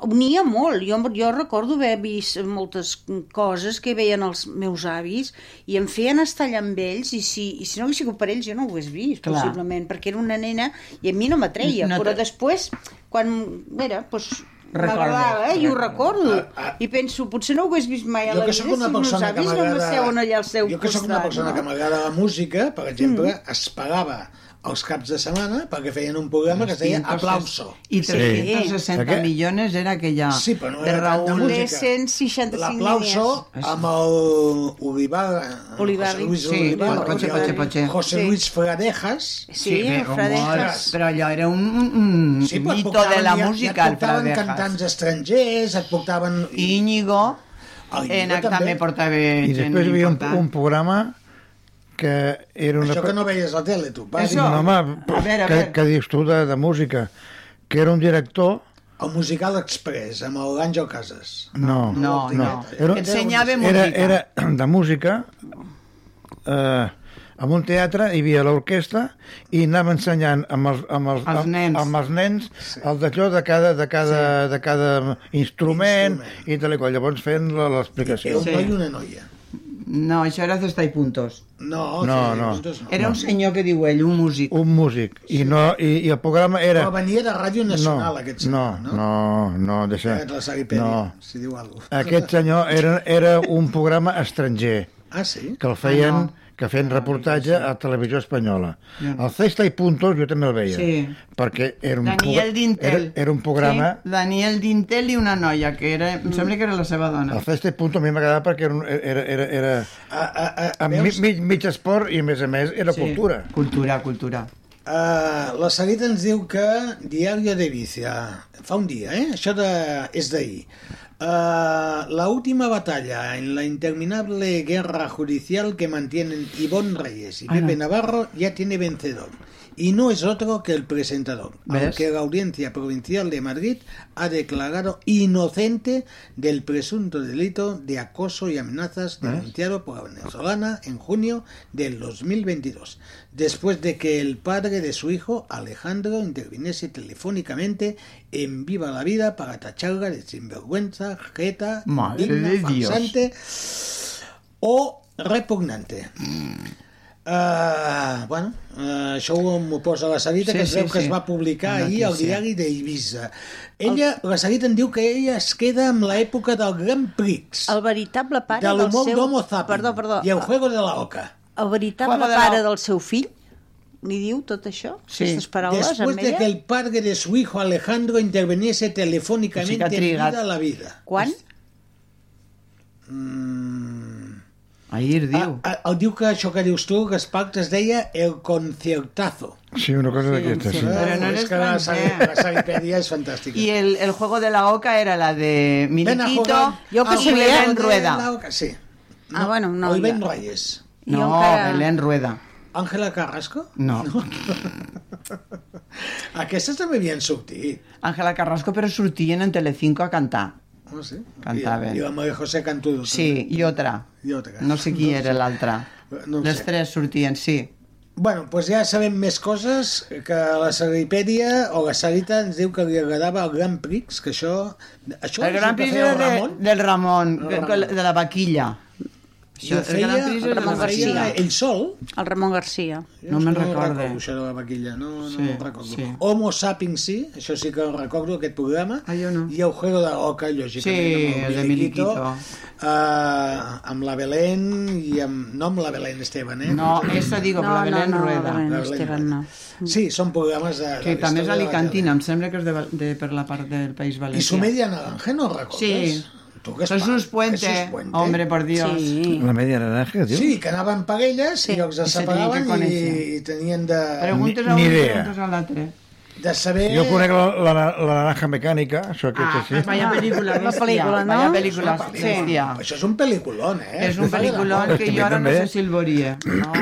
F: unia molt. Jo, jo recordo haver vist moltes coses que veien els meus avis i em feien estar allà amb ells i si, i si no hagués sigut per ells jo no ho hagués vist,
G: Clar.
F: possiblement, perquè era una nena i a mi no m'atreia, no
G: No te-
F: però després, quan, mira, pues,
G: Recordes.
F: m'agradava eh? i ho recordo i penso, potser no ho hagués vist mai a
E: Ah, Jo
F: la
E: que
F: vida
E: sóc
F: Eh, si
E: una
F: meus
E: persona que
F: avis no
E: m'agrada...
F: m'asseuen allà al seu
E: jo que sóc
F: costat.
E: una persona
F: no?
E: que m'agrada la música, per exemple, es pagava els caps de setmana perquè feien un programa que es deia Aplauso.
G: I 360
H: Aquest-
G: millones era aquella
E: Sí, però no
G: Ah. de
E: era tant de
G: Raúl.
E: música.
F: De 165
E: L'aplauso amb el Olivar,
F: Olivarri.
E: José Luis
G: Sí,
E: Olivar,
G: el Poche,
E: Olivarri,
G: Poche, Poche.
E: José
F: Sí.
E: Luis Fradejas,
F: Sí, eh, el
G: però
F: Fradejas.
G: molt- Però allò era un, un
E: Sí, però et
G: mito
E: portaven-
G: de la
E: ja-
G: música,
E: ja et
G: el
E: portaven
G: Fradejas.
E: cantants estrangers, et portaven...
G: Íñigo,
E: Ah, Íñigo
G: en acta
E: també.
G: també portava
H: I
G: gent
H: després hi havia un,
G: important.
H: un programa que era una...
E: Això que no veies a la tele, tu. Vas,
G: Això.
H: No, home,
G: A veure, a
H: que,
G: veure.
H: que dius tu de, de música, que era un director...
E: El musical Express, amb l'Àngel Casas.
H: No,
G: No, no.
H: Era,
G: Que ensenyava
H: era,
G: música.
H: era de música, eh, en un teatre hi havia l'orquestra i anava ensenyant amb els, amb els,
G: Els
H: amb,
G: nens.
H: amb els nens el d'allò de cada, de cada, de cada instrument,
E: Instrument.
H: i tal i qual. Llavors fent la-
E: Era
H: l'explicació.
E: un
G: Sí.
E: noi i una noia.
G: No, això era Cesta i Puntos.
E: No,
H: No,
E: sí,
H: no.
E: nosaltres no.
G: Era un senyor que diu ell, un músic.
H: Un músic. I, no, i, i el programa era...
E: Però venia de Ràdio Nacional, aquest senyor,
H: no, no, no, deixa...
E: Aquest la Sariperi,
H: No.
E: si diu alguna cosa.
H: Aquest senyor era, era un programa estranger
E: Ah, sí?
H: que el feien,
G: Ah, no.
H: que feien reportatge a Televisió Espanyola. El Cesta i Puntos jo també el veia,
G: Sí.
H: perquè era un,
G: Daniel
H: progr-
G: Dintel.
H: era, era un programa...
G: Sí, Daniel Dintel i una noia que era, em sembla que era la seva dona.
H: El Cesta i Puntos a mi m'agradava perquè era, un- era, era, era a, a, a,
E: veus?
H: mig, mig esport i, a més a més, era
E: Sí.
H: cultura.
G: Cultura, cultura.
E: Uh, la Sarita ens diu que Diario de Vicia, fa un dia, eh? això de, és d'ahir. Uh, la última batalla en la interminable guerra judicial que mantienen Ivonne Reyes y
G: Ala.
E: Pepe Navarro ya tiene vencedor. Y no es otro que el presentador,
G: ¿Ves?
E: aunque la Audiencia Provincial de Madrid ha declarado inocente del presunto delito de acoso y amenazas
H: ¿Ves?
E: denunciado por la venezolana en junio del 2022, después de que el padre de su hijo, Alejandro, interviniese telefónicamente en Viva la Vida para tacharla de sinvergüenza, jeta,
G: Madre
E: digna,
G: de Dios.
E: farsante o repugnante. Ah, bueno, eh, això ho- m'ho posa la Sarita,
G: Sí,
E: que es
G: sí,
E: veu que
G: sí.
E: es va publicar
G: Una
E: ahir al
G: notícia.
E: diari d'Eivissa. Ella, la Sarita en diu que ella es queda amb l'època del Grand Prix,
F: El veritable pare
E: de
F: del
E: l'humor
F: seu...
E: d'Homo Zapping
F: Perdó, perdó.
E: i el Juego de la Oca.
F: El veritable
E: Juego de la-
F: pare del seu fill li diu tot això? Aquestes paraules
E: Después
F: amb
E: de
F: ella?
E: que el padre de su hijo Alejandro interviniese telefónicamente
G: O sigui que ha
E: en
G: trigat.
E: vida a la vida.
F: Quan?
G: Ahir diu.
E: Mm, A, a, el diu que això que dius tu, Gaspar, que es deia el concertazo.
H: Sí, una cosa d'aquestes. Sí,
G: Però no
E: és
G: eres
E: que la,
G: francès.
E: la Saripèdia és fantàstica.
G: I el, el juego de la oca era la de
E: Ven a jugar Ah,
G: Miniquito
E: al
G: i
E: juego
G: Belén
E: de
G: Rueda.
E: la oca, Sí.
F: Ah, bueno, no.
E: o Iván
F: ja.
E: Reyes.
G: No,
F: encara-
G: Belén Rueda.
E: Àngela Carrasco? [laughs]
G: No.
E: Aquestes també havien sortit.
G: Ángela Carrasco, però sortien en Telecinco a cantar.
E: No sé.
G: Cantaven.
E: I, i la Maria José Cantudo.
G: Sí, i otra.
E: I otra.
G: No sé qui era l'altra.
E: No ho
G: Les
E: sé.
G: tres sortien, sí.
E: Bueno, doncs ja sabem més coses que la Saripèdia o la Sarita ens diu que li agradava el Gran Prix, que això... això
G: El
E: és
G: Gran
E: que
G: Prix
E: feia
G: era
E: el
G: de,
E: Ramon?
G: del Ramon,
E: El
G: que-
E: Ramon.
G: que- de la vaquilla.
E: I ho
G: Això,
E: feia
G: era
E: el Ramon
G: vaquilla.
E: Garcia, ell sol.
F: El Ramon Garcia.
E: Jo
G: No me'n recorde.
E: recordo això de la vaquilla, no, no
G: Sí,
E: ho recordo.
G: sí.
E: Homo Sapiens sí, això sí que ho recordo, aquest programa.
G: Ah, jo no.
E: I el Juego de Oca, lògicament,
G: Sí,
E: amb
G: el de Miliquito.
E: eh, amb la Belén i amb... No amb la Belén Esteban, eh?
G: No, esa digo,
F: No,
G: però
F: no,
G: la Belén
F: no,
G: Rueda.
F: Belén
E: La
F: Esteban no.
E: Sí, són programes de... de
G: Que
E: la
G: també
E: història
G: és
E: de la
G: alicantina, em sembla que és de, Val- de, per la part del País
E: tele. I
G: Valencià.
E: Sumedia Naranja, no recordes?
G: Sí.
E: Tu, Gaspar,
G: Jesús Puente,
E: Jesús Puente.
G: hombre, por Dios.
F: Sí.
H: La media naranja, diu?
E: Sí, que anaven per elles sí. i els
G: I se tenien que
E: separaven i,
G: conèixer.
E: i tenien de,
G: Preguntes
H: Ni-
G: a un,
H: ni idea.
G: preguntes a l'altre.
E: de saber...
H: Jo conec la, la, la naranja mecànica, això que
G: [laughs] Ah,
H: ah, sí.
G: vaya película,
F: La
G: bèstia,
F: película, no?
G: Vaya
E: És
G: película,
E: una
G: bèstia.
E: pel·lícula. Això és un pel·liculón, eh?
G: És un pel·lículon que jo ara no sé si el veuria. No.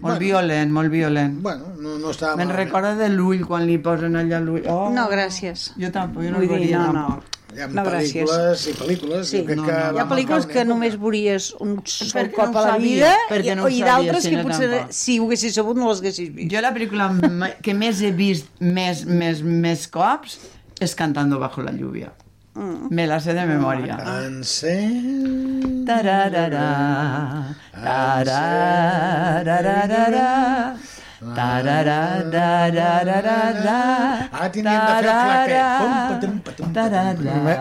G: Molt violent, molt violent.
E: Bueno, no, eh? no estava
G: Me'n
E: malament.
G: recorda de l'ull, quan li posen allà l'ull. Oh,
F: No, gràcies.
G: Jo tampoc, jo no
F: Vull
G: el
F: dir,
G: veuria
F: no,
G: tampoc.
F: no.
E: Hi ha
F: No, gràcies.
E: pel·lícules i pel·lícules.
F: Sí.
E: jo crec
G: No,
E: que
G: no, no.
F: Hi ha
E: vam
F: pel·lícules
E: acabar
F: que
E: una
F: només
E: època.
F: veuries un sol
G: Perquè
F: cop
G: no ho
F: a la
G: sabia,
F: vida i,
G: perquè no ho
F: i
G: sabia,
F: d'altres que
G: senyora
F: potser
G: tampoc.
F: si ho haguessis sabut no les haguessis vist.
G: Jo la pel·lícula m- que més he vist més, més, més cops és Cantando bajo la lluvia. Me la sé de memòria.
E: Ah, Encén...
G: Tararara, tararararara, tarararararara,
E: Ara tindríem Ah, de fer el claquet. Pum, patum, patum, patum. eh?
G: tararara.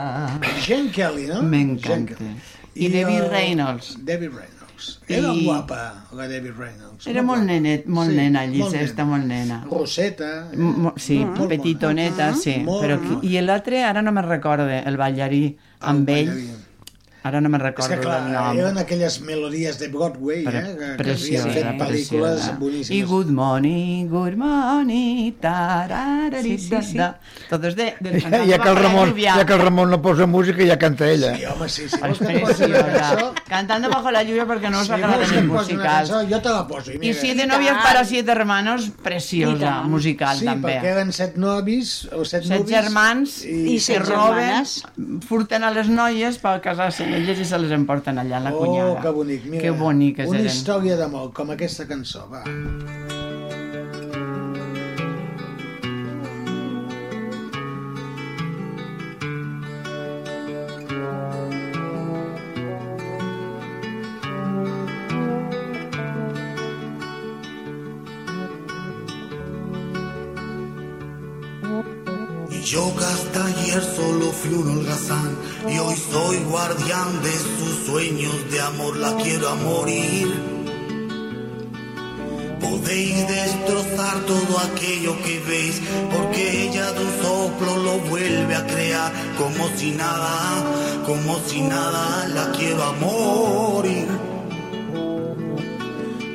E: Jane Kelly, no?
G: M'encanta.
E: Jane Kelly.
G: I Debbie
E: eh,
G: Reynolds.
E: Debbie Reynolds. Era
G: I-
E: guapa, la Debbie Reynolds.
G: Era molt
E: guapa.
G: nenet, molt
E: Sí,
G: nena,
E: molt
G: llisesta,
E: nena.
G: molt nena.
E: Roseta. eh?
G: M- mo- Sí,
E: Molt Mm-hmm.
G: petitoneta, sí.
E: Molt
G: Però,
E: bona.
G: qui- I l'altre, ara no me'n recorda, el ballarí amb
E: El
G: ell.
E: ballarí.
G: Ara no me'n
E: És
G: recordo
E: que clar,
G: del nom.
E: eren aquelles melodies de Broadway,
G: Pre
E: eh? Que, que
G: preciosa,
E: havien fet pel·lícules
G: preciosa.
E: boníssimes.
G: I Good Morning, Good Morning, tararari,
F: Sí, sí, sí.
G: da, da. Tot és de...
E: [laughs]
G: de
H: Ja, ja, que el Ramon, ja que el Ramon no posa música, ja canta ella.
E: Sí, home, sí, sí.
G: És
E: Vols que et posi la
G: preciosa.
E: cançó?
G: Cantando bajo la lluvia perquè no us
E: Si
G: sí, agraden
E: vols que
G: els
E: em posi una
G: musicals.
E: cançó, jo te la poso. I,
G: I
E: mira,
G: Siete novias para siete hermanos, preciosa,
F: tant.
G: musical
E: sí,
G: també.
E: perquè eren set novis o set,
G: Set
E: nuvis,
G: germans
E: i-
G: i,
F: set
G: se roben,
F: germanes.
G: furten a les noies per casar-se amb elles i se les emporten allà a la cunyada.
E: Oh, que bonic, mira.
G: Que boniques
E: Una
G: eren.
E: història d'amor, com aquesta cançó, va.
A: Yo hasta ayer solo fui un holgazán y hoy soy guardián de sus sueños de amor, la quiero a morir. Podéis destrozar todo aquello que veis, porque ella de un soplo lo vuelve a crear, como si nada, como si nada la quiero a morir.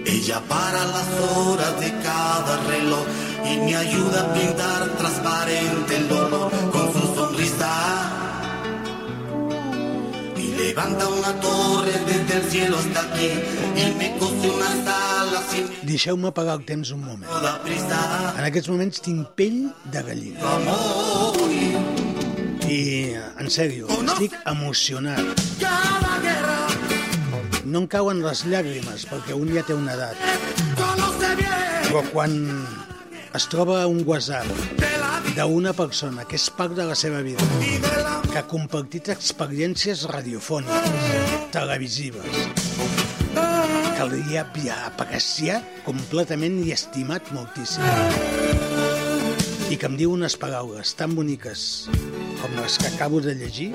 A: Ella para las horas de cada reloj y me ayuda a pintar transparente el dolor con su sonrisa. Y levanta una torre desde el cielo hasta aquí y me cose unas alas sin
E: Deixeu-me apagar el temps un moment.
A: toda prisa.
E: En aquests moments tinc pell de gallina. I, en sèrio, estic emocionat.
A: Cada guerra
E: No em cauen les llàgrimes, perquè un ja té una edat.
A: conoce bien
E: Però quan es troba un WhatsApp d'una persona que és part de la seva vida, que ha compartit experiències radiofòniques, televisives, que li havia apreciat completament i estimat moltíssim. I que em diu unes paraules tan boniques com les que acabo de llegir,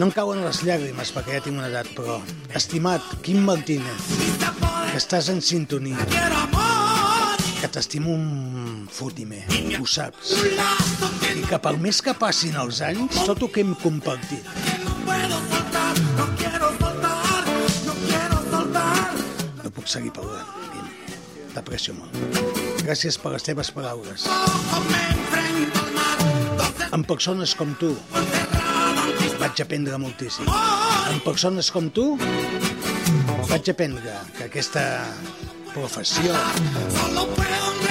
E: no em cauen les llàgrimes perquè ja tinc una edat, però... Estimat Quim Martínez, que estàs en sintonia, que t'estimo un fotimer, ho saps. I que pel més que passin els anys, tot el que hem compartit, no puc seguir parlant, Quim. T'aprecio molt. Gràcies per les teves paraules. Amb persones com tu, vaig aprendre moltíssim. Amb persones com tu, vaig aprendre que aquesta professió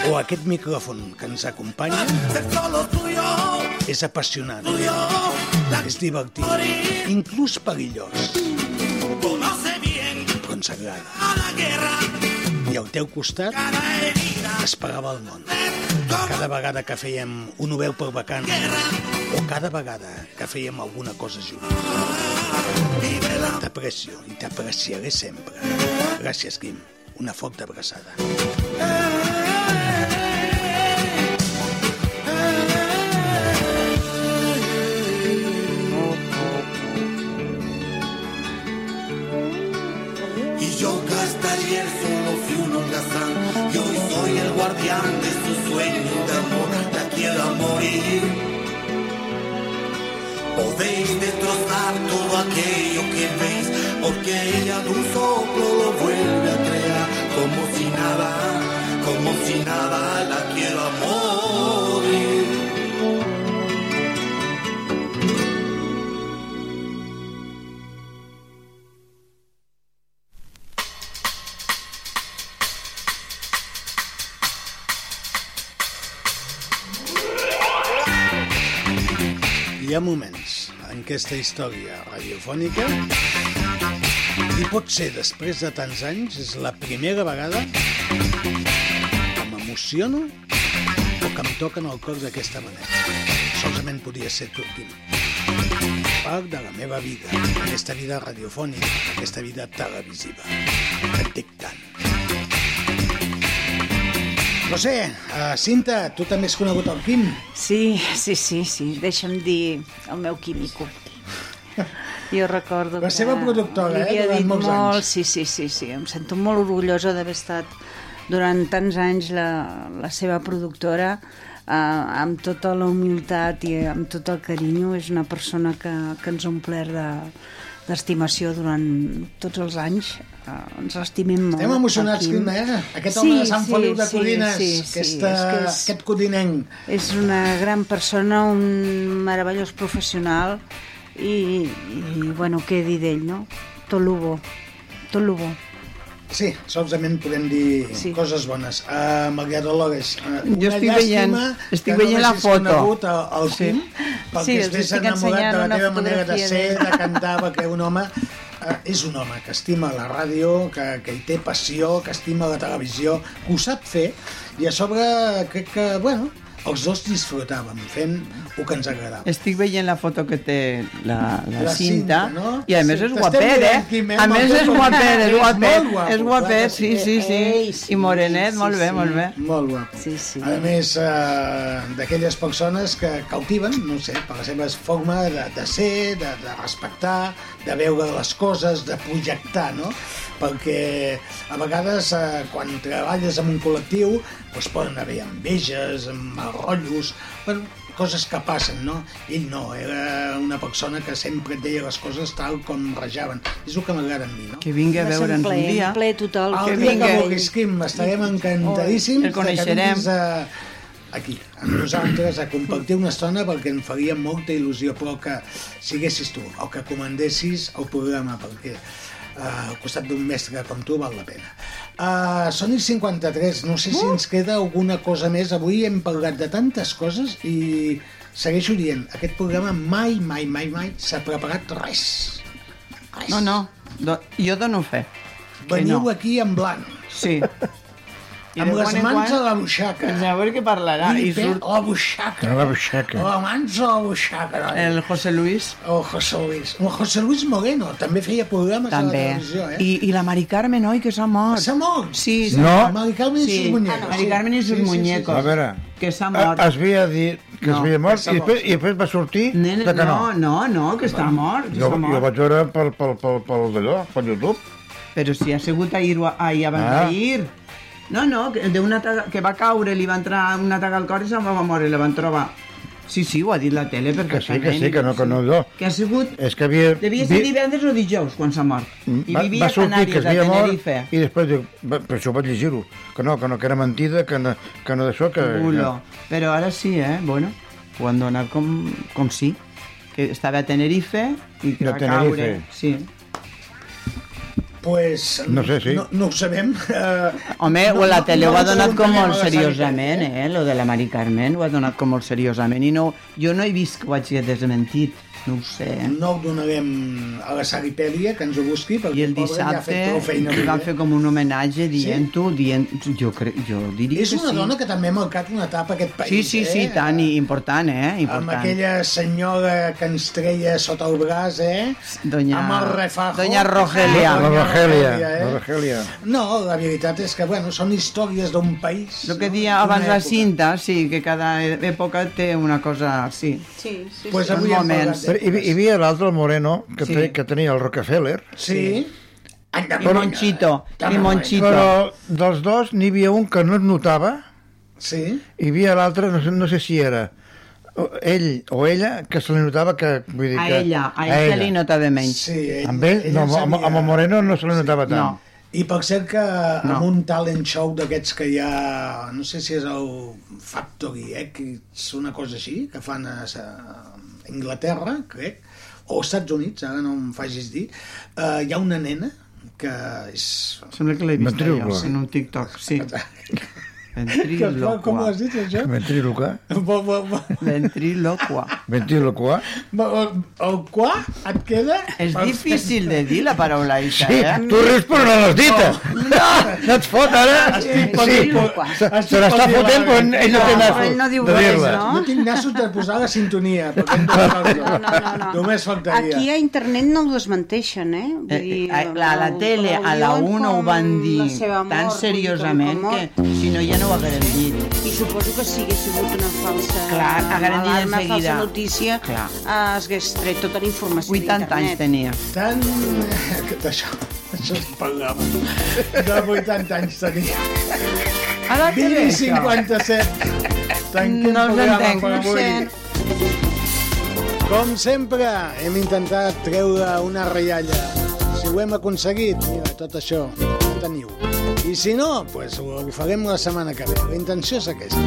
E: o aquest micròfon que ens acompanya és apassionant, és divertit, inclús perillós,
A: conoce bien
E: però ens agrada.
A: cada guerra
E: I al teu costat es pagava el món. Cada vegada que fèiem un obeu per vacant o cada vegada que fèiem alguna cosa junts. T'aprecio i t'apreciaré sempre. Gràcies, Quim. Una forta abraçada.
A: y yo que hasta ayer solo fui un holgazán y hoy soy el guardián de su sueño de amor la quiero a morir podéis destrozar todo aquello que veis porque ella de un soplo lo vuelve a crear como si nada como si nada la quiero a morir
E: Hi ha moments en aquesta història radiofònica i potser després de tants anys és la primera vegada que m'emociono o que em toquen el cor d'aquesta manera. Solament podia ser tu, Quim. Part de la meva vida, aquesta vida radiofònica, aquesta vida televisiva. Et dic tant. No sé, uh, Cinta, tu també has conegut el Quim.
F: Sí, sí, sí, sí. Deixa'm dir el meu químico. Jo recordo
E: La
F: que...
E: seva
F: li
E: productora, eh,
F: havia
E: durant
F: dit
E: molts
F: molt,
E: anys.
F: Sí, sí, sí, sí. Em sento molt orgullosa d'haver estat durant tants anys la, la seva productora eh, amb tota la humilitat i amb tot el carinyo. És una persona que, que ens ha omplert de d'estimació durant tots els anys. Eh, ens l'estimem molt.
E: Estem emocionats,
F: el Quim.
E: Quim, eh? Aquest home de Sant Feliu de Codines, aquesta,
F: és que és-
E: aquest codinenc.
F: és una gran persona, un meravellós professional i, i bueno, què dir d'ell, no? Tot lo bo, tot lo bo.
E: Sí, solament podem dir sí. coses bones. Uh, Margarita López, uh,
G: Jo estic veient- estic veient la
E: Que no
G: foto.
E: conegut el, el
G: Sí.
E: Quim, perquè
F: Sí,
E: sí,
F: us
E: estàs
F: estic
E: enamorat de
F: ensenyant
E: la
F: una
E: teva manera de
F: fotografia
E: ser,
F: de-
E: de cantar, perquè un home uh, és un home que estima la ràdio, que, que hi té passió, que estima la televisió, que ho sap fer, i a sobre crec que, bueno, Els dos disfrutàvem fent el que ens agradava.
G: Estic veient la foto que té la, la,
E: La cinta,
G: cinta,
E: no?
G: i a més és
E: T'estem
G: guapet,
E: mirant,
G: eh?
E: Quimé,
G: A
E: amb
G: més
E: el
G: és
E: teu
G: guapet,
E: maquillatge.
G: és
E: És
G: guapet,
E: molt guapo,
G: és guapet, sí, sí,
E: Ei,
G: sí.
E: sí,
G: I morenet,
E: sí,
G: molt bé,
E: sí.
G: molt bé.
E: Molt guapo.
F: Sí, sí.
E: A més, eh, d'aquelles persones que cautiven, no ho sé, per la seva forma de, de ser, de, de respectar, de veure les coses, de projectar, no? Perquè a vegades, eh, quan treballes en un col·lectiu, doncs poden haver enveges, mal rotllos, bueno, coses que passen, no? Ell no, era una persona que sempre et deia les coses tal com rajaven. És el que m'agrada a mi, no?
G: Que vingui a
F: Va ser un
G: veure'ns un
F: plaer,
G: dia. Ah,
F: un plaer total.
E: El
G: Que
E: dia que
G: vingui.
E: vulguis, Quim, estarem encantadíssims
G: El coneixerem.
E: de que vinguis a, aquí, amb nosaltres, a compartir una estona perquè em faria molta il·lusió, però que siguessis tu, o que comandessis el programa, perquè eh, al costat d'un mestre com tu val la pena. Uh, Són i 53, no sé si
G: Uh!
E: ens queda alguna cosa més. Avui hem parlat de tantes coses i segueixo dient, aquest programa mai, mai, mai, mai s'ha preparat res. res.
G: No, no, do, jo dono fe. que
E: Veniu
G: no.
E: aquí en blanc. [laughs]
G: Sí. I
E: amb
G: de
E: les
G: quan en
E: mans Doncs a
G: quan,
E: la buixaca.
G: Ens a veure què parlarà. I
E: Filipe,
G: surt
E: La buixaca.
H: A la butxaca.
E: La mans a la buixaca, noi.
G: el José Luis.
E: El José Luis. El José Luis Moreno també feia programes a
G: També.
E: la televisió, eh?
G: I, I la Mari Carmen, oi, que s'ha mort.
E: S'ha mort?
G: Sí,
H: No.
E: Mari Carmen i
G: Sí. Ah,
E: sus muñecos.
G: Mari Carmen i sus muñecos.
H: A veure,
G: Que s'ha
H: a-
G: mort.
H: Ah, es havia dit que
G: No,
H: no, es havia mort
E: s'ha
H: i després,
E: mort.
H: i després va sortir
G: Nena,
H: de que no.
G: no, no, no, que està mort. Que
H: Jo,
G: està
H: jo
G: mort.
H: vaig veure pel, pel, pel, pel d'allò, pel YouTube.
G: Però si ha sigut ahir o ahir abans
H: Ah.
G: d'ahir. No, no, que, d'un atac, que va caure, li va entrar un atac al cor i se'n va morir, la van trobar. Sí, sí, ho ha dit la tele
H: Que sí, que
G: perfectament.
H: sí, que no, que no allò.
G: Que ha sigut...
H: És que havia... Mm,
G: Devia ser divendres o dijous, quan s'ha mort. I
H: va,
G: vivia
H: va
G: a
H: sortir que
G: Canàries,
H: es
G: a
H: havia mort
G: Tenerife.
H: i després diu, va, però això vaig llegir-ho, que no, que no, que era mentida, que no, que no d'això, que...
G: Bulo. Però ara sí, eh? Bueno, ho han donat com, com sí. Que estava a Tenerife i que
H: De
G: va
H: Tenerife.
G: caure. Sí.
E: Pues,
H: No sé, sí.
E: No, no ho sabem. [laughs] eh,
G: Home,
E: no-
G: no, la
E: no-
G: tele
E: no
G: ho ha
E: li
G: donat com
E: preguntarem
G: molt
E: a la
G: seriosament,
E: Sari,
G: eh? Lo de la Mari Carmen ho ha donat com molt seriosament. I no, jo no he vist que ho hagi desmentit. No ho sé, eh?
E: No ho donarem a la Saripèdia, que ens ho busqui, perquè
G: I el
E: pobra, ja ha
G: dissabte
E: fet prou feina.
G: li
E: avui,
G: van
E: eh?
G: fer com un homenatge dient-ho, dient... Jo, cre... jo diria
E: És
G: que
E: una
G: sí.
E: dona que també ha marcat una etapa a aquest país.
G: Sí, sí, sí,
E: eh?
G: tant, i important, eh?
E: amb
G: Important.
E: aquella senyora que ens treia sota el braç, eh?
G: Doña-
E: Amb el refajo.
G: Doña
E: Ah,
G: Rogelia.
H: La
E: Doña
H: Rogelia,
E: eh?
H: la Rogelia.
E: No, la veritat és que, bueno, són històries d'un país.
G: El que
E: no?
G: dia
E: D'una
G: abans la
E: època.
G: cinta, sí, que cada època té una cosa, sí.
F: Sí, sí,
E: Pues
F: sí.
E: avui
G: Un
E: hem
G: moment.
E: parlat
H: Però
E: de-
H: hi, hi havia l'altre, el Moreno, que,
G: Sí.
H: sí. te, que tenia el Rockefeller,
E: Sí. Anda,
G: I Monchito, i
E: eh.
G: Monchito.
H: però dels dos n'hi havia un que no es notava,
E: Sí.
H: hi havia l'altre, no, sé, no sé si era o- ell o ella, que se li notava que... Vull dir
G: A
H: que,
G: ella, a ella li notava menys.
E: Sí, ell,
H: Amb ell, no,
E: en
H: amb,
E: sabia.
H: amb el Moreno no se li notava tant.
G: No.
E: I per cert que no.
G: No.
E: amb un talent show d'aquests que hi ha, no sé si és el Factory X, una cosa així, que fan a, sa- a Anglaterra, crec, o als Estats Units, ara no em facis dir, uh, hi ha una nena que és...
G: Sembla que l'he vist
H: Ventríloco.
G: jo, en un TikTok,
E: [laughs]
G: sí.
E: Com, com ho
G: Ventrílocua.
E: has dit, això? [laughs]
H: Ventríloca.
E: Bo, bo, bo.
G: Ventrílocua.
H: Ventríloca.
E: El, el qua et queda...
G: És difícil de dir la paraula
H: Sí,
G: això, eh?
H: tu rius però no l'has dit. No, [laughs] no et fot ara.
E: Estic per dir-
H: se
E: estic
H: se l'està
E: per dir la
H: fotent però
E: veritat.
H: ell no té
F: No,
H: nassos.
F: ell no diu
H: de
F: res,
H: dir-la.
F: no?
E: No tinc nassos de posar la sintonia.
F: [laughs]
E: perquè hem de posar-la.
F: No, no, no, no.
E: Només faltaria.
F: Aquí a internet no ho desmenteixen, eh? Vull
G: Eh,
F: dir,
G: eh, a la, a la
F: el-
G: tele, a la
F: l'Oriol
G: 1 ho
F: com
G: van dir
F: la seva mort,
G: tan
F: vull dir,
G: seriosament
F: com la
G: que si no ja no ho hagueren dit.
F: mort. I suposo que si hagués sigut una falsa...
G: Clar, hagueren dit
F: alarma,
G: enseguida.
F: falsa notícia,
G: Clar.
F: eh, es hagués tret tota la informació
G: 80
F: d'internet.
G: anys tenia.
E: Tant... que [laughs] D'això... Això es pagava. De 80 anys tenia.
G: Ara què ve,
E: 20 i
G: això?
E: 57. Tanquem
G: No els
E: programa
G: entenc,
E: per
G: no
E: avui.
G: sé.
E: Com sempre, hem intentat treure una ratlla. Si ho hem aconseguit, mira, tot això ho teniu. I si no, pues, ho farem la setmana que ve. La intenció és aquesta.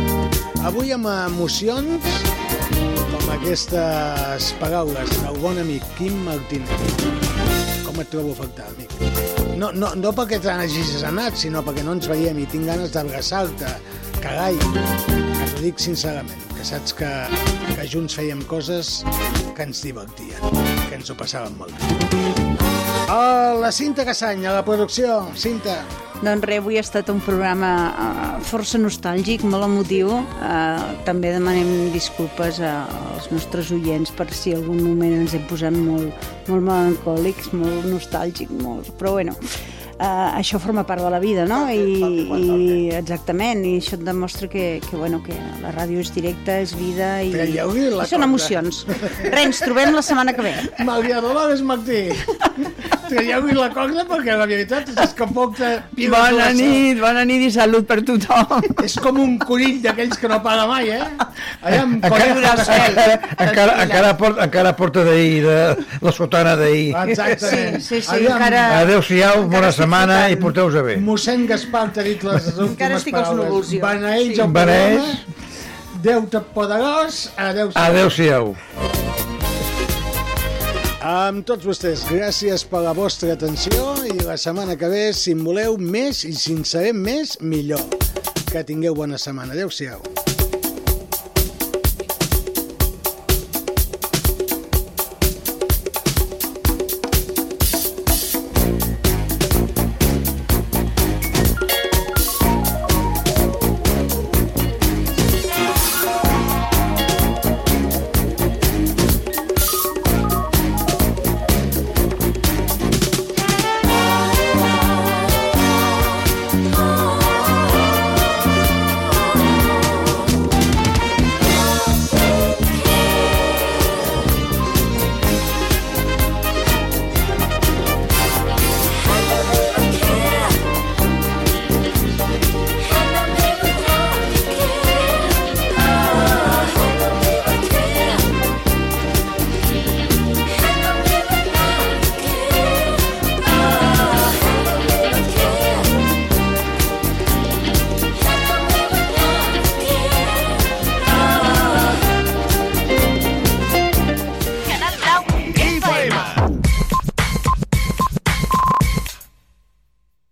E: Avui amb emocions, com aquestes paraules del bon amic Quim Martínez. Com et trobo afectar, amic? No, no, no perquè te n'hagis anat, sinó perquè no ens veiem i tinc ganes d'abraçar-te. Carai, que t'ho dic sincerament, que saps que, que junts fèiem coses que ens divertien, que ens ho passàvem molt bé. A la Cinta Cassany, a la producció. Cinta,
F: Doncs res, avui ha estat un programa eh, força nostàlgic, molt emotiu. Eh, també demanem disculpes a- als nostres oients per si algun moment ens hem posat molt, molt melancòlics, molt nostàlgic, molt... però bueno, eh, això forma part de la vida, no? I, i exactament, i això et demostra que, que, bueno, que la ràdio és directa, és vida i,
E: Traieu-li la
F: i són
E: coca.
F: emocions. Res, ens trobem la setmana que ve.
E: Maria Dolores
F: [laughs]
E: Martí. Traieu-li la coca perquè la veritat és que poc de piles
G: Bona
E: dolces.
G: nit, bona nit i salut per tothom.
E: És com un conill d'aquells que no paga mai, eh? Allà amb
H: Encara,
E: conill del cel.
H: encara, encara, encara, porta, encara porta d'ahir, de, la sotana d'ahir.
E: Exactament.
F: Sí, sí, sí,
E: Aviam.
F: encara-
H: Adéu-siau, bona setmana i porteu-vos bé.
E: Mossèn Gaspar t'ha dit les últimes
F: Encara estic als
E: paraules.
F: núvols, jo.
E: Beneeix
H: Sí.
E: el
H: Beneeix.
E: programa. Déu te poderós. Adéu-siau.
H: Adéu-siau.
E: Amb tots vostès, gràcies per la vostra atenció i la setmana que ve, si en voleu més i si en sabem més, millor. Que tingueu bona setmana. Adéu-siau.